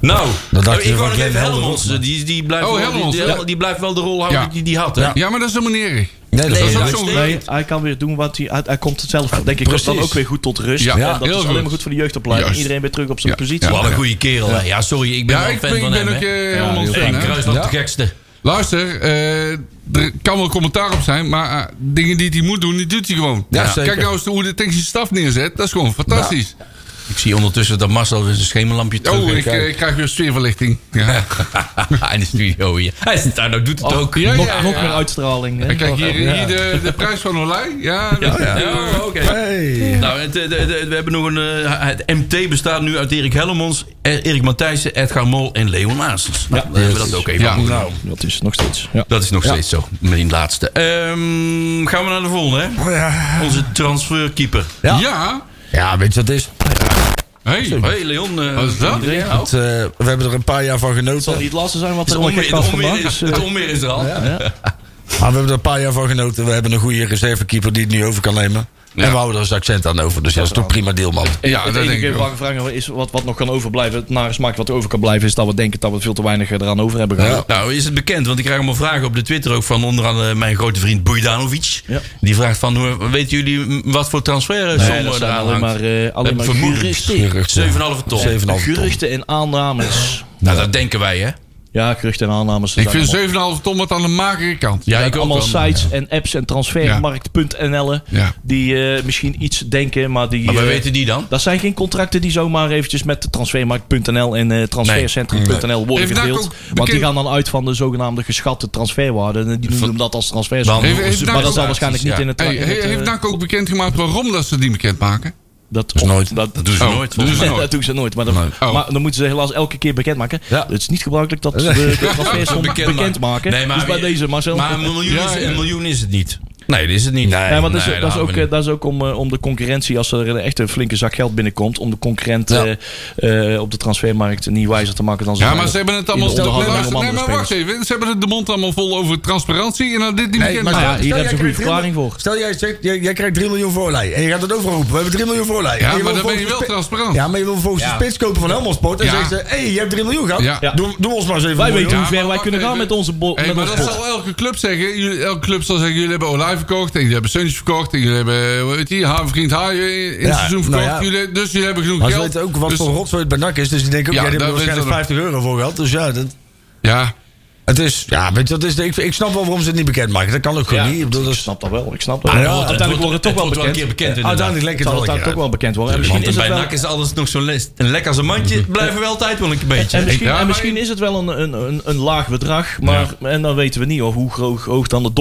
Speaker 2: Nou,
Speaker 5: Dat dacht
Speaker 2: ik
Speaker 5: je
Speaker 2: wou
Speaker 5: van
Speaker 2: nog
Speaker 5: Glenn
Speaker 2: even
Speaker 5: Helmond, eh,
Speaker 2: Helmond.
Speaker 5: maar-
Speaker 2: Die, die, blijft
Speaker 3: Oh,
Speaker 2: wel, die-
Speaker 3: Helmond,
Speaker 2: die,
Speaker 3: ja.
Speaker 2: die blijft wel de rol houden
Speaker 3: Ja.
Speaker 2: die die had. Hè?
Speaker 3: Ja, maar dat is helemaal niet erg.
Speaker 5: Nee, dat
Speaker 2: Nee,
Speaker 5: is
Speaker 3: dat
Speaker 5: wel
Speaker 3: is ook
Speaker 5: niks.
Speaker 3: zo'n
Speaker 6: eh, Nee, hij kan weer doen wat hij... Hij, hij komt het zelf, denk ik,
Speaker 5: Precies.
Speaker 6: dan ook weer goed tot rust.
Speaker 3: Ja,
Speaker 6: en dat
Speaker 3: heel
Speaker 6: is
Speaker 3: goed.
Speaker 6: alleen maar goed voor de jeugdopleiding.
Speaker 3: Juist.
Speaker 6: Iedereen weer terug op zijn
Speaker 3: Ja,
Speaker 6: positie.
Speaker 3: ja.
Speaker 2: Wat een goede kerel. hè. Ja, sorry, ik ben
Speaker 3: Ja,
Speaker 2: wel een
Speaker 3: ik
Speaker 2: fan
Speaker 3: ben, ik
Speaker 2: van
Speaker 3: ben
Speaker 2: hem.
Speaker 3: ook
Speaker 2: hè.
Speaker 3: eh, helemaal
Speaker 6: heel
Speaker 3: fan.
Speaker 2: en
Speaker 3: hè.
Speaker 2: Kruisland
Speaker 3: Ja.
Speaker 2: de gekste.
Speaker 3: Luister, eh, er kan wel commentaar op zijn, maar eh, dingen die hij moet doen, die doet hij gewoon.
Speaker 5: Ja, zeker.
Speaker 3: Kijk nou eens hoe de technische staf neerzet, dat is gewoon fantastisch.
Speaker 2: Ik zie ondertussen dat Marcel weer zijn schemerlampje terug
Speaker 3: Oh, ik,
Speaker 2: heeft.
Speaker 3: eh, ik krijg weer sfeerverlichting. Ja.
Speaker 2: in de studio hier. Hij zit daar, nou doet het ook.
Speaker 3: Oh, ja,
Speaker 6: Nog,
Speaker 3: ja,
Speaker 6: nog
Speaker 3: ja.
Speaker 6: meer uitstraling. hè.
Speaker 3: En kijk, hier,
Speaker 6: Ja.
Speaker 3: hier de, de prijs van Olij. Ja, dat-
Speaker 2: Ja, Nou, oké.
Speaker 5: Hey.
Speaker 2: Nou, het, eh, de- de- we hebben nog een. eh, het MT bestaat nu uit Erik Hellemons, eh, Erik Matthijssen, Edgar Mol en Leon Aasens. Nou, dan hebben we dat ook even.
Speaker 3: Ja. Nou,
Speaker 2: goed.
Speaker 6: Dat is nog steeds. Ja.
Speaker 2: Dat is nog steeds zo. Mijn laatste. Ehm, gaan we naar de volgende, hè? Onze transferkeeper.
Speaker 5: Ja.
Speaker 3: Ja.
Speaker 5: Ja, weet je wat het is?
Speaker 3: Hey.
Speaker 2: Hey Leon.
Speaker 6: Oh,
Speaker 2: eh,
Speaker 3: Wat is dat?
Speaker 2: iedereen?
Speaker 6: Het
Speaker 5: Het, eh, we hebben er een paar jaar van
Speaker 6: zal
Speaker 5: genoten.
Speaker 6: niet het laatste zijn wat
Speaker 2: Het
Speaker 6: er allemaal
Speaker 2: onweer-
Speaker 6: gek
Speaker 2: het
Speaker 6: was
Speaker 2: onweer
Speaker 6: vandaag.
Speaker 2: is-
Speaker 6: Dus, eh,
Speaker 2: het onweer is er al.
Speaker 5: Maar we hebben er een paar jaar van genoten. We hebben een goede reservekeeper die het nu over kan nemen.
Speaker 3: Ja.
Speaker 5: En we houden er als accent aan over. Dus dat is toch prima deal, man.
Speaker 3: Ja,
Speaker 6: het
Speaker 3: dat denk
Speaker 6: enige
Speaker 3: ik
Speaker 6: waar
Speaker 3: ook.
Speaker 6: we vragen is wat, wat nog kan overblijven. Het nare smaak wat er over kan blijven is dat we denken dat we veel te weinig eraan over hebben gehouden.
Speaker 2: Nou, is het bekend? Want ik krijg allemaal vragen op de Twitter ook van onder andere mijn grote vriend Bojdanovic.
Speaker 6: Ja.
Speaker 2: Die vraagt van, hoe- weten jullie m- wat voor transfersom
Speaker 6: Nee, dat
Speaker 2: er
Speaker 6: zijn
Speaker 2: aan
Speaker 6: alleen
Speaker 2: hangt?
Speaker 6: maar, eh, alleen
Speaker 2: Eh,
Speaker 6: maar
Speaker 2: vermoedens.
Speaker 6: geruchten.
Speaker 5: Geruchten.
Speaker 2: 7,5 ton.
Speaker 5: 7,5 ton.
Speaker 6: Geruchten en aannames.
Speaker 2: Nou, dat denken wij, hè?
Speaker 6: Ja, geruchten en aannames.
Speaker 3: Ik vind 7,5 ton wat aan de magere kant.
Speaker 2: Ja,
Speaker 6: ik allemaal
Speaker 2: wel.
Speaker 6: sites en apps en transfermarkt.nl
Speaker 3: Ja.
Speaker 6: die eh, misschien iets denken, maar die.
Speaker 2: Maar waar
Speaker 6: eh,
Speaker 2: weten die dan?
Speaker 6: dat zijn geen contracten die zomaar eventjes met de transfermarkt.nl en eh, transfercentrum.nl worden
Speaker 3: Heeft NAC
Speaker 6: gedeeld.
Speaker 3: ook
Speaker 6: Want die
Speaker 3: bekend-
Speaker 6: gaan dan uit van de zogenaamde geschatte transferwaarde. En die noemen hem dat als transfersom.
Speaker 2: Dan-
Speaker 3: Heeft- heeft
Speaker 6: Maar
Speaker 3: NAC
Speaker 6: dat zal
Speaker 3: ook-
Speaker 6: waarschijnlijk niet
Speaker 2: Ja.
Speaker 6: in het...
Speaker 3: Hey,
Speaker 6: in het,
Speaker 3: he-
Speaker 6: eh,
Speaker 3: heeft NAC ook bekendgemaakt waarom dat ze die bekendmaken?
Speaker 6: Dat
Speaker 5: is nooit.
Speaker 6: Dat,
Speaker 2: Dat doen ze
Speaker 3: Oh,
Speaker 2: nooit.
Speaker 3: doen ze
Speaker 2: volgens mij.
Speaker 3: nooit.
Speaker 6: dat doen ze nooit. Maar dan,
Speaker 3: Oh.
Speaker 6: maar dan moeten ze helaas elke keer bekendmaken.
Speaker 5: Ja.
Speaker 6: Het is niet gebruikelijk dat ze de, de transfersom
Speaker 2: Bekend maken.
Speaker 6: bekendmaken.
Speaker 2: Nee, maar,
Speaker 6: dus bij deze Marcel.
Speaker 2: Maar een miljoen,
Speaker 3: Ja,
Speaker 2: is,
Speaker 3: ja.
Speaker 2: een miljoen is het niet. Nee, dat is het niet. Nee,
Speaker 6: Ja, maar dat is,
Speaker 2: nee,
Speaker 6: dat is
Speaker 2: houden
Speaker 6: ook,
Speaker 2: we
Speaker 6: eh, dat is ook om, eh, om de concurrentie, als er echt een flinke zak geld binnenkomt, om de concurrent eh, eh, op de transfermarkt niet wijzer te maken dan ze
Speaker 3: Ja,
Speaker 6: zijn.
Speaker 3: maar ze hebben het allemaal...
Speaker 6: In de
Speaker 3: Nee,
Speaker 6: onderhandelingen
Speaker 3: luister,
Speaker 6: om
Speaker 3: nee,
Speaker 6: andere
Speaker 3: maar wacht
Speaker 6: spelers.
Speaker 3: even. Ze hebben de mond allemaal vol over transparantie en dan dit niet bekend.
Speaker 6: maar-
Speaker 3: maken.
Speaker 6: Nou ja, hier hebben ze een goede verklaring voor.
Speaker 5: Stel, jij, zegt, jij, jij krijgt 3 miljoen voor Olij. En je gaat het overal roepen. We hebben 3 miljoen voor Olij. En
Speaker 3: Ja,
Speaker 5: wil
Speaker 3: maar dan ben je
Speaker 5: volgens
Speaker 3: wel
Speaker 5: de spi-
Speaker 3: transparant.
Speaker 5: Ja, maar je wil volgens de spits kopen van Helmond Sport. En
Speaker 3: Ja.
Speaker 5: zeggen ze, hé, hey, je hebt 3 miljoen gehad.
Speaker 3: Ja. Ja.
Speaker 5: Doe, doe ons maar eens even
Speaker 6: Wij
Speaker 5: een
Speaker 6: weten
Speaker 5: miljoen.
Speaker 6: hoe ver
Speaker 3: maar
Speaker 6: wij
Speaker 3: wacht
Speaker 6: kunnen gaan
Speaker 3: even.
Speaker 6: met onze bol.
Speaker 3: Hey,
Speaker 6: met
Speaker 3: maar
Speaker 6: ons
Speaker 3: dat
Speaker 6: bot.
Speaker 3: zal elke club zeggen. Jullie, elke club zal zeggen, jullie hebben Olij verkocht. En jullie hebben Suntjes verkocht. En jullie hebben, eh, hoe heet die, haar vriend Haaien in
Speaker 5: Ja,
Speaker 3: het seizoen
Speaker 5: nou
Speaker 3: verkocht.
Speaker 5: ja.
Speaker 3: jullie, dus jullie hebben genoeg
Speaker 5: Maar ze
Speaker 3: geld.
Speaker 5: weten ook wat
Speaker 3: dus,
Speaker 5: voor rotzooi het bij NAC is. Dus die denken ook,
Speaker 3: Ja,
Speaker 5: ja, die hebben
Speaker 3: daar weten
Speaker 5: waarschijnlijk
Speaker 3: ze
Speaker 5: 50 euro voor gehad. Dus ja, dat,
Speaker 3: Ja,
Speaker 5: het is... Ja, weet je, dat is de- ik, ik snap wel waarom ze het niet bekend maken. Dat kan ook gewoon
Speaker 6: Ja,
Speaker 5: niet. Ik bedoel, dat
Speaker 6: ik
Speaker 5: is...
Speaker 6: snap dat wel. Ik snap dat.
Speaker 5: ja,
Speaker 6: wel.
Speaker 5: het
Speaker 2: wordt-
Speaker 6: uiteindelijk wordt het toch
Speaker 2: het
Speaker 6: wel
Speaker 2: wordt wel
Speaker 6: bekend.
Speaker 2: een keer bekend,
Speaker 6: Ja,
Speaker 2: inderdaad.
Speaker 5: Uiteindelijk lijkt het
Speaker 6: zal
Speaker 5: wel
Speaker 6: het
Speaker 5: een
Speaker 6: daar
Speaker 5: keer
Speaker 6: toch wel bekend worden. En
Speaker 2: Want
Speaker 6: misschien is het
Speaker 2: bij
Speaker 6: wel...
Speaker 2: NAC is alles nog zo'n les. En lekker als een mandje blijven we altijd wel een beetje.
Speaker 6: En misschien,
Speaker 3: Ja,
Speaker 6: en
Speaker 3: maar-
Speaker 6: misschien is het wel een, een, een, een laag bedrag, maar en dan weten we niet hoor, hoe groot, hoog dan het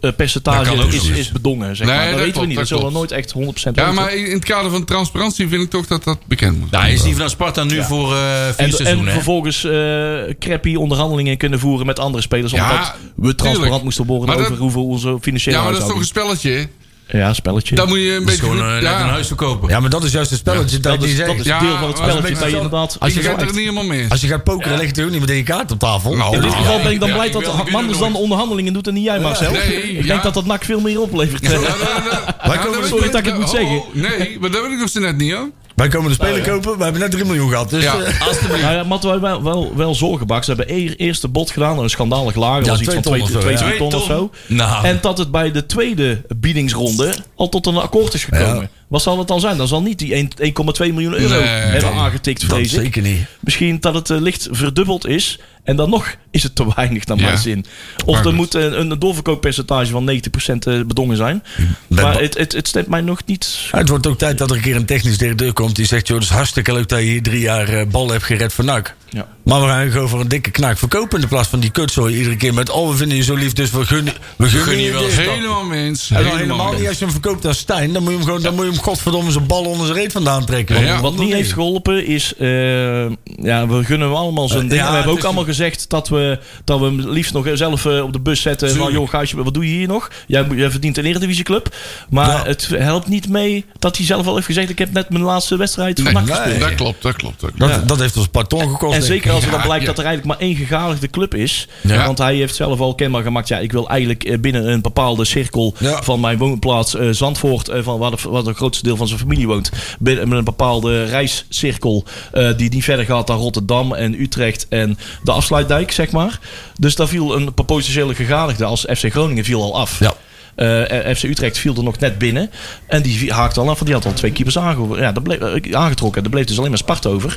Speaker 2: Dat kan
Speaker 6: doorverkooppercentage
Speaker 2: ook
Speaker 6: is,
Speaker 2: nog.
Speaker 6: is bedongen. Zeg
Speaker 3: Nee,
Speaker 6: maar. Dat,
Speaker 3: dat
Speaker 6: weten
Speaker 3: klopt,
Speaker 6: we
Speaker 3: dat
Speaker 6: niet. Dat zullen we
Speaker 3: klopt.
Speaker 6: nooit echt 100% weten.
Speaker 3: ja, maar in het kader van transparantie vind ik toch dat dat bekend moet.
Speaker 2: Daar Nou, is die van Sparta nu voor eh vier
Speaker 6: En, en
Speaker 2: seizoenen. hè?
Speaker 6: vervolgens eh crappy onderhandelingen kunnen voeren met andere spelers.
Speaker 3: Ja,
Speaker 6: Omdat we transparant
Speaker 3: tuurlijk.
Speaker 6: moesten worden
Speaker 3: Maar dat-
Speaker 6: over hoeveel onze financiële
Speaker 3: Ja, maar dat is toch een
Speaker 6: huishouding-
Speaker 3: spelletje. hè?
Speaker 6: Ja, spelletje.
Speaker 3: Daar moet je een
Speaker 2: Dat is
Speaker 3: beetje...
Speaker 2: gewoon eh,
Speaker 3: goed-
Speaker 2: net een huis verkopen.
Speaker 5: Ja, maar dat is juist het spelletje. dat,
Speaker 6: dat
Speaker 5: die
Speaker 6: is, dat
Speaker 5: zegt.
Speaker 6: is
Speaker 3: Ja,
Speaker 6: deel van het
Speaker 3: maar dat is
Speaker 6: spelletje dat je
Speaker 3: wel-
Speaker 6: inderdaad...
Speaker 5: Als
Speaker 3: Ik
Speaker 5: je
Speaker 3: ben
Speaker 5: gaat-
Speaker 3: er niet helemaal mee eens.
Speaker 5: Als je gaat pokeren, dan leg je toch ook niet meteen je kaart op tafel?
Speaker 3: Nou,
Speaker 6: in dit
Speaker 3: nou,
Speaker 6: geval ben ik dan
Speaker 2: ja,
Speaker 6: blij
Speaker 2: ik
Speaker 6: dat
Speaker 2: wil- ik
Speaker 6: Hartman
Speaker 2: wil
Speaker 6: dus
Speaker 2: nooit.
Speaker 6: dan de onderhandelingen doet en niet jij, Marcel.
Speaker 3: Nee,
Speaker 6: ik
Speaker 3: ja.
Speaker 6: denk dat dat NAC veel meer oplevert.
Speaker 3: Ja, dat- dat-
Speaker 5: Wij
Speaker 3: ja,
Speaker 5: komen-
Speaker 3: weet
Speaker 6: sorry dat ik het
Speaker 3: oh,
Speaker 6: moet
Speaker 3: oh,
Speaker 6: zeggen.
Speaker 3: Nee, maar dat weet ik nog zo net niet, hoor.
Speaker 5: Wij komen de speler kopen, we hebben net 3 miljoen gehad. Dus,
Speaker 3: Ja.
Speaker 5: eh,
Speaker 6: Nou ja, maar wij wel, wel, wel zorgen bak. Ze hebben eer, eerst de bot gedaan. Een schandalig laag.
Speaker 5: Ja,
Speaker 6: was iets
Speaker 5: twee ton
Speaker 6: van 2
Speaker 5: of zo,
Speaker 6: ton,
Speaker 5: ja.
Speaker 2: Twee
Speaker 6: ton of
Speaker 2: ton.
Speaker 6: zo.
Speaker 2: Nou.
Speaker 6: En dat het bij de tweede biedingsronde al tot een akkoord is gekomen.
Speaker 5: Ja.
Speaker 6: Wat zal het dan zijn? Dan zal niet die 1 1,2 miljoen euro
Speaker 3: Nee.
Speaker 6: hebben aangetikt,
Speaker 5: dat
Speaker 6: vrees ik.
Speaker 5: zeker niet.
Speaker 6: Misschien dat het eh, licht verdubbeld is. En dan nog is het te weinig, naar
Speaker 3: Ja.
Speaker 6: mijn zin. Of
Speaker 3: Maar
Speaker 6: er
Speaker 3: goed.
Speaker 6: moet een, een doorverkooppercentage van 90% eh, bedongen zijn.
Speaker 5: ben ba-
Speaker 6: Maar het, het, het stemt mij nog niet
Speaker 5: Ja, Het wordt ook tijd dat er een keer een technisch directeur komt die zegt: Joh, het is hartstikke leuk dat je hier drie jaar eh, bal hebt gered voor NAC.
Speaker 6: Ja.
Speaker 5: Maar we gaan je gewoon voor een dikke knaak verkopen in de plaats van die kutzooi iedere keer met: Oh, we vinden je zo lief, dus we gunnen, we gunnen
Speaker 2: gunnen je
Speaker 5: je
Speaker 2: wel
Speaker 5: dit."
Speaker 2: eens.
Speaker 3: Helemaal mee eens.
Speaker 5: En dan
Speaker 3: Helemaal,
Speaker 5: helemaal
Speaker 3: mee
Speaker 5: niet
Speaker 3: eens.
Speaker 5: als je hem verkoopt aan Stijn, dan moet je hem, gewoon, dan moet je hem godverdomme zijn bal onder zijn reet vandaan trekken.
Speaker 3: Ja.
Speaker 6: Wat niet heeft geholpen is, eh, ja, we gunnen hem allemaal zijn
Speaker 5: Eh,
Speaker 6: ding.
Speaker 5: ja,
Speaker 6: we hebben
Speaker 5: het
Speaker 6: ook
Speaker 5: is-
Speaker 6: allemaal gezegd dat we, dat we hem liefst nog zelf eh, op de bus zetten. Van,
Speaker 3: Tuurlijk.
Speaker 6: joh, Gaasje, wat doe je hier nog? Jij, moet- jij verdient een eredivisieclub. Maar
Speaker 5: Ja.
Speaker 6: het helpt niet mee dat hij zelf al heeft gezegd... ik heb net mijn laatste wedstrijd van
Speaker 3: Nee,
Speaker 6: NAC
Speaker 3: nee,
Speaker 6: gespeeld.
Speaker 3: Dat klopt, dat klopt. Dat klopt.
Speaker 5: Dat, dat heeft ons parton gekost.
Speaker 6: En
Speaker 5: denk ik.
Speaker 6: zeker als er dan
Speaker 3: Ja,
Speaker 6: blijkt
Speaker 3: ja.
Speaker 6: dat er eigenlijk maar één gegadigde club is.
Speaker 3: Ja.
Speaker 6: Want hij heeft zelf al kenbaar gemaakt. Ja, ik wil eigenlijk eh, binnen een bepaalde cirkel
Speaker 5: Ja.
Speaker 6: van mijn woonplaats eh, Zandvoort. eh, van waar, de, waar het grootste deel van zijn familie woont. Binnen met een bepaalde reiscirkel. eh, die niet verder gaat dan Rotterdam en Utrecht en de afsluitdijk, zeg maar. Dus daar viel een potentiële gegadigde als FC Groningen viel al af.
Speaker 5: Ja.
Speaker 6: Eh, FC Utrecht viel er nog net binnen. En die haakte al af, want die had al twee keepers aange- ja, dat bleef, eh, aangetrokken. Er bleef dus alleen maar Sparta over.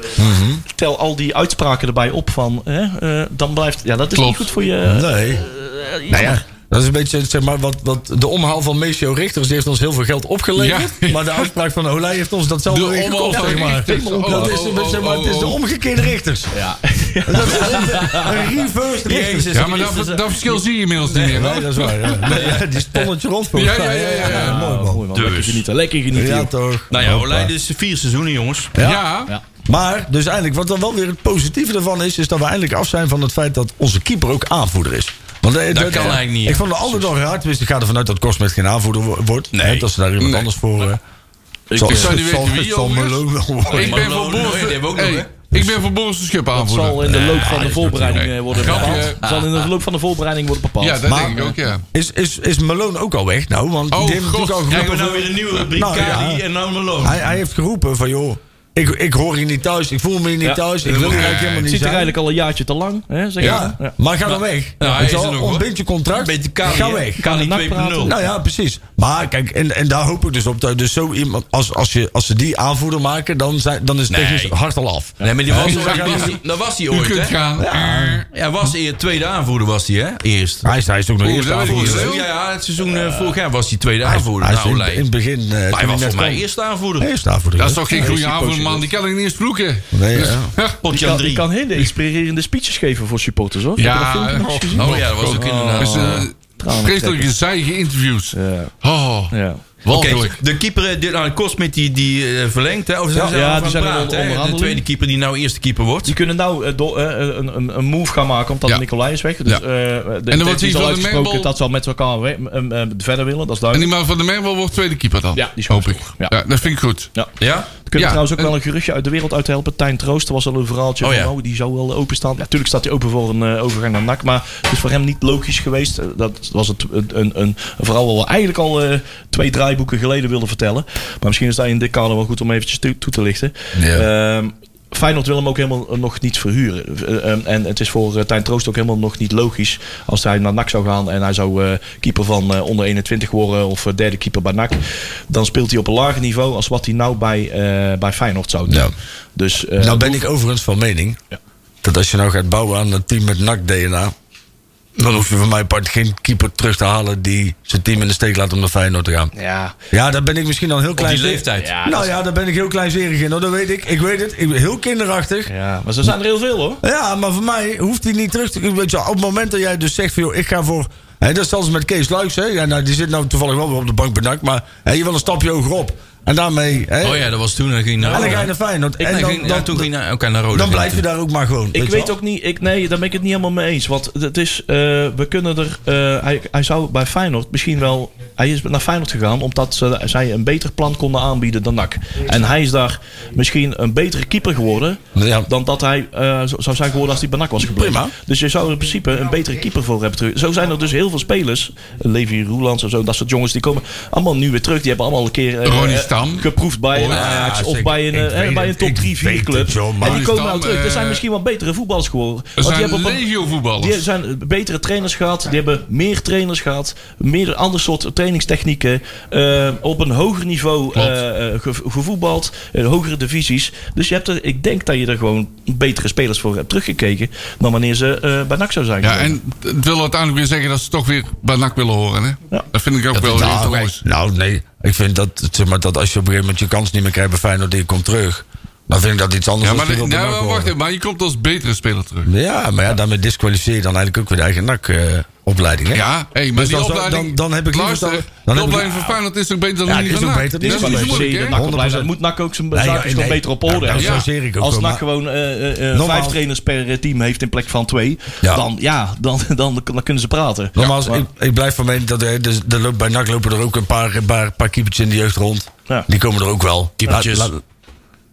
Speaker 6: Tel al die uitspraken erbij op van... Hè, eh, dan blijft... Ja, dat is
Speaker 3: Klopt.
Speaker 6: niet goed voor je...
Speaker 5: Nee.
Speaker 6: eh,
Speaker 5: Nou ja. Dat is een beetje zeg maar, wat, wat de omhaal van Meesio Richters die heeft ons heel veel geld opgeleverd.
Speaker 3: Ja.
Speaker 5: Maar de uitspraak van Olij heeft ons datzelfde
Speaker 3: De
Speaker 5: weer
Speaker 3: omhaal
Speaker 5: gekost.
Speaker 3: van
Speaker 5: Zeg maar.
Speaker 3: Richters. Oh,
Speaker 5: dat is,
Speaker 3: oh, oh,
Speaker 5: zeg maar, het is de
Speaker 3: oh, oh.
Speaker 5: omgekeerde Richters. Ja. Dat is een reverse Richters.
Speaker 2: Jezus
Speaker 3: Ja, maar
Speaker 2: Christus,
Speaker 3: dat, dat verschil zie je inmiddels niet meer.
Speaker 5: Nee,
Speaker 3: hoor.
Speaker 5: dat is waar. Ja. Nee, ja, die stonnetje rond voor
Speaker 3: Ja,
Speaker 5: elkaar.
Speaker 3: ja, ja, ja, ja.
Speaker 5: Mooi
Speaker 6: Oh,
Speaker 5: man.
Speaker 6: mooi man, lekker
Speaker 2: Dus.
Speaker 6: genieten. Lekker genieten.
Speaker 5: Ja,
Speaker 6: joh.
Speaker 5: toch.
Speaker 2: Nou ja, Olij, dit is vier seizoenen, jongens.
Speaker 3: Ja,
Speaker 5: Maar, dus eigenlijk, wat dan wel weer het positieve daarvan is, is dat we eindelijk af zijn van het feit dat onze keeper ook aanvoerder is. Want, eh,
Speaker 2: Dat kan eigenlijk niet,
Speaker 5: Ik
Speaker 2: hè?
Speaker 5: vond de altijd al raar. Dus ik ga ervan uit dat Korsmet geen aanvoerder wo- wordt.
Speaker 2: Nee.
Speaker 5: Hè, dat ze daar iemand
Speaker 3: Nee. Nou,
Speaker 5: anders voor. eh,
Speaker 3: Ik,
Speaker 5: zal-
Speaker 3: ik zou niet
Speaker 5: zal-
Speaker 3: weten wie,
Speaker 5: zal
Speaker 3: jongens.
Speaker 5: Malone worden.
Speaker 3: Ik ben voor
Speaker 2: Malone,
Speaker 3: Boris
Speaker 2: die
Speaker 3: de-
Speaker 2: hebben we ook
Speaker 3: hey,
Speaker 2: nog,
Speaker 3: Ik ben voor Boris de Schip
Speaker 6: Dat zal
Speaker 3: aanvoerder.
Speaker 6: in de loop van de voorbereiding eh, worden
Speaker 3: Grapje.
Speaker 6: bepaald. Zal in de loop van de voorbereiding worden bepaald.
Speaker 3: Ja, dat
Speaker 5: Maar-
Speaker 3: denk ik ook, ja.
Speaker 5: Is, is, is Malone ook al weg? Nou, want
Speaker 3: Oh,
Speaker 5: die heeft
Speaker 3: God.
Speaker 5: natuurlijk al
Speaker 2: Krijgen we
Speaker 5: geroepen.
Speaker 2: nou weer een nieuwe rubriek,
Speaker 5: Nou, ja.
Speaker 2: Kali en nou Malone.
Speaker 5: Hij, hij heeft geroepen van joh, ik, ik hoor hier niet thuis, ik voel me hier niet
Speaker 6: Ja.
Speaker 5: thuis, ik wil hier eigenlijk helemaal
Speaker 6: Het
Speaker 5: niet
Speaker 6: zit er
Speaker 5: zijn.
Speaker 6: eigenlijk al een jaartje te lang. Hè, zeg
Speaker 5: ja.
Speaker 6: maar. Ja.
Speaker 5: maar ga dan weg.
Speaker 2: nou, hij
Speaker 5: Weet je
Speaker 2: is
Speaker 5: wel,
Speaker 2: er nog, hoor.
Speaker 5: ontbind je contract,
Speaker 2: Beetje Kali,
Speaker 5: ga
Speaker 2: hè?
Speaker 5: weg.
Speaker 2: Kali
Speaker 6: Gaan we nak
Speaker 2: 2.0.
Speaker 6: praten?
Speaker 5: Nou ja, precies. Maar kijk, en, en daar hoop ik dus op dat dus zo iemand, als, als, je, als ze die aanvoerder maken, dan, zijn, dan is het
Speaker 2: Nee.
Speaker 5: technisch hard al af.
Speaker 2: Nee, maar die was,
Speaker 5: Ja.
Speaker 2: die was- die- dat was hij
Speaker 3: U
Speaker 2: ooit,
Speaker 3: kunt
Speaker 2: hè?
Speaker 3: gaan.
Speaker 2: Ja, was eer tweede aanvoerder was hij, hè? Eerst.
Speaker 5: Hij is, hij is ook nog
Speaker 3: Oeh,
Speaker 5: eerste
Speaker 3: dat weet ik
Speaker 5: aanvoerder.
Speaker 3: niet.
Speaker 5: Hij
Speaker 2: Ja, ja, het seizoen eh, vorig jaar was hij tweede
Speaker 5: is-
Speaker 2: aanvoerder.
Speaker 5: hij is
Speaker 2: nou,
Speaker 5: in,
Speaker 2: Olij.
Speaker 5: in het begin... eh, toen
Speaker 2: Hij was
Speaker 5: net
Speaker 2: voor mij
Speaker 5: kwam,
Speaker 2: eerste aanvoerder.
Speaker 5: eerste aanvoerder.
Speaker 3: Dat is
Speaker 5: ja.
Speaker 3: toch geen goede aanvoerder, man. Die kan ik niet eens vloeken. Dus-
Speaker 5: Nee, ja.
Speaker 2: Potjan
Speaker 6: Kan, die
Speaker 2: 3.
Speaker 6: kan hele inspirerende speeches geven voor supporters hoor. Heb je dat filmpje nog eens gezien?
Speaker 2: Oh ja, dat was ook inderdaad.
Speaker 3: Dus, eh, Vreselijke zijge interviews. Oh,
Speaker 6: Ja.
Speaker 2: Oké,
Speaker 3: walgelijk.
Speaker 2: de keeper, eh, dit, nou, Kosmit, die, die eh verlengt, hè? Of ze
Speaker 6: Ja,
Speaker 2: zijn
Speaker 6: ja,
Speaker 2: ja,
Speaker 6: die
Speaker 2: aan het
Speaker 6: zijn er
Speaker 2: praten,
Speaker 6: onder-
Speaker 2: hè? De
Speaker 6: onderhandeling.
Speaker 2: tweede keeper die nou eerste keeper wordt.
Speaker 6: Die kunnen nou eh, do- eh, een, een, een move gaan maken omdat
Speaker 3: Ja.
Speaker 6: Nicolai is weg. Dus,
Speaker 3: Ja.
Speaker 6: eh, de
Speaker 3: wordt hij
Speaker 6: intentie is al
Speaker 3: van de
Speaker 6: uitgesproken
Speaker 3: Mengbel-
Speaker 6: dat ze al met elkaar we- em, em, verder willen. Dat is
Speaker 3: En die
Speaker 6: duidelijk.
Speaker 3: man van de Merwel wordt tweede keeper dan.
Speaker 6: Ja, die is
Speaker 3: hoop
Speaker 6: goed.
Speaker 3: ik. Ja.
Speaker 6: Ja.
Speaker 3: dat vind ik goed.
Speaker 6: Ja.
Speaker 2: Ja?
Speaker 6: We kunnen
Speaker 3: Ja,
Speaker 6: trouwens ook
Speaker 3: en-
Speaker 6: wel een geruchtje uit de wereld uit helpen. Tijn Troost er was al een verhaaltje
Speaker 2: Oh
Speaker 6: van
Speaker 2: ja.
Speaker 6: oh, die zou wel openstaan. Natuurlijk staat hij open voor een eh, overgang naar NAC. Maar het is voor hem niet logisch geweest. Eh, Dat was het, een, een, een verhaal wat we eigenlijk al eh, twee draaiboeken geleden wilden vertellen. Maar misschien is dat in dit kader wel goed om eventjes toe, toe te lichten.
Speaker 5: Ja.
Speaker 6: Ehm, Feyenoord wil hem ook helemaal nog niet verhuren. Eh, eh, en het is voor eh, Tijn Troost ook helemaal nog niet logisch als hij naar NAC zou gaan en hij zou eh, keeper van eh, onder 21 worden of eh, derde keeper bij NAC. Dan speelt hij op een lager niveau als wat hij nou bij, eh, bij Feyenoord zou doen.
Speaker 5: Ja.
Speaker 6: Dus, eh,
Speaker 5: nou ben ik overigens van mening
Speaker 6: Ja.
Speaker 5: dat als je nou gaat bouwen aan een team met NAC-DNA... dan hoef je van mijn part geen keeper terug te halen... die zijn team in de steek laat om naar Feyenoord te gaan.
Speaker 6: ja,
Speaker 5: Ja, daar ben ik misschien al heel klein...
Speaker 2: die
Speaker 5: zeer-
Speaker 2: leeftijd. Ja,
Speaker 5: nou ja, daar ben ik heel kleinzerig in. hoor, Dat weet ik. Ik weet het. Ik ben heel kinderachtig.
Speaker 6: ja, maar ze zijn er heel veel hoor.
Speaker 5: Ja, maar voor mij hoeft hij niet terug te... Weet je, wel, op het moment dat jij dus zegt van... Joh, ik ga voor... Hè, dat is zelfs met Kees Luiks. Hè, ja, nou, die zit nou toevallig wel weer op de bank bedankt. Maar hè, je wil een stapje hogerop. En daarmee... Hè,
Speaker 2: Oh ja, dat was toen. Dan ging je
Speaker 5: En
Speaker 2: naar
Speaker 5: dan ga je
Speaker 2: Roda.
Speaker 5: naar Feyenoord.
Speaker 2: Ik
Speaker 5: en
Speaker 2: nee,
Speaker 5: dan,
Speaker 2: ging,
Speaker 5: dan,
Speaker 2: ja, toen ging je naar, oké, naar
Speaker 3: Oh,
Speaker 2: Roda.
Speaker 5: dan
Speaker 2: ging
Speaker 5: blijf je
Speaker 2: ik
Speaker 5: daar ook maar gewoon.
Speaker 6: Ik
Speaker 5: je
Speaker 6: weet
Speaker 5: wel.
Speaker 6: ook niet, ik, nee, daar ben ik het niet helemaal mee eens. Want het is, eh, we kunnen er, eh, hij, hij zou bij Feyenoord misschien wel, hij is naar Feyenoord gegaan omdat ze, zij een beter plan konden aanbieden dan NAC. En hij is daar misschien een betere keeper geworden
Speaker 5: Ja.
Speaker 6: dan dat hij eh, zo- zou zijn geworden als hij bij NAC was gebleven.
Speaker 5: Prima.
Speaker 6: Dus je zou er in principe een betere keeper voor hebben terug. Zo zijn er dus heel veel spelers, Levi Roelands en zo, dat soort jongens, die komen allemaal nu weer terug. Die hebben allemaal een keer eh,
Speaker 3: Ronnie
Speaker 6: eh,
Speaker 3: Stam.
Speaker 6: geproefd bij een
Speaker 3: Oh, ja,
Speaker 6: Ajax of
Speaker 5: zeker.
Speaker 6: bij een,
Speaker 5: Ik
Speaker 6: eh,
Speaker 5: weet
Speaker 6: bij een
Speaker 5: het,
Speaker 6: top
Speaker 5: ik
Speaker 6: 3, 4
Speaker 5: weet
Speaker 6: club.
Speaker 5: het, joh,
Speaker 6: en die
Speaker 3: Ronnie
Speaker 6: komen nou
Speaker 3: Stam,
Speaker 6: terug. Er zijn
Speaker 3: eh,
Speaker 6: misschien wel betere voetballers geworden.
Speaker 3: Er
Speaker 6: Want die
Speaker 3: zijn
Speaker 6: hebben op een- die
Speaker 3: legio-voetballers.
Speaker 6: zijn betere trainers gehad, die hebben meer trainers gehad, meer ander soort trainingstechnieken, eh, op een hoger niveau
Speaker 3: Klopt.
Speaker 6: eh, eh, ge- gevoetbald, eh, hogere divisies. Dus je hebt er, ik denk dat je er gewoon betere spelers voor hebt teruggekeken dan wanneer ze eh, bij NAC zou zijn.
Speaker 3: Ja,
Speaker 6: geweest.
Speaker 3: en het wil uiteindelijk weer zeggen dat ze toch weer bij NAC willen horen. Hè? Oh, Dat vind ik ook wel heel
Speaker 5: Nou,
Speaker 3: logisch.
Speaker 5: nou, nee. Ik vind dat, zeg maar, dat als je op een gegeven moment je kans niet meer krijgt bij Feyenoord... en je komt terug, dan vind ik dat iets anders
Speaker 3: Ja,
Speaker 5: dan
Speaker 3: maar,
Speaker 5: als je
Speaker 3: nou,
Speaker 5: op de bank
Speaker 3: wacht
Speaker 5: hoort.
Speaker 3: even, maar je komt als betere speler terug.
Speaker 5: Ja, maar ja, daarmee disqualificeer je dan eigenlijk ook weer de eigen eh, NAC-opleiding.
Speaker 3: Ja, hey, maar
Speaker 5: Dus
Speaker 3: die
Speaker 5: dan zou-
Speaker 3: opleiding...
Speaker 5: dan- dan heb ik liever
Speaker 3: luister,
Speaker 5: dat- dan
Speaker 3: de
Speaker 5: heb ik-
Speaker 3: opleiding van Feyenoord is toch beter dan
Speaker 5: Ja,
Speaker 3: die
Speaker 5: die is
Speaker 3: van
Speaker 5: ook
Speaker 3: NAC?
Speaker 5: beter, die
Speaker 3: Dat
Speaker 5: is
Speaker 3: is
Speaker 5: wel
Speaker 3: niet
Speaker 5: beter.
Speaker 3: zo moeilijk,
Speaker 6: Zie je,
Speaker 3: hè?
Speaker 6: de NAC opleiding,
Speaker 5: 100%.
Speaker 6: moet NAC ook zijn
Speaker 5: Nee,
Speaker 6: zaakjes
Speaker 5: nee.
Speaker 6: gewoon beter op orde
Speaker 5: Ja,
Speaker 6: hebben.
Speaker 5: nou, zo zeer ik ook
Speaker 6: Als
Speaker 5: wel,
Speaker 6: NAC
Speaker 5: maar-
Speaker 6: gewoon eh, eh, eh,
Speaker 5: Normaal-
Speaker 6: vijf trainers per team heeft in plek van twee,
Speaker 5: Ja.
Speaker 6: Dan, ja, dan, dan, dan kunnen ze praten.
Speaker 5: Nogmaals,
Speaker 6: Ja, maar-
Speaker 5: ik, ik blijf van mening dat er, dus, er loopt, bij NAC lopen er ook een paar, een paar, paar keepertjes in de jeugd rond.
Speaker 6: Ja.
Speaker 5: Die komen er ook wel.
Speaker 2: Keepertjes.
Speaker 5: Laat- laat-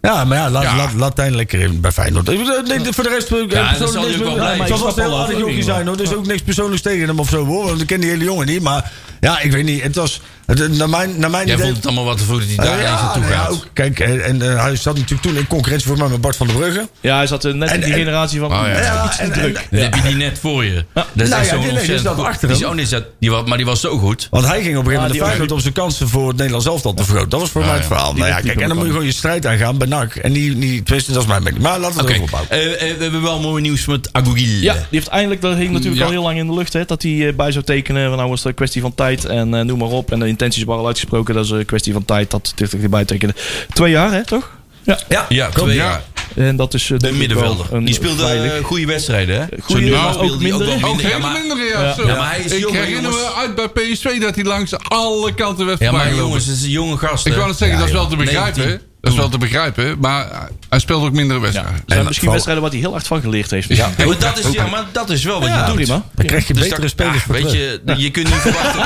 Speaker 5: ja, maar ja, laat,
Speaker 3: Ja.
Speaker 5: Laat, laat Tijn lekker in bij Feyenoord. Ik bedoel, nee, Voor de rest... eh, persoonlijk
Speaker 2: zal hij ook
Speaker 5: niks
Speaker 2: wel
Speaker 5: meer-
Speaker 2: blijven.
Speaker 5: Het zal vast een heel
Speaker 6: Stappen
Speaker 5: aardig
Speaker 6: wel
Speaker 5: jonkie zijn, hoor. Dus ook niks persoonlijks tegen hem of zo, hoor. Want ik ken die hele jongen niet, maar... Ja, ik weet niet. Het was... Het, naar mijn, naar mijn
Speaker 2: Jij
Speaker 5: idee...
Speaker 2: vond het allemaal wat te vroeg dat hij daar
Speaker 5: Ja,
Speaker 2: ineens naartoe
Speaker 5: nou ja,
Speaker 2: gaat.
Speaker 5: ook- kijk, eh, en eh, hij zat natuurlijk toen in concurrentie voor mij met Bart van der Brugge.
Speaker 6: ja, hij zat eh, net
Speaker 5: En-
Speaker 6: in die
Speaker 5: en-
Speaker 6: generatie van...
Speaker 3: ja.
Speaker 6: "Oeh,
Speaker 5: Ja,
Speaker 6: iets te
Speaker 5: en- en-
Speaker 6: druk.
Speaker 2: Dat heb je die net voor je. Dat is
Speaker 5: Nou
Speaker 2: echt
Speaker 5: ja,
Speaker 2: zo'n
Speaker 5: die- nee, die
Speaker 2: ontzettend
Speaker 5: zat
Speaker 2: goed-
Speaker 5: achter
Speaker 2: die
Speaker 5: hem.
Speaker 2: oh, nee, zat- die wa- Maar die was zo goed.
Speaker 5: Want hij ging op een gegeven moment
Speaker 6: die
Speaker 5: de Feyenoord op zijn kansen voor het Nederlands elftal te vergroten. Dat was voor mij het verhaal. Nou ja, kijk, en dan moet je gewoon je strijd aangaan bij NAC. En die, die, tenminste, dat is mijn mening. Maar laten we
Speaker 2: Oké,
Speaker 5: het opbouwen.
Speaker 2: eh, eh, we hebben wel mooi nieuws met Agugil.
Speaker 6: Ja, die heeft eindelijk, dat hing natuurlijk
Speaker 3: Ja.
Speaker 6: al heel lang in de lucht, hè, dat hij eh, bij zou tekenen. Want nou was het een kwestie van tijd en eh, noem maar op. En de intenties waren al uitgesproken, dat is een kwestie van tijd dat dit erbij tekenen. Twee jaar, hè, toch? Ja.
Speaker 2: Ja, twee jaar.
Speaker 6: En dat is eh,
Speaker 2: De
Speaker 6: denk ik wel
Speaker 2: middenvelder.
Speaker 6: een
Speaker 2: Die speelde
Speaker 6: veilig-
Speaker 2: eh, goede wedstrijden, hè?
Speaker 6: Goede,
Speaker 2: Zo nu
Speaker 6: maar
Speaker 2: speelde
Speaker 6: ook
Speaker 2: hij wel
Speaker 6: mindere.
Speaker 3: Ook
Speaker 2: minder, ja,
Speaker 3: hele
Speaker 2: maar-
Speaker 3: minder, ja.
Speaker 6: Ja.
Speaker 3: zo.
Speaker 2: Ja, maar hij is
Speaker 3: ik
Speaker 2: jong,
Speaker 3: herinner me
Speaker 2: jongens.
Speaker 3: uit bij PSV dat hij langs alle kanten werd
Speaker 2: Ja, maar
Speaker 3: voorbijgelopen.
Speaker 2: jongens, het is een jonge gast.
Speaker 3: Ik
Speaker 2: hè?
Speaker 3: wou het zeggen,
Speaker 2: Ja,
Speaker 3: dat is wel te
Speaker 2: joh.
Speaker 3: begrijpen.
Speaker 2: 19.
Speaker 3: Dat is wel te begrijpen, maar hij speelt ook mindere wedstrijden.
Speaker 6: Er zijn
Speaker 5: En
Speaker 6: misschien
Speaker 5: val-
Speaker 6: wedstrijden waar hij heel hard van geleerd heeft.
Speaker 3: Ja.
Speaker 2: Maar dat is, ja, maar dat is wel wat je
Speaker 6: Ja,
Speaker 2: doet.
Speaker 6: prima.
Speaker 5: Dan krijg je
Speaker 2: Dus
Speaker 5: betere
Speaker 2: dat-
Speaker 5: spelers
Speaker 2: ah,
Speaker 5: voor
Speaker 2: Weet
Speaker 5: terug.
Speaker 2: je, je kunt niet verwachten.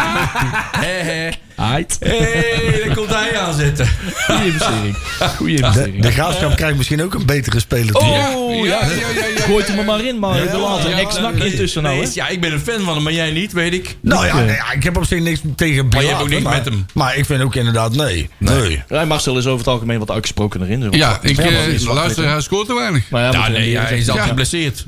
Speaker 2: Hé, hé.
Speaker 6: Aight.
Speaker 2: Hé, daar komt hij aan zitten.
Speaker 6: Goede investering. Goede
Speaker 5: De,
Speaker 6: investering.
Speaker 5: de Graafschap krijgt misschien ook een betere speler.
Speaker 6: Oh,
Speaker 5: terug.
Speaker 6: ja,
Speaker 3: ja, ja, ja, ja, ja.
Speaker 6: Gooit hem er maar in, maar de later.
Speaker 2: Ja,
Speaker 6: Ex-nak
Speaker 2: nee,
Speaker 6: intussen nou,
Speaker 2: nee,
Speaker 6: hè?
Speaker 2: is- Ja, ik ben een fan van hem, maar jij niet, weet ik.
Speaker 5: Nou ja, nee, ja, ik heb op zich niks tegen
Speaker 2: je hebt
Speaker 5: Bilater,
Speaker 2: ook niks
Speaker 5: maar-
Speaker 2: met hem.
Speaker 5: Maar ik vind ook inderdaad, nee. Nee.
Speaker 6: Ja, Marcel is over het algemeen wat uitgesproken erin. zeg maar.
Speaker 3: Ja, ik
Speaker 6: maar die
Speaker 3: eh,
Speaker 6: is zwart,
Speaker 3: luister,
Speaker 6: weet je.
Speaker 3: hij scoort te weinig.
Speaker 6: Maar ja,
Speaker 2: Ja,
Speaker 6: moeten we
Speaker 2: nee,
Speaker 6: niet-
Speaker 2: ja, hij is altijd geblesseerd.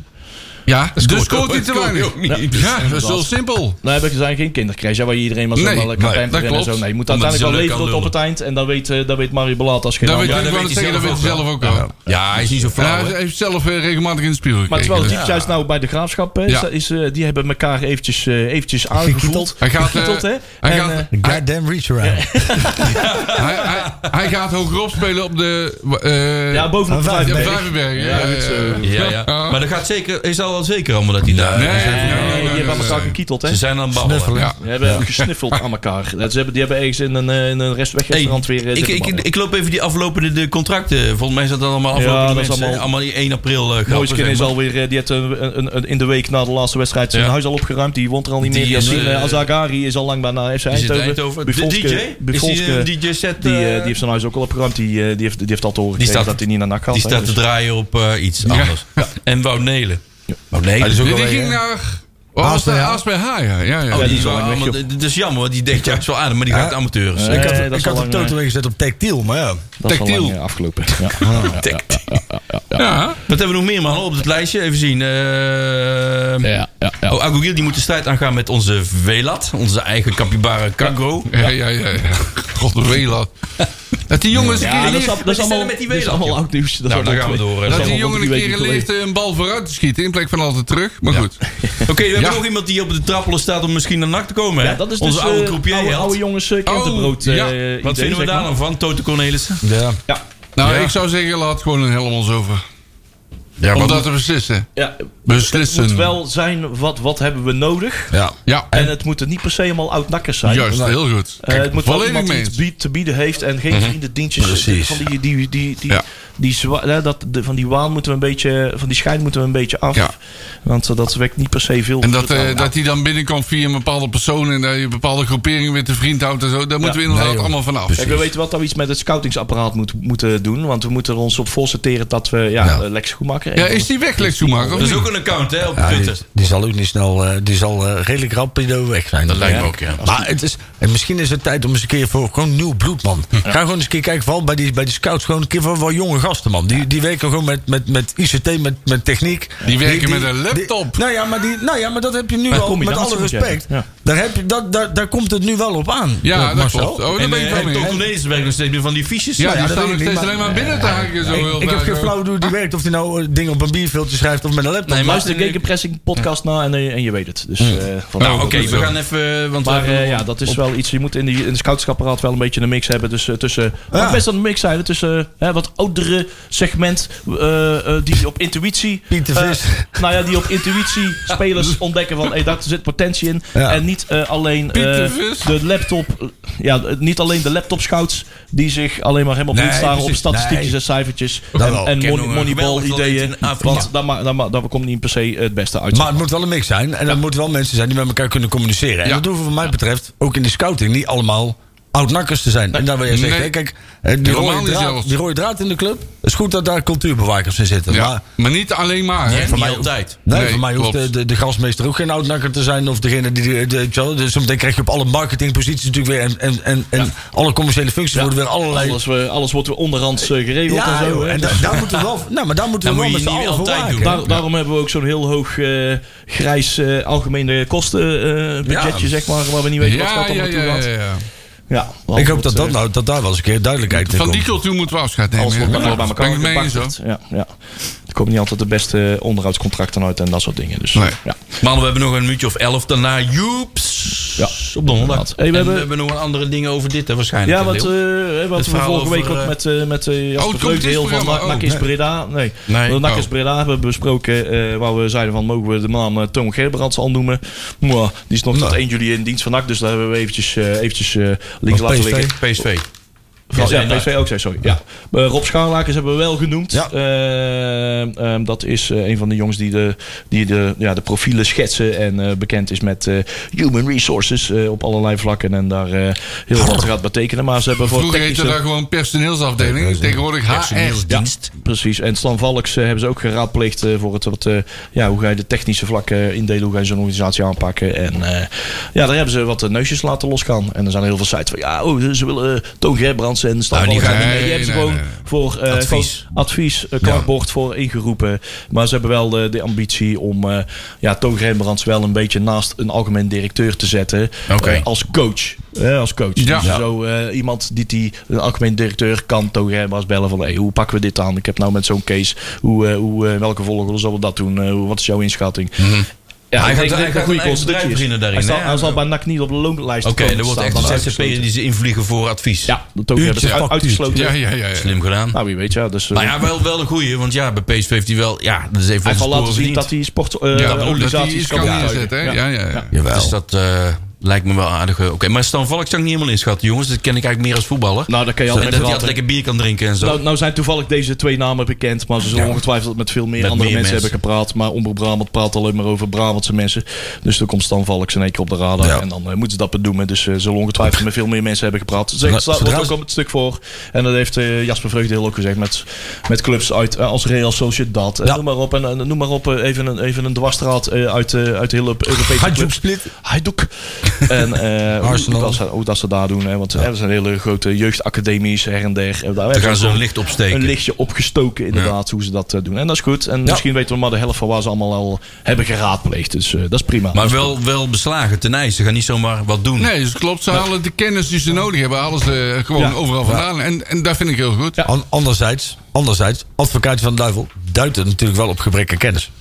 Speaker 3: Ja, dus
Speaker 2: scoort-
Speaker 3: scoort hij te
Speaker 2: scoort hij ook
Speaker 3: weinig.
Speaker 2: niet.
Speaker 3: Ja, dat is wel simpel.
Speaker 6: Nee, we zijn geen kindercrash hè, waar je iedereen maar zo
Speaker 3: Nee,
Speaker 6: wel kan
Speaker 3: nee, dat
Speaker 6: pamperen en
Speaker 3: klopt.
Speaker 6: zo. Nee, je moet
Speaker 2: Omdat
Speaker 6: uiteindelijk wel
Speaker 2: hij zo leuk
Speaker 6: leveren tot op
Speaker 2: kan
Speaker 6: het eind. En dat weet, eh, dat weet Mario Belat als geen
Speaker 3: Dat
Speaker 6: ander.
Speaker 3: weet,
Speaker 2: dat
Speaker 3: ik
Speaker 2: weet
Speaker 3: wou
Speaker 2: hij
Speaker 3: het zeggen, dat weet
Speaker 2: zelf
Speaker 3: hij zelf ook al.
Speaker 2: Ja, hij is niet zo
Speaker 3: En
Speaker 2: flauw.
Speaker 3: hij
Speaker 2: hè?
Speaker 3: heeft zelf eh, regelmatig in de spiegel
Speaker 6: Maar
Speaker 3: gekeken.
Speaker 6: terwijl het
Speaker 3: dus.
Speaker 6: diep juist nou bij de graafschap eh,
Speaker 3: Ja.
Speaker 6: is, eh, die hebben elkaar eventjes, eh, eventjes aangevoeld.
Speaker 3: Hij gaat, eh,
Speaker 6: Gekieteld, hè?
Speaker 3: hij
Speaker 6: En,
Speaker 3: gaat-
Speaker 6: eh,
Speaker 5: Goddamn reach around.
Speaker 3: hij, hij, hij gaat hogerop spelen op de... eh
Speaker 6: ja, bovenop de
Speaker 5: Van
Speaker 6: vijf.
Speaker 3: ja,
Speaker 5: Vijverberg.
Speaker 3: Vijverberg.
Speaker 6: Ja, goed, eh,
Speaker 2: Ja, ja. Maar dat gaat zeker, is al wel zeker allemaal dat hij daar...
Speaker 3: Nee, nee,
Speaker 6: Nee,
Speaker 3: nee,
Speaker 6: die
Speaker 3: nee,
Speaker 6: hebben aan
Speaker 3: nee,
Speaker 6: elkaar
Speaker 3: nee.
Speaker 6: gekieteld, hè?
Speaker 2: Ze zijn aan het babbelen.
Speaker 3: Ja.
Speaker 6: Die hebben gesnuffeld aan elkaar. Dat- Ze hebben, die hebben ergens in een, eh, in een
Speaker 2: Hey,
Speaker 6: restwegrestaurant weer... eh,
Speaker 2: ik,
Speaker 6: zitten
Speaker 2: ik,
Speaker 6: babbelen.
Speaker 2: ik loop even die aflopende de contracten. Volgens mij is dat allemaal aflopende
Speaker 6: Ja, dat is
Speaker 2: mensen. Allemaal,
Speaker 6: allemaal-
Speaker 2: die 1 april eh grappen.
Speaker 6: Moiskin
Speaker 2: zeg
Speaker 6: is
Speaker 2: maar.
Speaker 6: alweer, eh, die heeft een, een, een- in de week na de laatste wedstrijd zijn
Speaker 2: Ja.
Speaker 6: huis al opgeruimd. Die woont er al niet
Speaker 2: Die
Speaker 6: meer.
Speaker 2: is,
Speaker 6: Yassine
Speaker 2: eh,
Speaker 6: Azagari is al lang bij naar FC
Speaker 2: Is het
Speaker 6: Eindhoven.
Speaker 2: Eindhoven? De
Speaker 6: Buffalske-
Speaker 2: DJ? is die
Speaker 6: Buffalske,
Speaker 2: een DJ-set?
Speaker 6: die, eh, die heeft zijn huis ook al opgeruimd. Die, eh, die, heeft, die heeft al te horen gekregen
Speaker 2: staat-
Speaker 6: dat hij niet naar NAC gaat.
Speaker 2: Die
Speaker 6: hè.
Speaker 2: staat te
Speaker 6: Dus-
Speaker 2: draaien op eh, iets anders. En Wout Nelen. Wout
Speaker 5: Hij
Speaker 2: Nelen.
Speaker 5: is ook
Speaker 3: Die
Speaker 5: alweer,
Speaker 3: ging
Speaker 5: eh,
Speaker 3: naar... Oh,
Speaker 5: Haas
Speaker 3: Haas
Speaker 5: bij
Speaker 3: bij
Speaker 5: Haas.
Speaker 3: Haas bij H, ja. ja, ja.
Speaker 2: Oh, die is
Speaker 3: Ja,
Speaker 2: wel lang weg,
Speaker 3: want-
Speaker 2: joh. Dat is jammer, want die denkt juist wel aan, maar die gaat amateurs. eh.
Speaker 5: ik had,
Speaker 6: Nee, dat
Speaker 5: ik
Speaker 6: is eh,
Speaker 5: had
Speaker 6: al
Speaker 5: het
Speaker 6: lang,
Speaker 5: totaal ingezet op tactiel, maar ja.
Speaker 6: Dat is al
Speaker 3: Tactiel.
Speaker 6: lang eh, afgelopen. Ja. Ja.
Speaker 3: Ja,
Speaker 2: Wat hebben we nog meer, man, op het lijstje? Even zien. Eh,
Speaker 4: Ja, ja, ja.
Speaker 2: Oh, Agogiel die moet de strijd aangaan met onze Velat. Onze eigen capybara Kango.
Speaker 3: ja, ja. ja, ja. God, de Welat. Dat die jongens een keer
Speaker 6: dat is,
Speaker 3: leert...
Speaker 6: al- dat is allemaal,
Speaker 2: met die
Speaker 6: dat is
Speaker 2: wereld,
Speaker 6: allemaal
Speaker 2: joh.
Speaker 6: oud nieuws. Dat
Speaker 2: Nou,
Speaker 6: is
Speaker 2: dan
Speaker 6: al
Speaker 2: gaan we
Speaker 6: twee-
Speaker 2: door. eh.
Speaker 3: Dat
Speaker 6: allemaal
Speaker 3: die jongen een
Speaker 6: drie
Speaker 3: keer
Speaker 6: weken
Speaker 3: leert eh, een bal vooruit te schieten in plek van altijd terug. Maar goed.
Speaker 2: Oké, we hebben
Speaker 3: Ja.
Speaker 2: nog iemand die op de trappelen staat om misschien naar NAC te komen. hè?
Speaker 6: Ja, dat is
Speaker 2: onze
Speaker 6: dus,
Speaker 2: oude
Speaker 6: eh,
Speaker 2: croupier.
Speaker 6: oude,
Speaker 2: Held.
Speaker 6: oude jongens eh, krentenbrood.
Speaker 3: Oh,
Speaker 6: eh,
Speaker 3: ja.
Speaker 6: idee,
Speaker 2: Wat vinden we
Speaker 6: zeg
Speaker 2: daar
Speaker 6: maar.
Speaker 2: dan van, Toto Cornelissen?
Speaker 5: ja.
Speaker 6: Ja,
Speaker 3: Nou,
Speaker 2: Ja.
Speaker 3: ik zou zeggen, laat gewoon een helm ons over.
Speaker 2: Ja,
Speaker 3: Om dat te beslissen.
Speaker 6: ja,
Speaker 3: Beslissen.
Speaker 6: het moet wel zijn wat, wat hebben we nodig.
Speaker 5: ja.
Speaker 3: Ja,
Speaker 6: En het moeten niet per se helemaal oud-nakkers zijn.
Speaker 3: juist. Heel goed.
Speaker 6: Eh, het moet wel
Speaker 3: volledig
Speaker 6: iemand
Speaker 3: mee
Speaker 6: die
Speaker 3: eens. Mhm.
Speaker 6: iets bied- te bieden heeft en geen vriendendienstjes.
Speaker 5: Precies.
Speaker 6: Van die, die, die, die, die,
Speaker 3: Ja.
Speaker 6: zwa- hè, dat, de- van die waan moeten we een beetje, van die schijn moeten we een beetje af.
Speaker 3: Ja.
Speaker 6: Want eh, dat wekt niet per se veel.
Speaker 3: En dat, eh,
Speaker 6: vertrouwen.
Speaker 3: dat die dan binnenkomt via een bepaalde persoon en dat je bepaalde groeperingen weer te vriend houdt en zo, daar moeten we inderdaad allemaal van af.
Speaker 6: Kijk, we weten wel dat we iets met het scoutingsapparaat moet, moeten doen. Want we moeten er ons op voorsorteren dat we ja, eh, Lex Schoenmaker...
Speaker 3: Ja, is die weg, Lex Schumacher? of
Speaker 2: Dat is
Speaker 3: niet?
Speaker 2: ook een account, hè, op Twitter.
Speaker 5: Ah, die, die zal ook niet snel, eh, die zal eh, redelijk rapido weg zijn. Dat
Speaker 2: lijkt me ook, ja.
Speaker 5: Maar het is, en misschien is het tijd om eens een keer voor gewoon nieuw bloed, man. Ga gewoon eens een keer kijken, vooral bij die, bij die scouts, gewoon een keer voor wel jonge gasten, man. Die, die werken gewoon met, met, met ICT, met, met techniek.
Speaker 3: Die werken met een laptop.
Speaker 5: nou, ja, maar die, nou ja, maar dat heb je nu al,
Speaker 6: Maar
Speaker 5: met
Speaker 6: combinatie
Speaker 5: alle
Speaker 6: moet je
Speaker 5: respect.
Speaker 6: hebben,
Speaker 5: Daar, heb je, dat, daar, daar komt het nu wel op aan. eh,
Speaker 3: ja, dat
Speaker 5: Marcel.
Speaker 3: klopt. Oh, daar
Speaker 2: En
Speaker 3: ben ik
Speaker 2: eh,
Speaker 3: wel mee
Speaker 2: Toto
Speaker 3: eens.
Speaker 2: Cornelissen werkt nog steeds meer van die fiches.
Speaker 3: Ja,
Speaker 5: Nou ja,
Speaker 3: die
Speaker 5: dat
Speaker 3: staan
Speaker 5: weet
Speaker 3: nog
Speaker 5: ik
Speaker 3: steeds
Speaker 5: niet,
Speaker 3: alleen
Speaker 5: maar-
Speaker 3: maar binnen te haken. Zo heel
Speaker 5: Ik, ik heb
Speaker 3: dag,
Speaker 5: geen
Speaker 3: eh.
Speaker 5: flauw idee hoe die werkt. Of die nou eh, dingen op een bierveeltje schrijft of met een laptop.
Speaker 2: Nee, maar-
Speaker 6: Luister de Gegenpressing podcast na en, eh, en je weet het. Dus,
Speaker 3: Mm.
Speaker 6: eh, van-
Speaker 2: Nou, oké, we
Speaker 3: zo.
Speaker 2: gaan even... Want we
Speaker 6: Maar
Speaker 2: hebben
Speaker 6: eh,
Speaker 2: nog-
Speaker 6: ja, dat is wel iets. Je moet in, die, in de scoutsapparaat wel een beetje een mix hebben. Dus, eh, tussen, maar
Speaker 5: Ja.
Speaker 6: best wel een mix zijn. Tussen eh, hè, wat oudere segment. eh, eh, die op intuïtie.
Speaker 5: Pieter
Speaker 6: eh,
Speaker 5: Vis.
Speaker 6: nou ja, die op intuïtie spelers ontdekken van. Hey, daar zit potentie in.
Speaker 5: Ja.
Speaker 6: En niet eh, alleen eh,
Speaker 3: Pieter Vis.
Speaker 6: de laptop. ja, eh, niet alleen de laptop scouts. Die zich alleen maar helemaal
Speaker 5: Nee,
Speaker 6: blind staren op
Speaker 5: precies.
Speaker 6: statistiekjes
Speaker 5: Nee.
Speaker 6: en cijfertjes.
Speaker 5: Dat
Speaker 6: en
Speaker 5: wel.
Speaker 6: en
Speaker 2: Ik ken
Speaker 6: mon-
Speaker 2: nog een
Speaker 6: moneyball
Speaker 2: geweldig talent
Speaker 6: ideën.
Speaker 2: in Afrika.
Speaker 6: Want daar, ma- daar, ma- daar komt niet per se het beste uit.
Speaker 5: Maar het moet wel een mix zijn. En er moeten wel mensen zijn die met elkaar kunnen communiceren. En
Speaker 3: Ja.
Speaker 5: dat hoeven wat mij betreft ook in de scouting niet allemaal oud-nakkers te zijn. En daar wil jij zeggen,
Speaker 3: Nee.
Speaker 5: hè, kijk, eh, die
Speaker 3: Helemaal
Speaker 5: rode,
Speaker 3: niet
Speaker 5: draad,
Speaker 3: zelfs.
Speaker 5: die rode draad in de club. Het is goed dat daar cultuurbewakers in zitten. Maar
Speaker 3: Ja, maar niet alleen maar. hè.
Speaker 2: En niet
Speaker 5: mij-
Speaker 2: altijd.
Speaker 5: nee,
Speaker 3: Nee,
Speaker 5: voor mij hoeft
Speaker 3: klopt.
Speaker 5: de, de, de gasmeester ook geen oud-nakker te zijn. Of degene die... die- die- weet je wel, dus zometeen krijg je op alle marketingposities natuurlijk weer... En, en, en, en alle commerciële functies worden weer allerlei...
Speaker 6: Alles, we, alles wordt weer onderhands eh, geregeld
Speaker 5: ja,
Speaker 6: en zo.
Speaker 5: joh,
Speaker 6: hè.
Speaker 5: en da- daar moeten we wel, nou, maar daar moeten we
Speaker 2: Dan
Speaker 5: wel met
Speaker 2: moet
Speaker 5: z'n
Speaker 2: je niet
Speaker 5: allen voor
Speaker 2: altijd
Speaker 5: waken.
Speaker 2: doen.
Speaker 6: Daar- daarom hebben we ook zo'n heel hoog eh, grijs eh, algemene kostenbudgetje,
Speaker 5: Ja.
Speaker 6: zeg maar, waar we niet weten wat dat
Speaker 3: ja,
Speaker 6: allemaal toe
Speaker 3: ja,
Speaker 6: gaat.
Speaker 3: ja, ja.
Speaker 6: Ja, eh,
Speaker 5: Ik hoop dat, dat, nou, dat daar wel eens een keer duidelijkheid in
Speaker 3: Van
Speaker 5: komt.
Speaker 3: die cultuur moeten we afscheid nemen.
Speaker 6: alles
Speaker 3: ja,
Speaker 6: wordt
Speaker 3: dat
Speaker 6: bij
Speaker 3: klopt. Ben
Speaker 6: elkaar
Speaker 3: ik het mee eens hoor.
Speaker 6: gepakt. Ja, ja. Er komen niet altijd de beste eh, onderhoudscontracten uit en dat soort dingen. Dus,
Speaker 3: Nee.
Speaker 6: ja.
Speaker 2: Mannen, we hebben nog een minuutje of elf. Daarna Joeps.
Speaker 6: Ja.
Speaker 2: Op donderdag.
Speaker 6: Inderdaad. Hey, we
Speaker 2: en
Speaker 6: hebben-
Speaker 2: we hebben nog een andere dingen over dit, hè, waarschijnlijk.
Speaker 6: Ja,
Speaker 2: hè,
Speaker 6: wat,
Speaker 2: Leeuw?
Speaker 6: eh, wat we
Speaker 2: verhaal
Speaker 6: vorige
Speaker 2: over,
Speaker 6: week
Speaker 2: eh,
Speaker 6: ook met, eh met eh
Speaker 3: Oh,
Speaker 6: Jasper
Speaker 3: het
Speaker 6: Vreugde heel van
Speaker 3: competitieprogramma.
Speaker 6: Na- NAC
Speaker 3: Oh,
Speaker 6: is
Speaker 3: nee.
Speaker 6: Breda. Nee,
Speaker 2: Nee,
Speaker 6: Want NAC
Speaker 3: oh.
Speaker 6: is Breda hebben we besproken eh, waar we zeiden van mogen we de naam eh, Toon Gerbrands al noemen. Maar die is nog tot 1 juli in dienst van NAC, dus daar hebben we eventjes, eh, eventjes eh, links
Speaker 5: Of
Speaker 6: laten
Speaker 5: PSV.
Speaker 6: liggen.
Speaker 2: PSV.
Speaker 6: Ja,
Speaker 2: Ja,
Speaker 6: ja, PSV ook, zei sorry. Ja. Eh, Rob Schaarlakers hebben we wel genoemd.
Speaker 5: Ja.
Speaker 6: Eh, ehm, dat is eh, een van de jongens die de, die de, ja, de profielen schetsen. En eh, bekend is met eh, human resources eh, op allerlei vlakken. En daar eh, heel wat gaat betekenen. Maar ze hebben voor
Speaker 3: Vroeger heette
Speaker 6: technische...
Speaker 3: dat gewoon personeelsafdeling. Tegenwoordig HR.
Speaker 2: Dienst.
Speaker 6: Precies. En Stan Valks eh, hebben ze ook geraadpleegd eh, voor het wat, eh, ja, hoe ga je de technische vlakken indelen, hoe ga je zo'n organisatie aanpakken. En eh, ja, daar hebben ze wat eh, neusjes laten losgaan. En er zijn heel veel sites van ja, oh, ze willen eh, Toon Gerbrands en Stan
Speaker 2: Nou, die
Speaker 6: Valks.
Speaker 2: gaan-
Speaker 6: en die-
Speaker 3: Ah, nee,
Speaker 6: die hebben ze
Speaker 3: nee,
Speaker 6: gewoon
Speaker 3: nee.
Speaker 6: voor eh,
Speaker 2: Advies.
Speaker 6: gewoon advies eh, klankbord voor ingeroepen. Maar ze hebben wel eh, de ambitie om eh, ja, Toon Gerbrands wel een beetje naast een algemeen directeur te zetten.
Speaker 2: Oké.
Speaker 6: Eh, als coach. Eh, als coach.
Speaker 3: Ja.
Speaker 6: Dus
Speaker 3: Ja.
Speaker 6: zo eh, iemand die, die een algemeen directeur kan toch hè, maar eens bellen van hey, hoe pakken we dit aan? Ik heb nou met zo'n case, hoe, eh, hoe, eh, welke volgorde zullen we dat doen? Eh, hoe- wat is jouw inschatting? Ja,
Speaker 2: Hij gaat-
Speaker 6: ik denk
Speaker 2: hij
Speaker 6: dat
Speaker 2: gaat
Speaker 6: goede
Speaker 2: een eigen
Speaker 6: constructie
Speaker 2: bedrijf
Speaker 6: is.
Speaker 2: beginnen daarin,
Speaker 6: Hij zal,
Speaker 2: hè?
Speaker 6: hij zal bij NAC niet op de loonlijst
Speaker 2: Oké,
Speaker 6: komen
Speaker 2: er wordt
Speaker 6: te
Speaker 2: echt
Speaker 6: staan.
Speaker 2: een
Speaker 6: Dat is
Speaker 2: ZZP'er die ze invliegen voor advies.
Speaker 6: Ja, dat ook hebben
Speaker 5: Uurtje,
Speaker 6: ze uit-
Speaker 5: factuurtje.
Speaker 6: uitgesloten.
Speaker 3: Ja, ja, ja. ja.
Speaker 2: Slim gedaan.
Speaker 6: Nou, wie weet ja. Dus, eh,
Speaker 2: Maar ja, wel, wel de goeie, want ja, bij PSV heeft hij wel... Ja, dat is even
Speaker 6: hij
Speaker 2: van
Speaker 6: zal
Speaker 2: de sporen
Speaker 6: laten zien
Speaker 2: verdiend.
Speaker 6: dat hij
Speaker 3: Ja, dat hij
Speaker 6: sportorganisaties
Speaker 3: iets
Speaker 6: kan
Speaker 3: kan
Speaker 6: optuigen.
Speaker 3: inzetten. hè. Ja, ja, ja.
Speaker 2: Dus dat, eh, Lijkt me wel aardig. eh, Oké, maar Stan Valk zou ik niet helemaal inschatten, jongens. Dat ken ik eigenlijk meer als voetballer.
Speaker 6: Nou, dat kan je
Speaker 2: en dat
Speaker 6: altijd
Speaker 2: hij
Speaker 6: verwachten.
Speaker 2: altijd lekker bier kan drinken en zo.
Speaker 6: Nou, nou zijn toevallig deze twee namen bekend, maar ze zullen ongetwijfeld met veel meer
Speaker 2: Met
Speaker 6: andere
Speaker 2: meer
Speaker 6: mensen,
Speaker 2: mensen.
Speaker 6: hebben gepraat. Maar Omroep Brabant praat alleen maar over Brabantse mensen. Dus dan komt Stan Valks in één keer op de radar
Speaker 5: Ja.
Speaker 6: en dan eh, moeten ze dat bedoelen. Dus eh, ze zullen ongetwijfeld met veel meer mensen hebben gepraat. Ze
Speaker 5: Nou,
Speaker 6: staat
Speaker 5: zodra
Speaker 6: wordt ook
Speaker 5: ze-
Speaker 6: op het stuk voor. En dat heeft eh, Jasper Vreugdeel ook gezegd met, met clubs uit, eh, als Real Sociedad. En
Speaker 5: Ja.
Speaker 6: Noem maar op, en, en noem maar op eh, even, een, even een dwarsstraat eh, uit, eh, uit de hele Europese
Speaker 5: Hajdjoek
Speaker 6: clubs.
Speaker 5: Split.
Speaker 6: Hajduk. En eh, hoe,
Speaker 5: Arsenal.
Speaker 6: dat ze, hoe dat ze daar doen. Hè? Want eh, er zijn hele grote jeugdacademies her en der. En daar
Speaker 2: dan gaan
Speaker 6: hebben
Speaker 2: ze
Speaker 6: ook
Speaker 2: een licht opsteken.
Speaker 6: een lichtje opgestoken inderdaad hoe ze dat eh, doen. En dat is goed. En misschien weten we maar de helft van waar ze allemaal al hebben geraadpleegd. Dus eh, dat is prima.
Speaker 2: Maar wel, wel beslagen, ten ijs. Ze gaan niet zomaar wat doen.
Speaker 3: Nee, dus klopt. Ze halen de kennis die ze nodig hebben, halen ze eh, gewoon
Speaker 6: Ja.
Speaker 3: overal vandaan. En, en dat vind ik heel goed.
Speaker 6: Ja.
Speaker 5: An- anderzijds, anderzijds, advocaatje van de duivel duidt het natuurlijk wel op gebrek aan kennis.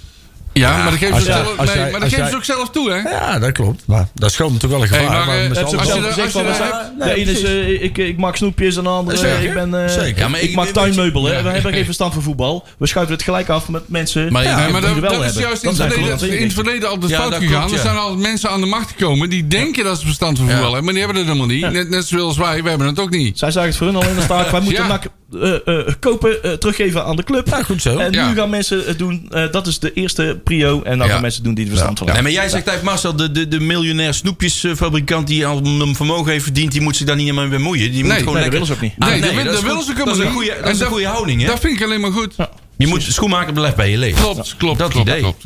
Speaker 3: Ja, maar dat geven
Speaker 5: als
Speaker 3: ze,
Speaker 5: jij-
Speaker 3: zelf,
Speaker 5: als
Speaker 3: nee,
Speaker 5: jij-
Speaker 3: maar dat
Speaker 5: als
Speaker 3: geven
Speaker 5: jij-
Speaker 3: ze ook zelf toe, hè?
Speaker 5: Ja, dat klopt. Maar dat schoot natuurlijk wel een
Speaker 3: Hey,
Speaker 5: gevaar.
Speaker 3: maar, eh,
Speaker 5: met z'n
Speaker 3: dat
Speaker 6: Net
Speaker 5: allen-
Speaker 3: is
Speaker 6: zoals
Speaker 3: als
Speaker 6: je
Speaker 3: je
Speaker 6: zelf
Speaker 3: dat- als
Speaker 6: zegt,
Speaker 3: je
Speaker 6: van, we
Speaker 3: dat
Speaker 6: zijn- de ene is eh, ik, ik maak snoepjes en de andere eh,
Speaker 5: Zeker.
Speaker 6: ik ben eh,
Speaker 5: Zeker.
Speaker 2: Ja, maar
Speaker 6: ik,
Speaker 2: ik-
Speaker 6: maak
Speaker 2: ik-
Speaker 6: tuinmeubelen. we
Speaker 2: Ja.
Speaker 6: hebben geen verstand van voetbal. We schuiven het gelijk af met mensen
Speaker 2: Maar-
Speaker 6: ja,
Speaker 3: Nee, maar
Speaker 6: die
Speaker 3: dat,
Speaker 6: er wel
Speaker 3: dat is
Speaker 6: hebben.
Speaker 3: juist in het,
Speaker 6: zijn
Speaker 3: verleden,
Speaker 6: gewoon
Speaker 3: in het
Speaker 6: twee
Speaker 3: verleden altijd
Speaker 2: Ja,
Speaker 3: fout
Speaker 2: dat
Speaker 3: gegaan.
Speaker 2: klopt,
Speaker 3: Er
Speaker 2: ja.
Speaker 3: zijn altijd mensen aan de macht gekomen die denken dat ze verstand van voetbal
Speaker 2: Ja.
Speaker 3: hebben. Maar die hebben het helemaal niet. Net, net zoals wij, we hebben het ook niet.
Speaker 6: Zij zagen het voor hun al in de staart. Wij moeten
Speaker 3: Ja.
Speaker 6: NAC eh, eh, kopen, eh, teruggeven aan de club.
Speaker 5: Ja, goed zo.
Speaker 6: En
Speaker 3: Ja.
Speaker 6: nu gaan mensen het doen. eh, dat is de eerste prio. En dan
Speaker 2: Ja.
Speaker 6: gaan mensen doen die er verstand van
Speaker 2: Nee,
Speaker 6: hebben.
Speaker 2: maar jij zegt eigenlijk, Marcel, de, de, de miljonair snoepjesfabrikant die al een vermogen heeft verdiend, die moet zich daar niet mee bemoeien. Die moet
Speaker 3: Nee,
Speaker 2: gewoon
Speaker 6: nee,
Speaker 2: lekker...
Speaker 6: dat willen ze ook niet.
Speaker 2: Ah,
Speaker 3: Nee, dat wil-
Speaker 2: is
Speaker 3: dat
Speaker 2: goed.
Speaker 3: willen ze ook helemaal
Speaker 2: Dat is een
Speaker 3: niet.
Speaker 2: goede,
Speaker 3: En
Speaker 2: dat is een
Speaker 3: dat-
Speaker 2: goede houding, hè?
Speaker 3: Dat vind ik alleen maar goed.
Speaker 2: Je moet schoenmaker blijft bij je leven.
Speaker 3: Klopt, klopt,
Speaker 2: Dat
Speaker 3: klopt,
Speaker 2: idee.
Speaker 3: klopt.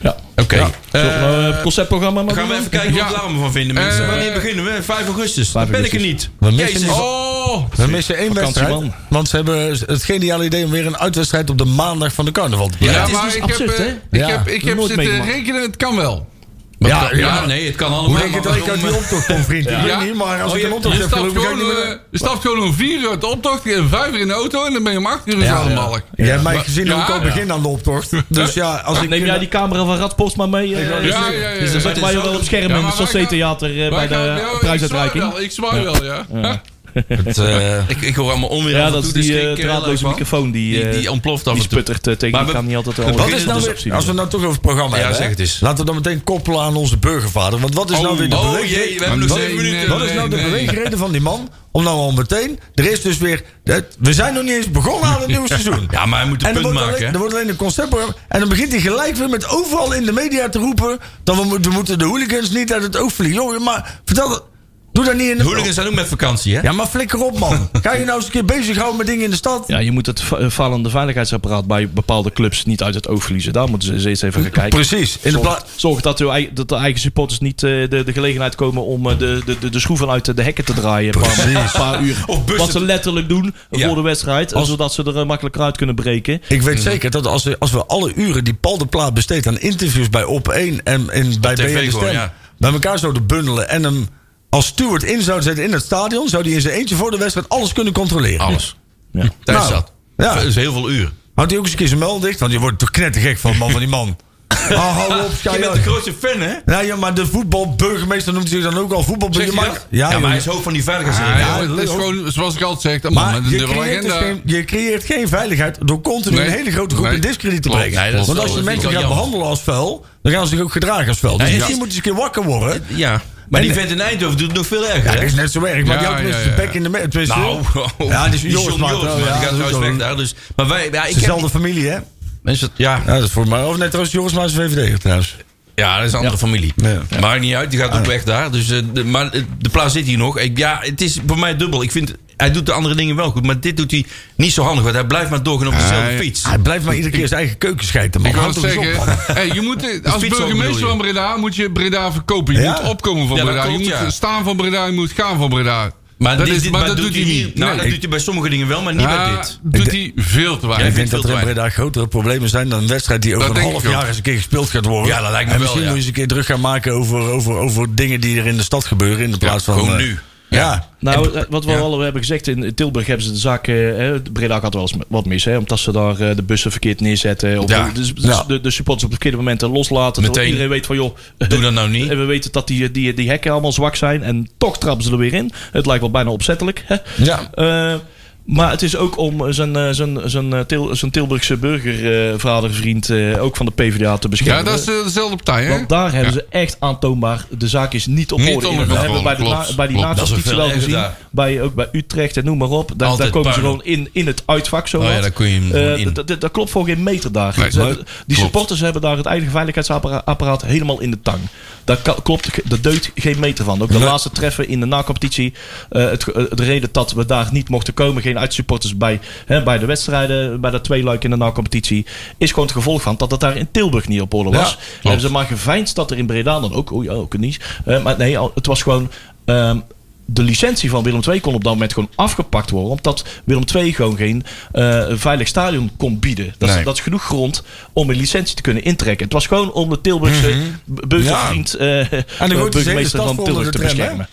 Speaker 6: Ja.
Speaker 2: Oké.
Speaker 6: Ja. Zullen we
Speaker 2: Eh,
Speaker 6: nou, eh, het conceptprogramma maar
Speaker 2: gaan we
Speaker 6: doen?
Speaker 2: even kijken wat
Speaker 3: Ja.
Speaker 2: we daar allemaal van vinden, mensen.
Speaker 3: Eh,
Speaker 2: Wanneer beginnen we? 5 augustus. Dan
Speaker 6: 5
Speaker 2: ben ik er
Speaker 6: augustus.
Speaker 2: niet.
Speaker 5: We missen
Speaker 2: Jezus.
Speaker 5: niet.
Speaker 3: Oh,
Speaker 5: We missen één wedstrijd.
Speaker 6: Vakantieman.
Speaker 5: Want ze hebben het geniale idee om weer een uitwedstrijd op de maandag van de carnaval te plannen.
Speaker 3: ja,
Speaker 6: het is
Speaker 3: maar
Speaker 6: dus
Speaker 3: ik
Speaker 6: absurd,
Speaker 3: heb, eh,
Speaker 6: hè?
Speaker 3: ik
Speaker 5: Ja.
Speaker 3: heb, ik heb
Speaker 6: Nooit
Speaker 3: zitten
Speaker 6: meegemaakt.
Speaker 3: rekenen, het kan wel.
Speaker 5: Ja, ja.
Speaker 2: Ja, nee, het kan allemaal.
Speaker 5: Hoe denk je dat ik uit die optocht kom, vriend? Ik
Speaker 3: Ja.
Speaker 5: weet niet, maar als
Speaker 2: Oh,
Speaker 5: ik
Speaker 2: je-
Speaker 5: een optocht
Speaker 3: Je
Speaker 5: heb
Speaker 3: stapt
Speaker 5: gelopen, ga ik
Speaker 3: gewoon,
Speaker 5: niet meer-
Speaker 3: eh, je stapt gewoon om vier uur uit de optocht, en vijf uur in de auto en dan ben je om acht uur in ja, Zadelmalk.
Speaker 5: Jij hebt mij gezien
Speaker 3: ja,
Speaker 5: hoe ik al
Speaker 3: ja.
Speaker 5: begin aan de optocht. Dus ja, als ik...
Speaker 6: Neem jij die camera van Radpost maar mee? eh,
Speaker 3: ja, ja,
Speaker 6: dus-
Speaker 3: ja, ja.
Speaker 6: Dus dan
Speaker 3: Het
Speaker 6: zitten wij
Speaker 2: is
Speaker 6: wel
Speaker 2: zo-
Speaker 6: op scherm
Speaker 3: Ja,
Speaker 6: in
Speaker 3: maar
Speaker 6: het
Speaker 3: wij gaan-
Speaker 6: Theater bij de prijsuitreiking.
Speaker 3: Ik zwaai wel, ja.
Speaker 5: Het, eh,
Speaker 2: Ik, ik hoor allemaal onweer.
Speaker 6: Ja,
Speaker 2: af en
Speaker 6: dat is
Speaker 2: toe, dus
Speaker 6: die
Speaker 2: ik-
Speaker 6: eh,
Speaker 2: ik heb
Speaker 6: draadloze
Speaker 2: wel last van.
Speaker 6: microfoon die,
Speaker 2: Die,
Speaker 6: eh,
Speaker 2: die ontploft af
Speaker 6: die
Speaker 2: en toe.
Speaker 6: sputtert eh, tegen
Speaker 2: Maar
Speaker 6: die
Speaker 2: we-
Speaker 6: kan niet altijd
Speaker 2: we
Speaker 6: wel.
Speaker 5: Wat
Speaker 2: Dit
Speaker 5: is nou
Speaker 2: is
Speaker 5: weer, als we nou toch over het programma
Speaker 2: Ja,
Speaker 5: hebben,
Speaker 2: zeg
Speaker 5: hè?
Speaker 2: het eens.
Speaker 5: laten we dan meteen koppelen aan onze burgervader. Want wat is nou weer de
Speaker 2: oh
Speaker 5: beweging-
Speaker 2: jee, we hebben nog
Speaker 5: wat-
Speaker 2: zeven
Speaker 3: nee,
Speaker 2: minuten.
Speaker 5: Wat is nou de
Speaker 3: nee.
Speaker 5: beweegreden van die man om nou al meteen... Er is dus weer... het- We zijn nog niet eens begonnen aan het nieuwe seizoen.
Speaker 2: Ja, maar hij moet een
Speaker 5: En er
Speaker 2: punt
Speaker 5: wordt,
Speaker 2: maken.
Speaker 5: alleen,
Speaker 2: hè?
Speaker 5: er wordt alleen een conceptprogramma. En dan begint hij gelijk weer met overal in de media te roepen... dat we, mo- we moeten de hooligans niet uit het oog verliezen. Jongen, maar vertel dat... Doe dat niet in de...
Speaker 2: De hooligans zijn ook met vakantie, hè?
Speaker 5: Ja, maar flikker op, man. Ga je nou eens een keer bezighouden met dingen in de stad?
Speaker 6: Ja, je moet het va- eh, falende veiligheidsapparaat bij bepaalde clubs niet uit het oog verliezen. Daar moeten ze eens eerst even gaan kijken.
Speaker 5: Precies. In de
Speaker 6: Zorg,
Speaker 5: plaats...
Speaker 6: zorg dat, uw, ei- dat de eigen supporters niet eh, de, de gelegenheid komen om eh, de, de, de, de schroeven uit de hekken te draaien. Een paar, een paar uur.
Speaker 2: Of bussen
Speaker 6: Wat ze
Speaker 2: te-
Speaker 6: letterlijk doen
Speaker 2: Ja.
Speaker 6: voor de wedstrijd. eh,
Speaker 5: Als-
Speaker 6: Zodat ze er eh, makkelijker uit kunnen breken.
Speaker 5: Ik
Speaker 2: Mhm.
Speaker 5: weet zeker dat als we, als we alle uren die Paul de Plaat besteedt aan interviews bij Op1 en, en bij
Speaker 2: TV
Speaker 5: BN de
Speaker 2: gewoon,
Speaker 5: Stem...
Speaker 2: ja.
Speaker 5: bij elkaar zouden bundelen en hem als steward in zou zetten in het stadion... zou hij in zijn eentje voor de wedstrijd alles kunnen controleren.
Speaker 2: Alles.
Speaker 6: Ja.
Speaker 2: Tijdens
Speaker 5: Nou,
Speaker 2: dat.
Speaker 5: ja.
Speaker 2: Dat Oh, is heel veel uur.
Speaker 5: Houdt hij ook eens een keer zijn mel dicht? Want je wordt toch knettergek van, man, van die man. Oh, hou op,
Speaker 2: Je
Speaker 5: schei
Speaker 2: bent
Speaker 5: uit.
Speaker 2: de grootste fan, hè?
Speaker 5: Nou ja, maar de voetbalburgemeester noemt zich dan ook al voetbalburgemeester.
Speaker 2: Zeg je dat? Ja, maar
Speaker 5: joh.
Speaker 2: hij is hoofd van die veiligheidsregio.
Speaker 3: Ja,
Speaker 2: Ja,
Speaker 3: het is gewoon, zoals ik altijd zeg, een man
Speaker 5: Maar
Speaker 3: met een
Speaker 5: je
Speaker 3: dubbele
Speaker 5: creëert, dus
Speaker 3: agenda.
Speaker 5: geen, je creëert geen veiligheid door continu
Speaker 3: Nee.
Speaker 5: een hele grote groep
Speaker 3: Nee.
Speaker 5: in discrediet te
Speaker 3: Klopt.
Speaker 5: brengen.
Speaker 2: Nee, dat is
Speaker 5: Want
Speaker 2: wel-
Speaker 5: als je
Speaker 2: dat
Speaker 5: mensen
Speaker 2: vind ik
Speaker 5: gaat
Speaker 2: wel jammer.
Speaker 5: behandelen als vuil, dan gaan ze zich ook gedragen als vuil. Dus
Speaker 2: Ja,
Speaker 5: misschien
Speaker 2: ja.
Speaker 5: moet je eens een keer wakker worden.
Speaker 2: Maar die
Speaker 5: En-
Speaker 2: vent in Eindhoven doet het nog veel erger,
Speaker 5: Ja, dat
Speaker 2: hè?
Speaker 5: is net zo erg. Maar
Speaker 3: Ja,
Speaker 5: die had tenminste
Speaker 3: ja, ja,
Speaker 5: zijn bek in de... me- tenminste-
Speaker 2: Nou,
Speaker 5: ja, die is
Speaker 2: John
Speaker 5: Joris Maarten,
Speaker 2: Joris,
Speaker 5: oh,
Speaker 2: maar
Speaker 5: ja, dat
Speaker 2: die gaat
Speaker 5: is
Speaker 2: trouwens
Speaker 5: ook
Speaker 2: weg
Speaker 5: een-
Speaker 2: daar. Dus, maar wij, ja, ik heb,
Speaker 5: Dezelfde familie, hè?
Speaker 2: mensen, ja,
Speaker 5: Ja, dat is voor mij. Of net trouwens, Joris Maas is VVD trouwens.
Speaker 2: ja, dat is een andere familie.
Speaker 5: Ja.
Speaker 2: Maar Maakt niet uit, die
Speaker 3: Ah,
Speaker 2: gaat ook weg daar. Dus, eh, de, maar eh, de plaats zit hier nog. Ik, ja, het is voor mij dubbel. Ik vind, hij doet de andere dingen wel goed. Maar dit doet hij niet zo handig. Want hij blijft maar doorgaan op dezelfde
Speaker 3: Ah, ja.
Speaker 2: fiets.
Speaker 5: Hij blijft maar iedere keer zijn eigen keuken scheiden, man.
Speaker 3: Ik wou
Speaker 5: Houd
Speaker 3: het
Speaker 5: toch eens op, man.
Speaker 3: zeggen, hey, je moet, eh, als
Speaker 2: fiets ook,
Speaker 3: burgemeester
Speaker 2: bedoel je?
Speaker 3: van Breda moet je Breda verkopen. Je
Speaker 5: Ja?
Speaker 3: moet opkomen van
Speaker 2: Ja, dat
Speaker 3: Breda. je
Speaker 2: klopt,
Speaker 3: moet
Speaker 2: ja.
Speaker 3: staan van Breda, je moet gaan van Breda.
Speaker 2: Maar,
Speaker 3: dat,
Speaker 2: dit,
Speaker 3: is,
Speaker 2: dit-
Speaker 3: maar
Speaker 2: maar
Speaker 3: dat doet hij
Speaker 2: hier-
Speaker 3: niet.
Speaker 2: Nou, dat
Speaker 3: Nee. Ah.
Speaker 2: doet hij bij sommige dingen wel, maar niet bij
Speaker 3: Ja,
Speaker 2: dit.
Speaker 3: doet hij veel te
Speaker 5: Ik
Speaker 3: weinig.
Speaker 5: denk
Speaker 2: vind
Speaker 5: dat er
Speaker 2: het
Speaker 5: in
Speaker 2: veel te
Speaker 5: Breda grotere problemen zijn dan een wedstrijd die over
Speaker 3: Dat
Speaker 5: een
Speaker 3: denk
Speaker 5: half
Speaker 3: ik ook.
Speaker 5: jaar eens een keer gespeeld gaat worden.
Speaker 2: Ja, dat lijkt me
Speaker 5: en
Speaker 2: wel,
Speaker 5: misschien
Speaker 2: ja.
Speaker 5: moet je eens een keer druk gaan maken over, over, over dingen die er in de stad gebeuren. In de plaats van.
Speaker 2: gewoon
Speaker 5: eh,
Speaker 2: nu.
Speaker 5: Ja.
Speaker 6: Nou, eh, wat we al hebben gezegd, in Tilburg hebben ze de zaak. eh, eh, Breda gaat wel eens wat mis, hè, omdat ze daar eh, de bussen verkeerd neerzetten. Of
Speaker 2: Ja.
Speaker 6: de, de,
Speaker 5: Ja.
Speaker 6: de, de supporters op het verkeerde momenten
Speaker 2: Meteen.
Speaker 6: loslaten. Terwijl iedereen weet van, joh,
Speaker 2: Doe dat nou niet.
Speaker 6: En we weten dat die, die, die hekken allemaal zwak zijn. En toch trappen ze er weer in. Het lijkt wel bijna opzettelijk. Hè?
Speaker 5: Ja.
Speaker 6: Eh, Maar het is ook om eh, zijn, eh, zijn, zijn, eh, Til- zijn Tilburgse burgervadervriend, ook van de PvdA, te
Speaker 3: Ja,
Speaker 6: beschermen.
Speaker 3: dat is eh, dezelfde partij, hè?
Speaker 6: Want daar hebben ze echt aantoonbaar, de zaak is niet op
Speaker 3: Niet
Speaker 6: orde. in.
Speaker 3: onder
Speaker 6: We
Speaker 3: controle,
Speaker 6: hebben bij, de,
Speaker 3: klopt,
Speaker 6: na- bij die
Speaker 3: klopt.
Speaker 2: Dat is
Speaker 6: nazi
Speaker 2: ook veel
Speaker 6: wel
Speaker 2: erger
Speaker 6: gezien,
Speaker 2: daar.
Speaker 6: bij, ook bij Utrecht en noem maar op. Daar, daar
Speaker 2: Altijd
Speaker 6: komen ze
Speaker 2: puin.
Speaker 6: gewoon in, in het uitvak zo
Speaker 2: Oh ja, daar kun je hem
Speaker 6: Eh,
Speaker 2: in.
Speaker 6: dat- dat- Dat klopt voor geen meter daar.
Speaker 3: Nee,
Speaker 6: Ze-
Speaker 3: maar-
Speaker 6: die supporters hebben daar het eigen veiligheidsapparaat helemaal in de tang. Daar ka- klopt, ge- dat deugt geen meter van. Ook de laatste treffen in de na-competitie. eh, het, ge- eh, de reden dat we daar niet mochten komen, geen uitsupporters bij, hè, bij de wedstrijden, bij dat tweeluik in de na-competitie, is gewoon het gevolg van dat het daar in Tilburg niet op orde was. hebben ze maar geveinsd dat er in Breda dan ook, oei, ook niet. Eh, maar nee, al- het was gewoon. ehm, de licentie van Willem II kon op dat moment gewoon afgepakt worden. Omdat Willem II gewoon geen eh, veilig stadion kon bieden. Dat,
Speaker 2: Nee.
Speaker 6: is, dat is genoeg grond om een licentie te kunnen intrekken. Het was gewoon om de Tilburgse bu- burgervriend eh,
Speaker 5: dan wordt dus Mhm. de hele
Speaker 6: burgemeester
Speaker 5: stad
Speaker 6: van
Speaker 5: vol onder
Speaker 6: Tilburg
Speaker 5: de
Speaker 6: te
Speaker 5: tram, hè?
Speaker 6: beschermen.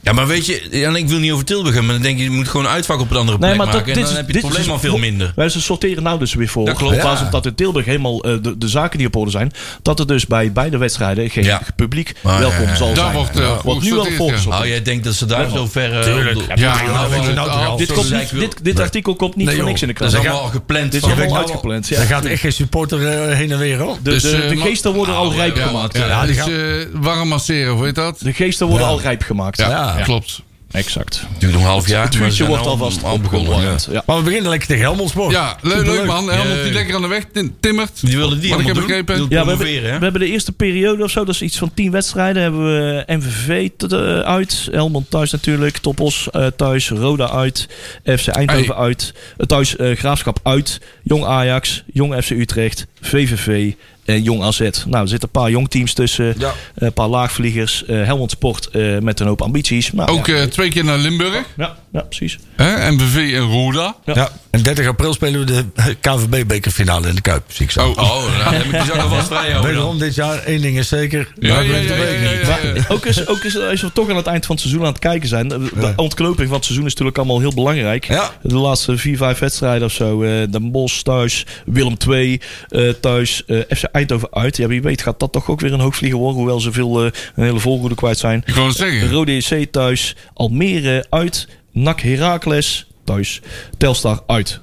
Speaker 2: Ja, maar weet je, ja, ik wil niet over Tilburg hebben, maar dan denk je, je moet gewoon uitvak op een andere plek maken. en dan
Speaker 6: is-
Speaker 2: heb je het
Speaker 6: is
Speaker 2: probleem al
Speaker 6: dus-
Speaker 2: veel minder.
Speaker 6: Wij ze sorteren nou dus weer voor.
Speaker 2: Dat klopt.
Speaker 6: In plaats
Speaker 2: Ja.
Speaker 6: van dat in Tilburg helemaal eh, de, de zaken die op orde zijn. Dat er dus bij beide wedstrijden geen
Speaker 2: Ja.
Speaker 6: publiek
Speaker 2: Maar,
Speaker 6: welkom
Speaker 2: eh,
Speaker 6: zal
Speaker 3: daar
Speaker 6: zijn.
Speaker 3: wordt, eh, goed
Speaker 6: wordt nu al
Speaker 3: gesorteerd,
Speaker 6: volgens
Speaker 3: ja.
Speaker 6: op.
Speaker 2: Oh, jij denkt dat ze daar zo ver... eh,
Speaker 5: Tuurlijk.
Speaker 2: op de-
Speaker 3: Ja, nou,
Speaker 5: vind ik nou toch al.
Speaker 6: Dit, komt niet, dit, dit artikel komt niet
Speaker 2: Nee,
Speaker 6: voor
Speaker 2: joh.
Speaker 6: niks in de
Speaker 5: Dus
Speaker 2: Dat
Speaker 6: krant.
Speaker 2: is allemaal al gepland.
Speaker 6: Dit is
Speaker 2: van-
Speaker 6: allemaal
Speaker 2: Ja,
Speaker 6: uitgepland. Ja.
Speaker 5: Daar gaat echt geen supporter eh, heen en weer, hoor.
Speaker 6: De,
Speaker 3: Dus,
Speaker 6: de,
Speaker 3: eh,
Speaker 6: de
Speaker 3: ma-
Speaker 6: geesten worden al
Speaker 2: Ah,
Speaker 6: rijp
Speaker 2: ja,
Speaker 6: gemaakt.
Speaker 3: Ja,
Speaker 5: Ja, die
Speaker 3: dus eh, warm masseren, hoe heet dat?
Speaker 6: De geesten worden al rijp gemaakt.
Speaker 3: Ja,
Speaker 5: Ja.
Speaker 3: klopt.
Speaker 6: Exact.
Speaker 2: Het duurt nog een half jaar.
Speaker 6: Het
Speaker 2: maar ze
Speaker 6: vuurtje
Speaker 2: zijn
Speaker 6: wordt alvast
Speaker 2: al begonnen. ja.
Speaker 6: opgewarmd. Ja.
Speaker 5: Maar we beginnen lekker tegen Helmond Sport.
Speaker 3: Ja, leuk,
Speaker 5: Superleuk.
Speaker 3: leuk man. Helmond die
Speaker 2: Jee.
Speaker 3: lekker aan de weg tim- timmert.
Speaker 2: Die wilden die
Speaker 3: Wat ik heb
Speaker 2: allemaal doen.
Speaker 3: begrepen.
Speaker 2: Die wilden
Speaker 6: Ja, we, hebben,
Speaker 2: promoveren, hè?
Speaker 6: we hebben de eerste periode of zo, dat is iets van 10 wedstrijden. Hebben we MVV t- eh, uit, Helmond thuis natuurlijk, Topos eh, thuis, Roda uit, FC Eindhoven
Speaker 3: Hey.
Speaker 6: uit, eh, thuis eh, Graafschap uit, Jong Ajax, Jong FC Utrecht, VVV en Jong AZ. Nou, er zitten een paar jong teams tussen, eh,
Speaker 5: Ja.
Speaker 6: een paar laagvliegers, eh, Helmond Sport eh, met een hoop ambities. Nou,
Speaker 3: Ook
Speaker 6: ja.
Speaker 3: eh, twee keer naar Limburg.
Speaker 6: ja, ja, precies.
Speaker 3: Hè? MVV en Roda.
Speaker 5: Ja. En 30 april spelen we de KVB-bekerfinale in de Kuip, zie ik zo.
Speaker 3: Oh,
Speaker 2: Oh, nou, dan heb ik die zak alvast vrij houden dan.
Speaker 5: Wederom dit jaar, één ding is zeker.
Speaker 3: Ja,
Speaker 5: Daar
Speaker 3: ja,
Speaker 5: blijft
Speaker 3: ja,
Speaker 5: de
Speaker 3: ja,
Speaker 5: beker
Speaker 3: ja,
Speaker 5: niet.
Speaker 3: ja, ja.
Speaker 6: Ook is, ook is, als we toch aan het eind van het seizoen aan het kijken zijn. De ontknoping van het seizoen is natuurlijk allemaal heel belangrijk.
Speaker 5: Ja.
Speaker 6: De laatste vier, vijf wedstrijden of zo. eh Den Bosch thuis, Willem II eh, thuis, eh, FC Eindhoven uit. Ja, wie weet gaat dat toch ook weer een hoogvlieger worden. Hoewel ze veel, eh, een hele voorroede kwijt zijn.
Speaker 3: Ik wou het zeggen.
Speaker 6: Rode EC thuis, Almere uit, NAC Heracles thuis, Telstar uit.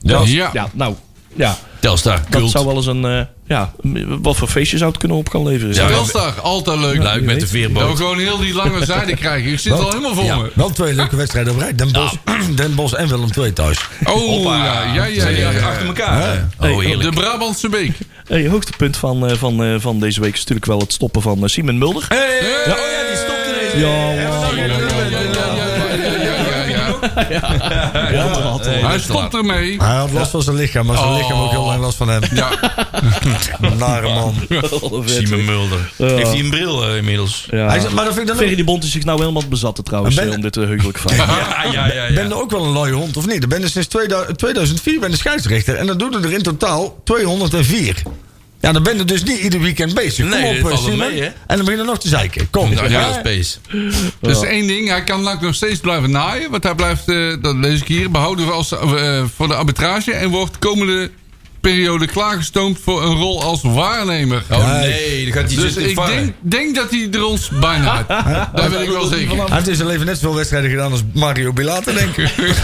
Speaker 3: Ja.
Speaker 6: Ja, nou, ja,
Speaker 2: Telstar,
Speaker 6: dat
Speaker 2: cult.
Speaker 6: zou wel eens een... eh, ja, m- wat voor feestje zou het kunnen op gaan leveren.
Speaker 2: Ja.
Speaker 3: Telstar, altijd leuk.
Speaker 2: Luik met de
Speaker 3: Dat we
Speaker 2: veerboot.
Speaker 3: gewoon heel die lange zijde krijgen. Ik zit al helemaal voor me.
Speaker 5: Wel twee leuke wedstrijden op rij. Den Bosch, Den Bosch en Willem II thuis.
Speaker 3: Oh, ja, ja, ja, ja, ja.
Speaker 2: Achter elkaar. Oh,
Speaker 3: De
Speaker 2: heerlijk.
Speaker 3: Brabantse beek.
Speaker 6: Hey, hoogtepunt van, eh, van, eh, van deze week is natuurlijk wel het stoppen van eh, Simon Mulder.
Speaker 2: Hey! Oh ja, die stopt ineens.
Speaker 6: Ja,
Speaker 3: Oh, Ja, ja, ja, ja, ja, ja, ja. Hij stopt ermee.
Speaker 5: Hij had last van zijn lichaam, maar zijn
Speaker 3: Oh.
Speaker 5: lichaam ook heel lang last van hem.
Speaker 3: Ja,
Speaker 5: Nare man.
Speaker 2: Simon Mulder. Heeft hij een bril eh, inmiddels?
Speaker 5: Hij is- maar dat vind ik dan
Speaker 6: Ferry
Speaker 5: ook.
Speaker 6: de Bond is zich nou helemaal bezatten trouwens,
Speaker 5: Ben-
Speaker 6: eh, om dit eh, heugelijk verhaal.
Speaker 2: Ah, Ja, ja, ja.
Speaker 5: Ben je ook wel een looie hond, of niet? Dan ben je sinds 2000 2004 ben je scheidsrechter. En dat doet er in totaal 204. Ja, dan ben je dus niet ieder weekend bezig. Kom
Speaker 2: Nee, dat
Speaker 5: op, eh,
Speaker 2: valt wel
Speaker 5: Simon.
Speaker 2: mee, hè?
Speaker 5: En dan begin je nog te zeiken. Kom.
Speaker 2: Nou,
Speaker 3: Ja.
Speaker 2: ja, space.
Speaker 3: dat is Dus één ding. Hij kan lang nog steeds blijven naaien. Want hij blijft, eh, dat lees ik hier, behouden als, eh, voor de arbitrage. En wordt komende periode klaargestoomd voor een rol als waarnemer.
Speaker 2: Oh nee, dan gaat hij
Speaker 3: Dus
Speaker 2: zitten
Speaker 3: ik
Speaker 2: vangen.
Speaker 3: denk, denk dat hij er ons bijna uit. Dat wil ik wel zeker.
Speaker 5: Hij heeft in zijn leven net zoveel wedstrijden gedaan als Mario Bilate, denk ik.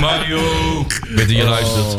Speaker 2: Mario, ik weet dat je luistert.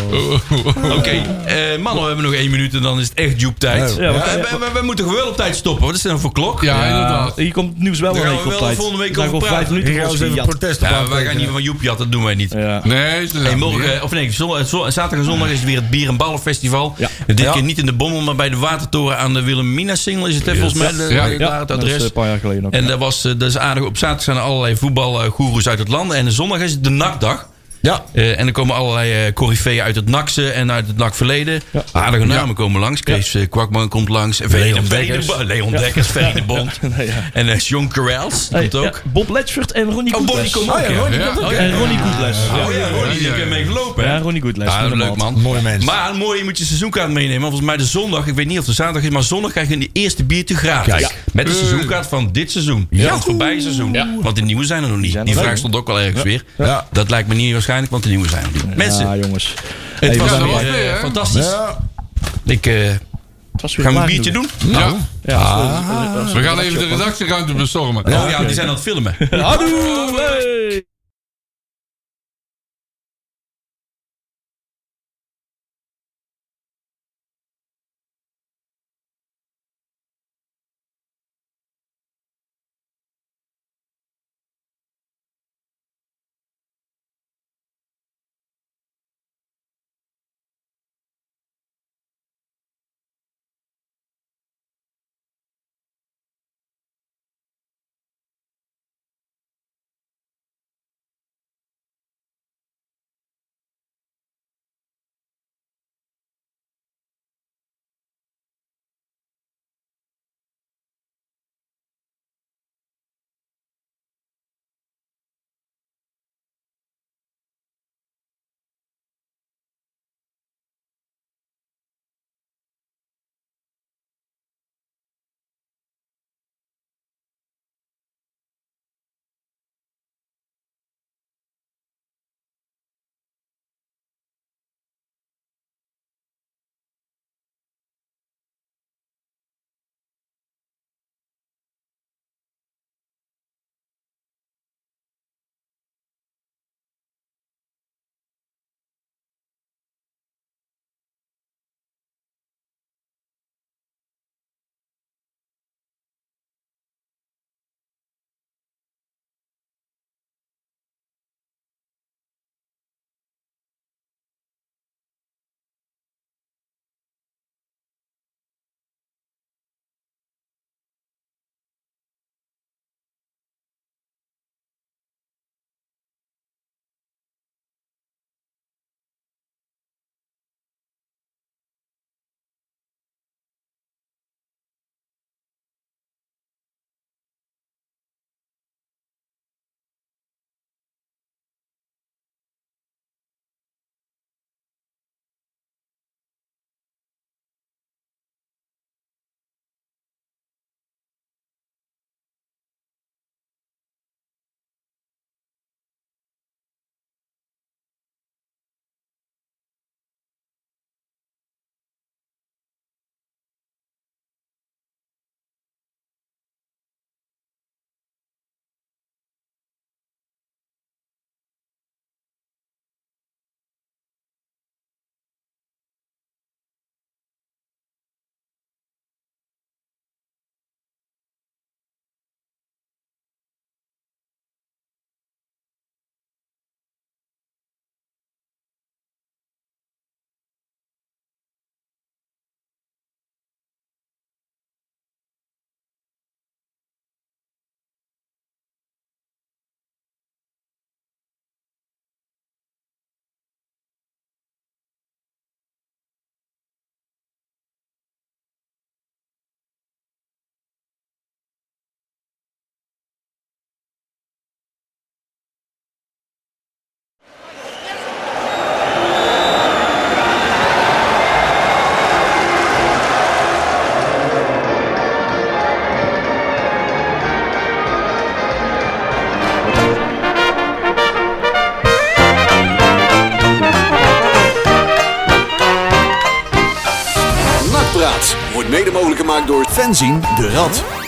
Speaker 2: Oké, eh, mannen, we hebben nog één minuut en dan is het echt joep tijd.
Speaker 5: Ja,
Speaker 2: Ja,
Speaker 6: we-
Speaker 2: we, we- we moeten gewoon wel op tijd stoppen. Wat is er nou voor klok?
Speaker 3: Ja, inderdaad.
Speaker 6: Hier komt het nieuws wel
Speaker 2: Daar
Speaker 6: een
Speaker 2: gaan
Speaker 6: week
Speaker 2: we
Speaker 6: op
Speaker 2: wel
Speaker 6: tijd.
Speaker 2: volgende week
Speaker 6: Daar
Speaker 2: over
Speaker 6: gaan we
Speaker 2: praten.
Speaker 6: vijf
Speaker 5: Ik
Speaker 6: minuten
Speaker 5: ga eens
Speaker 6: voor
Speaker 5: even
Speaker 6: gejat.
Speaker 5: protest op
Speaker 2: Ja, wij gaan
Speaker 5: aantekenen.
Speaker 2: niet van joep jatten, dat doen wij niet.
Speaker 6: Ja.
Speaker 3: Nee, ze
Speaker 2: Hey,
Speaker 3: zijn
Speaker 2: morgen,
Speaker 3: niet,
Speaker 2: eh, of nee, zon- eh, zon- zaterdag en zondag is het weer het Bier- en Ballenfestival.
Speaker 6: Ja.
Speaker 2: Dit
Speaker 5: Ja.
Speaker 2: keer niet in de Bommel, maar bij de Watertoren aan de Wilhelmina-Singel is het, hè, volgens mij. de-
Speaker 3: Ja.
Speaker 2: waar- daar het
Speaker 6: dat is eh,
Speaker 2: adres.
Speaker 6: een paar jaar geleden ook.
Speaker 2: En dat, was, eh, dat is aardig. Op zaterdag zijn er allerlei voetbalgoeroes uit het land. En zondag is het de NAC-dag.
Speaker 5: Ja.
Speaker 2: Eh, en er komen allerlei eh coryfeeën uit het NAKse en uit het NAC-verleden. Aardige namen komen langs. Kees eh, Kwakman komt langs. En Leon Dekkers. Leon Dekkers, Ferry de Bond.
Speaker 6: Nee, ja.
Speaker 2: En eh, John Corrales die
Speaker 6: Hey,
Speaker 2: komt ook.
Speaker 6: ja, Bob Letchford en Ronnie
Speaker 2: Oh, Bonnie
Speaker 6: Goodles.
Speaker 2: komt ook. ja.
Speaker 3: ja.
Speaker 2: Oh, ja.
Speaker 6: En Ronnie Goodles.
Speaker 2: Oh ja, Ronnie, die heb je mee gelopen. hè?
Speaker 6: Ja, Ronnie Goodles.
Speaker 2: Ja,
Speaker 6: inderdaad.
Speaker 2: leuk man.
Speaker 5: Mooi mens.
Speaker 2: Maar mooi, je moet je seizoenkaart meenemen. want Volgens mij de zondag, ik weet niet of het de zaterdag is, maar zondag krijg je de eerste biertje gratis.
Speaker 5: Kijk.
Speaker 2: Met de seizoenkaart van dit seizoen. Ja. Van het voorbije seizoen. Want de nieuwe zijn er nog niet.
Speaker 6: zijn
Speaker 2: Die
Speaker 6: er
Speaker 2: vraag
Speaker 6: nog.
Speaker 2: stond ook al ergens weer.
Speaker 5: Ja.
Speaker 2: Dat lijkt me niet waarschijnlijk, want de nieuwe zijn er niet. Mensen,
Speaker 6: Ja, jongens.
Speaker 2: het
Speaker 6: Hey,
Speaker 2: was
Speaker 3: dat
Speaker 2: weer,
Speaker 3: was weer,
Speaker 2: eh,
Speaker 3: hè?
Speaker 2: fantastisch.
Speaker 5: Ja.
Speaker 2: Ik, eh,
Speaker 6: Het was weer
Speaker 2: gaan we een
Speaker 6: laag
Speaker 2: biertje
Speaker 6: genoeg.
Speaker 2: doen? Ah.
Speaker 3: Ja,
Speaker 6: Ja, het was-
Speaker 3: we gaan even de redactieruimte bestormen.
Speaker 2: Oh ja, die zijn aan het filmen.
Speaker 6: Hadoe! hey!
Speaker 1: gemaakt door Fenzin de Rad.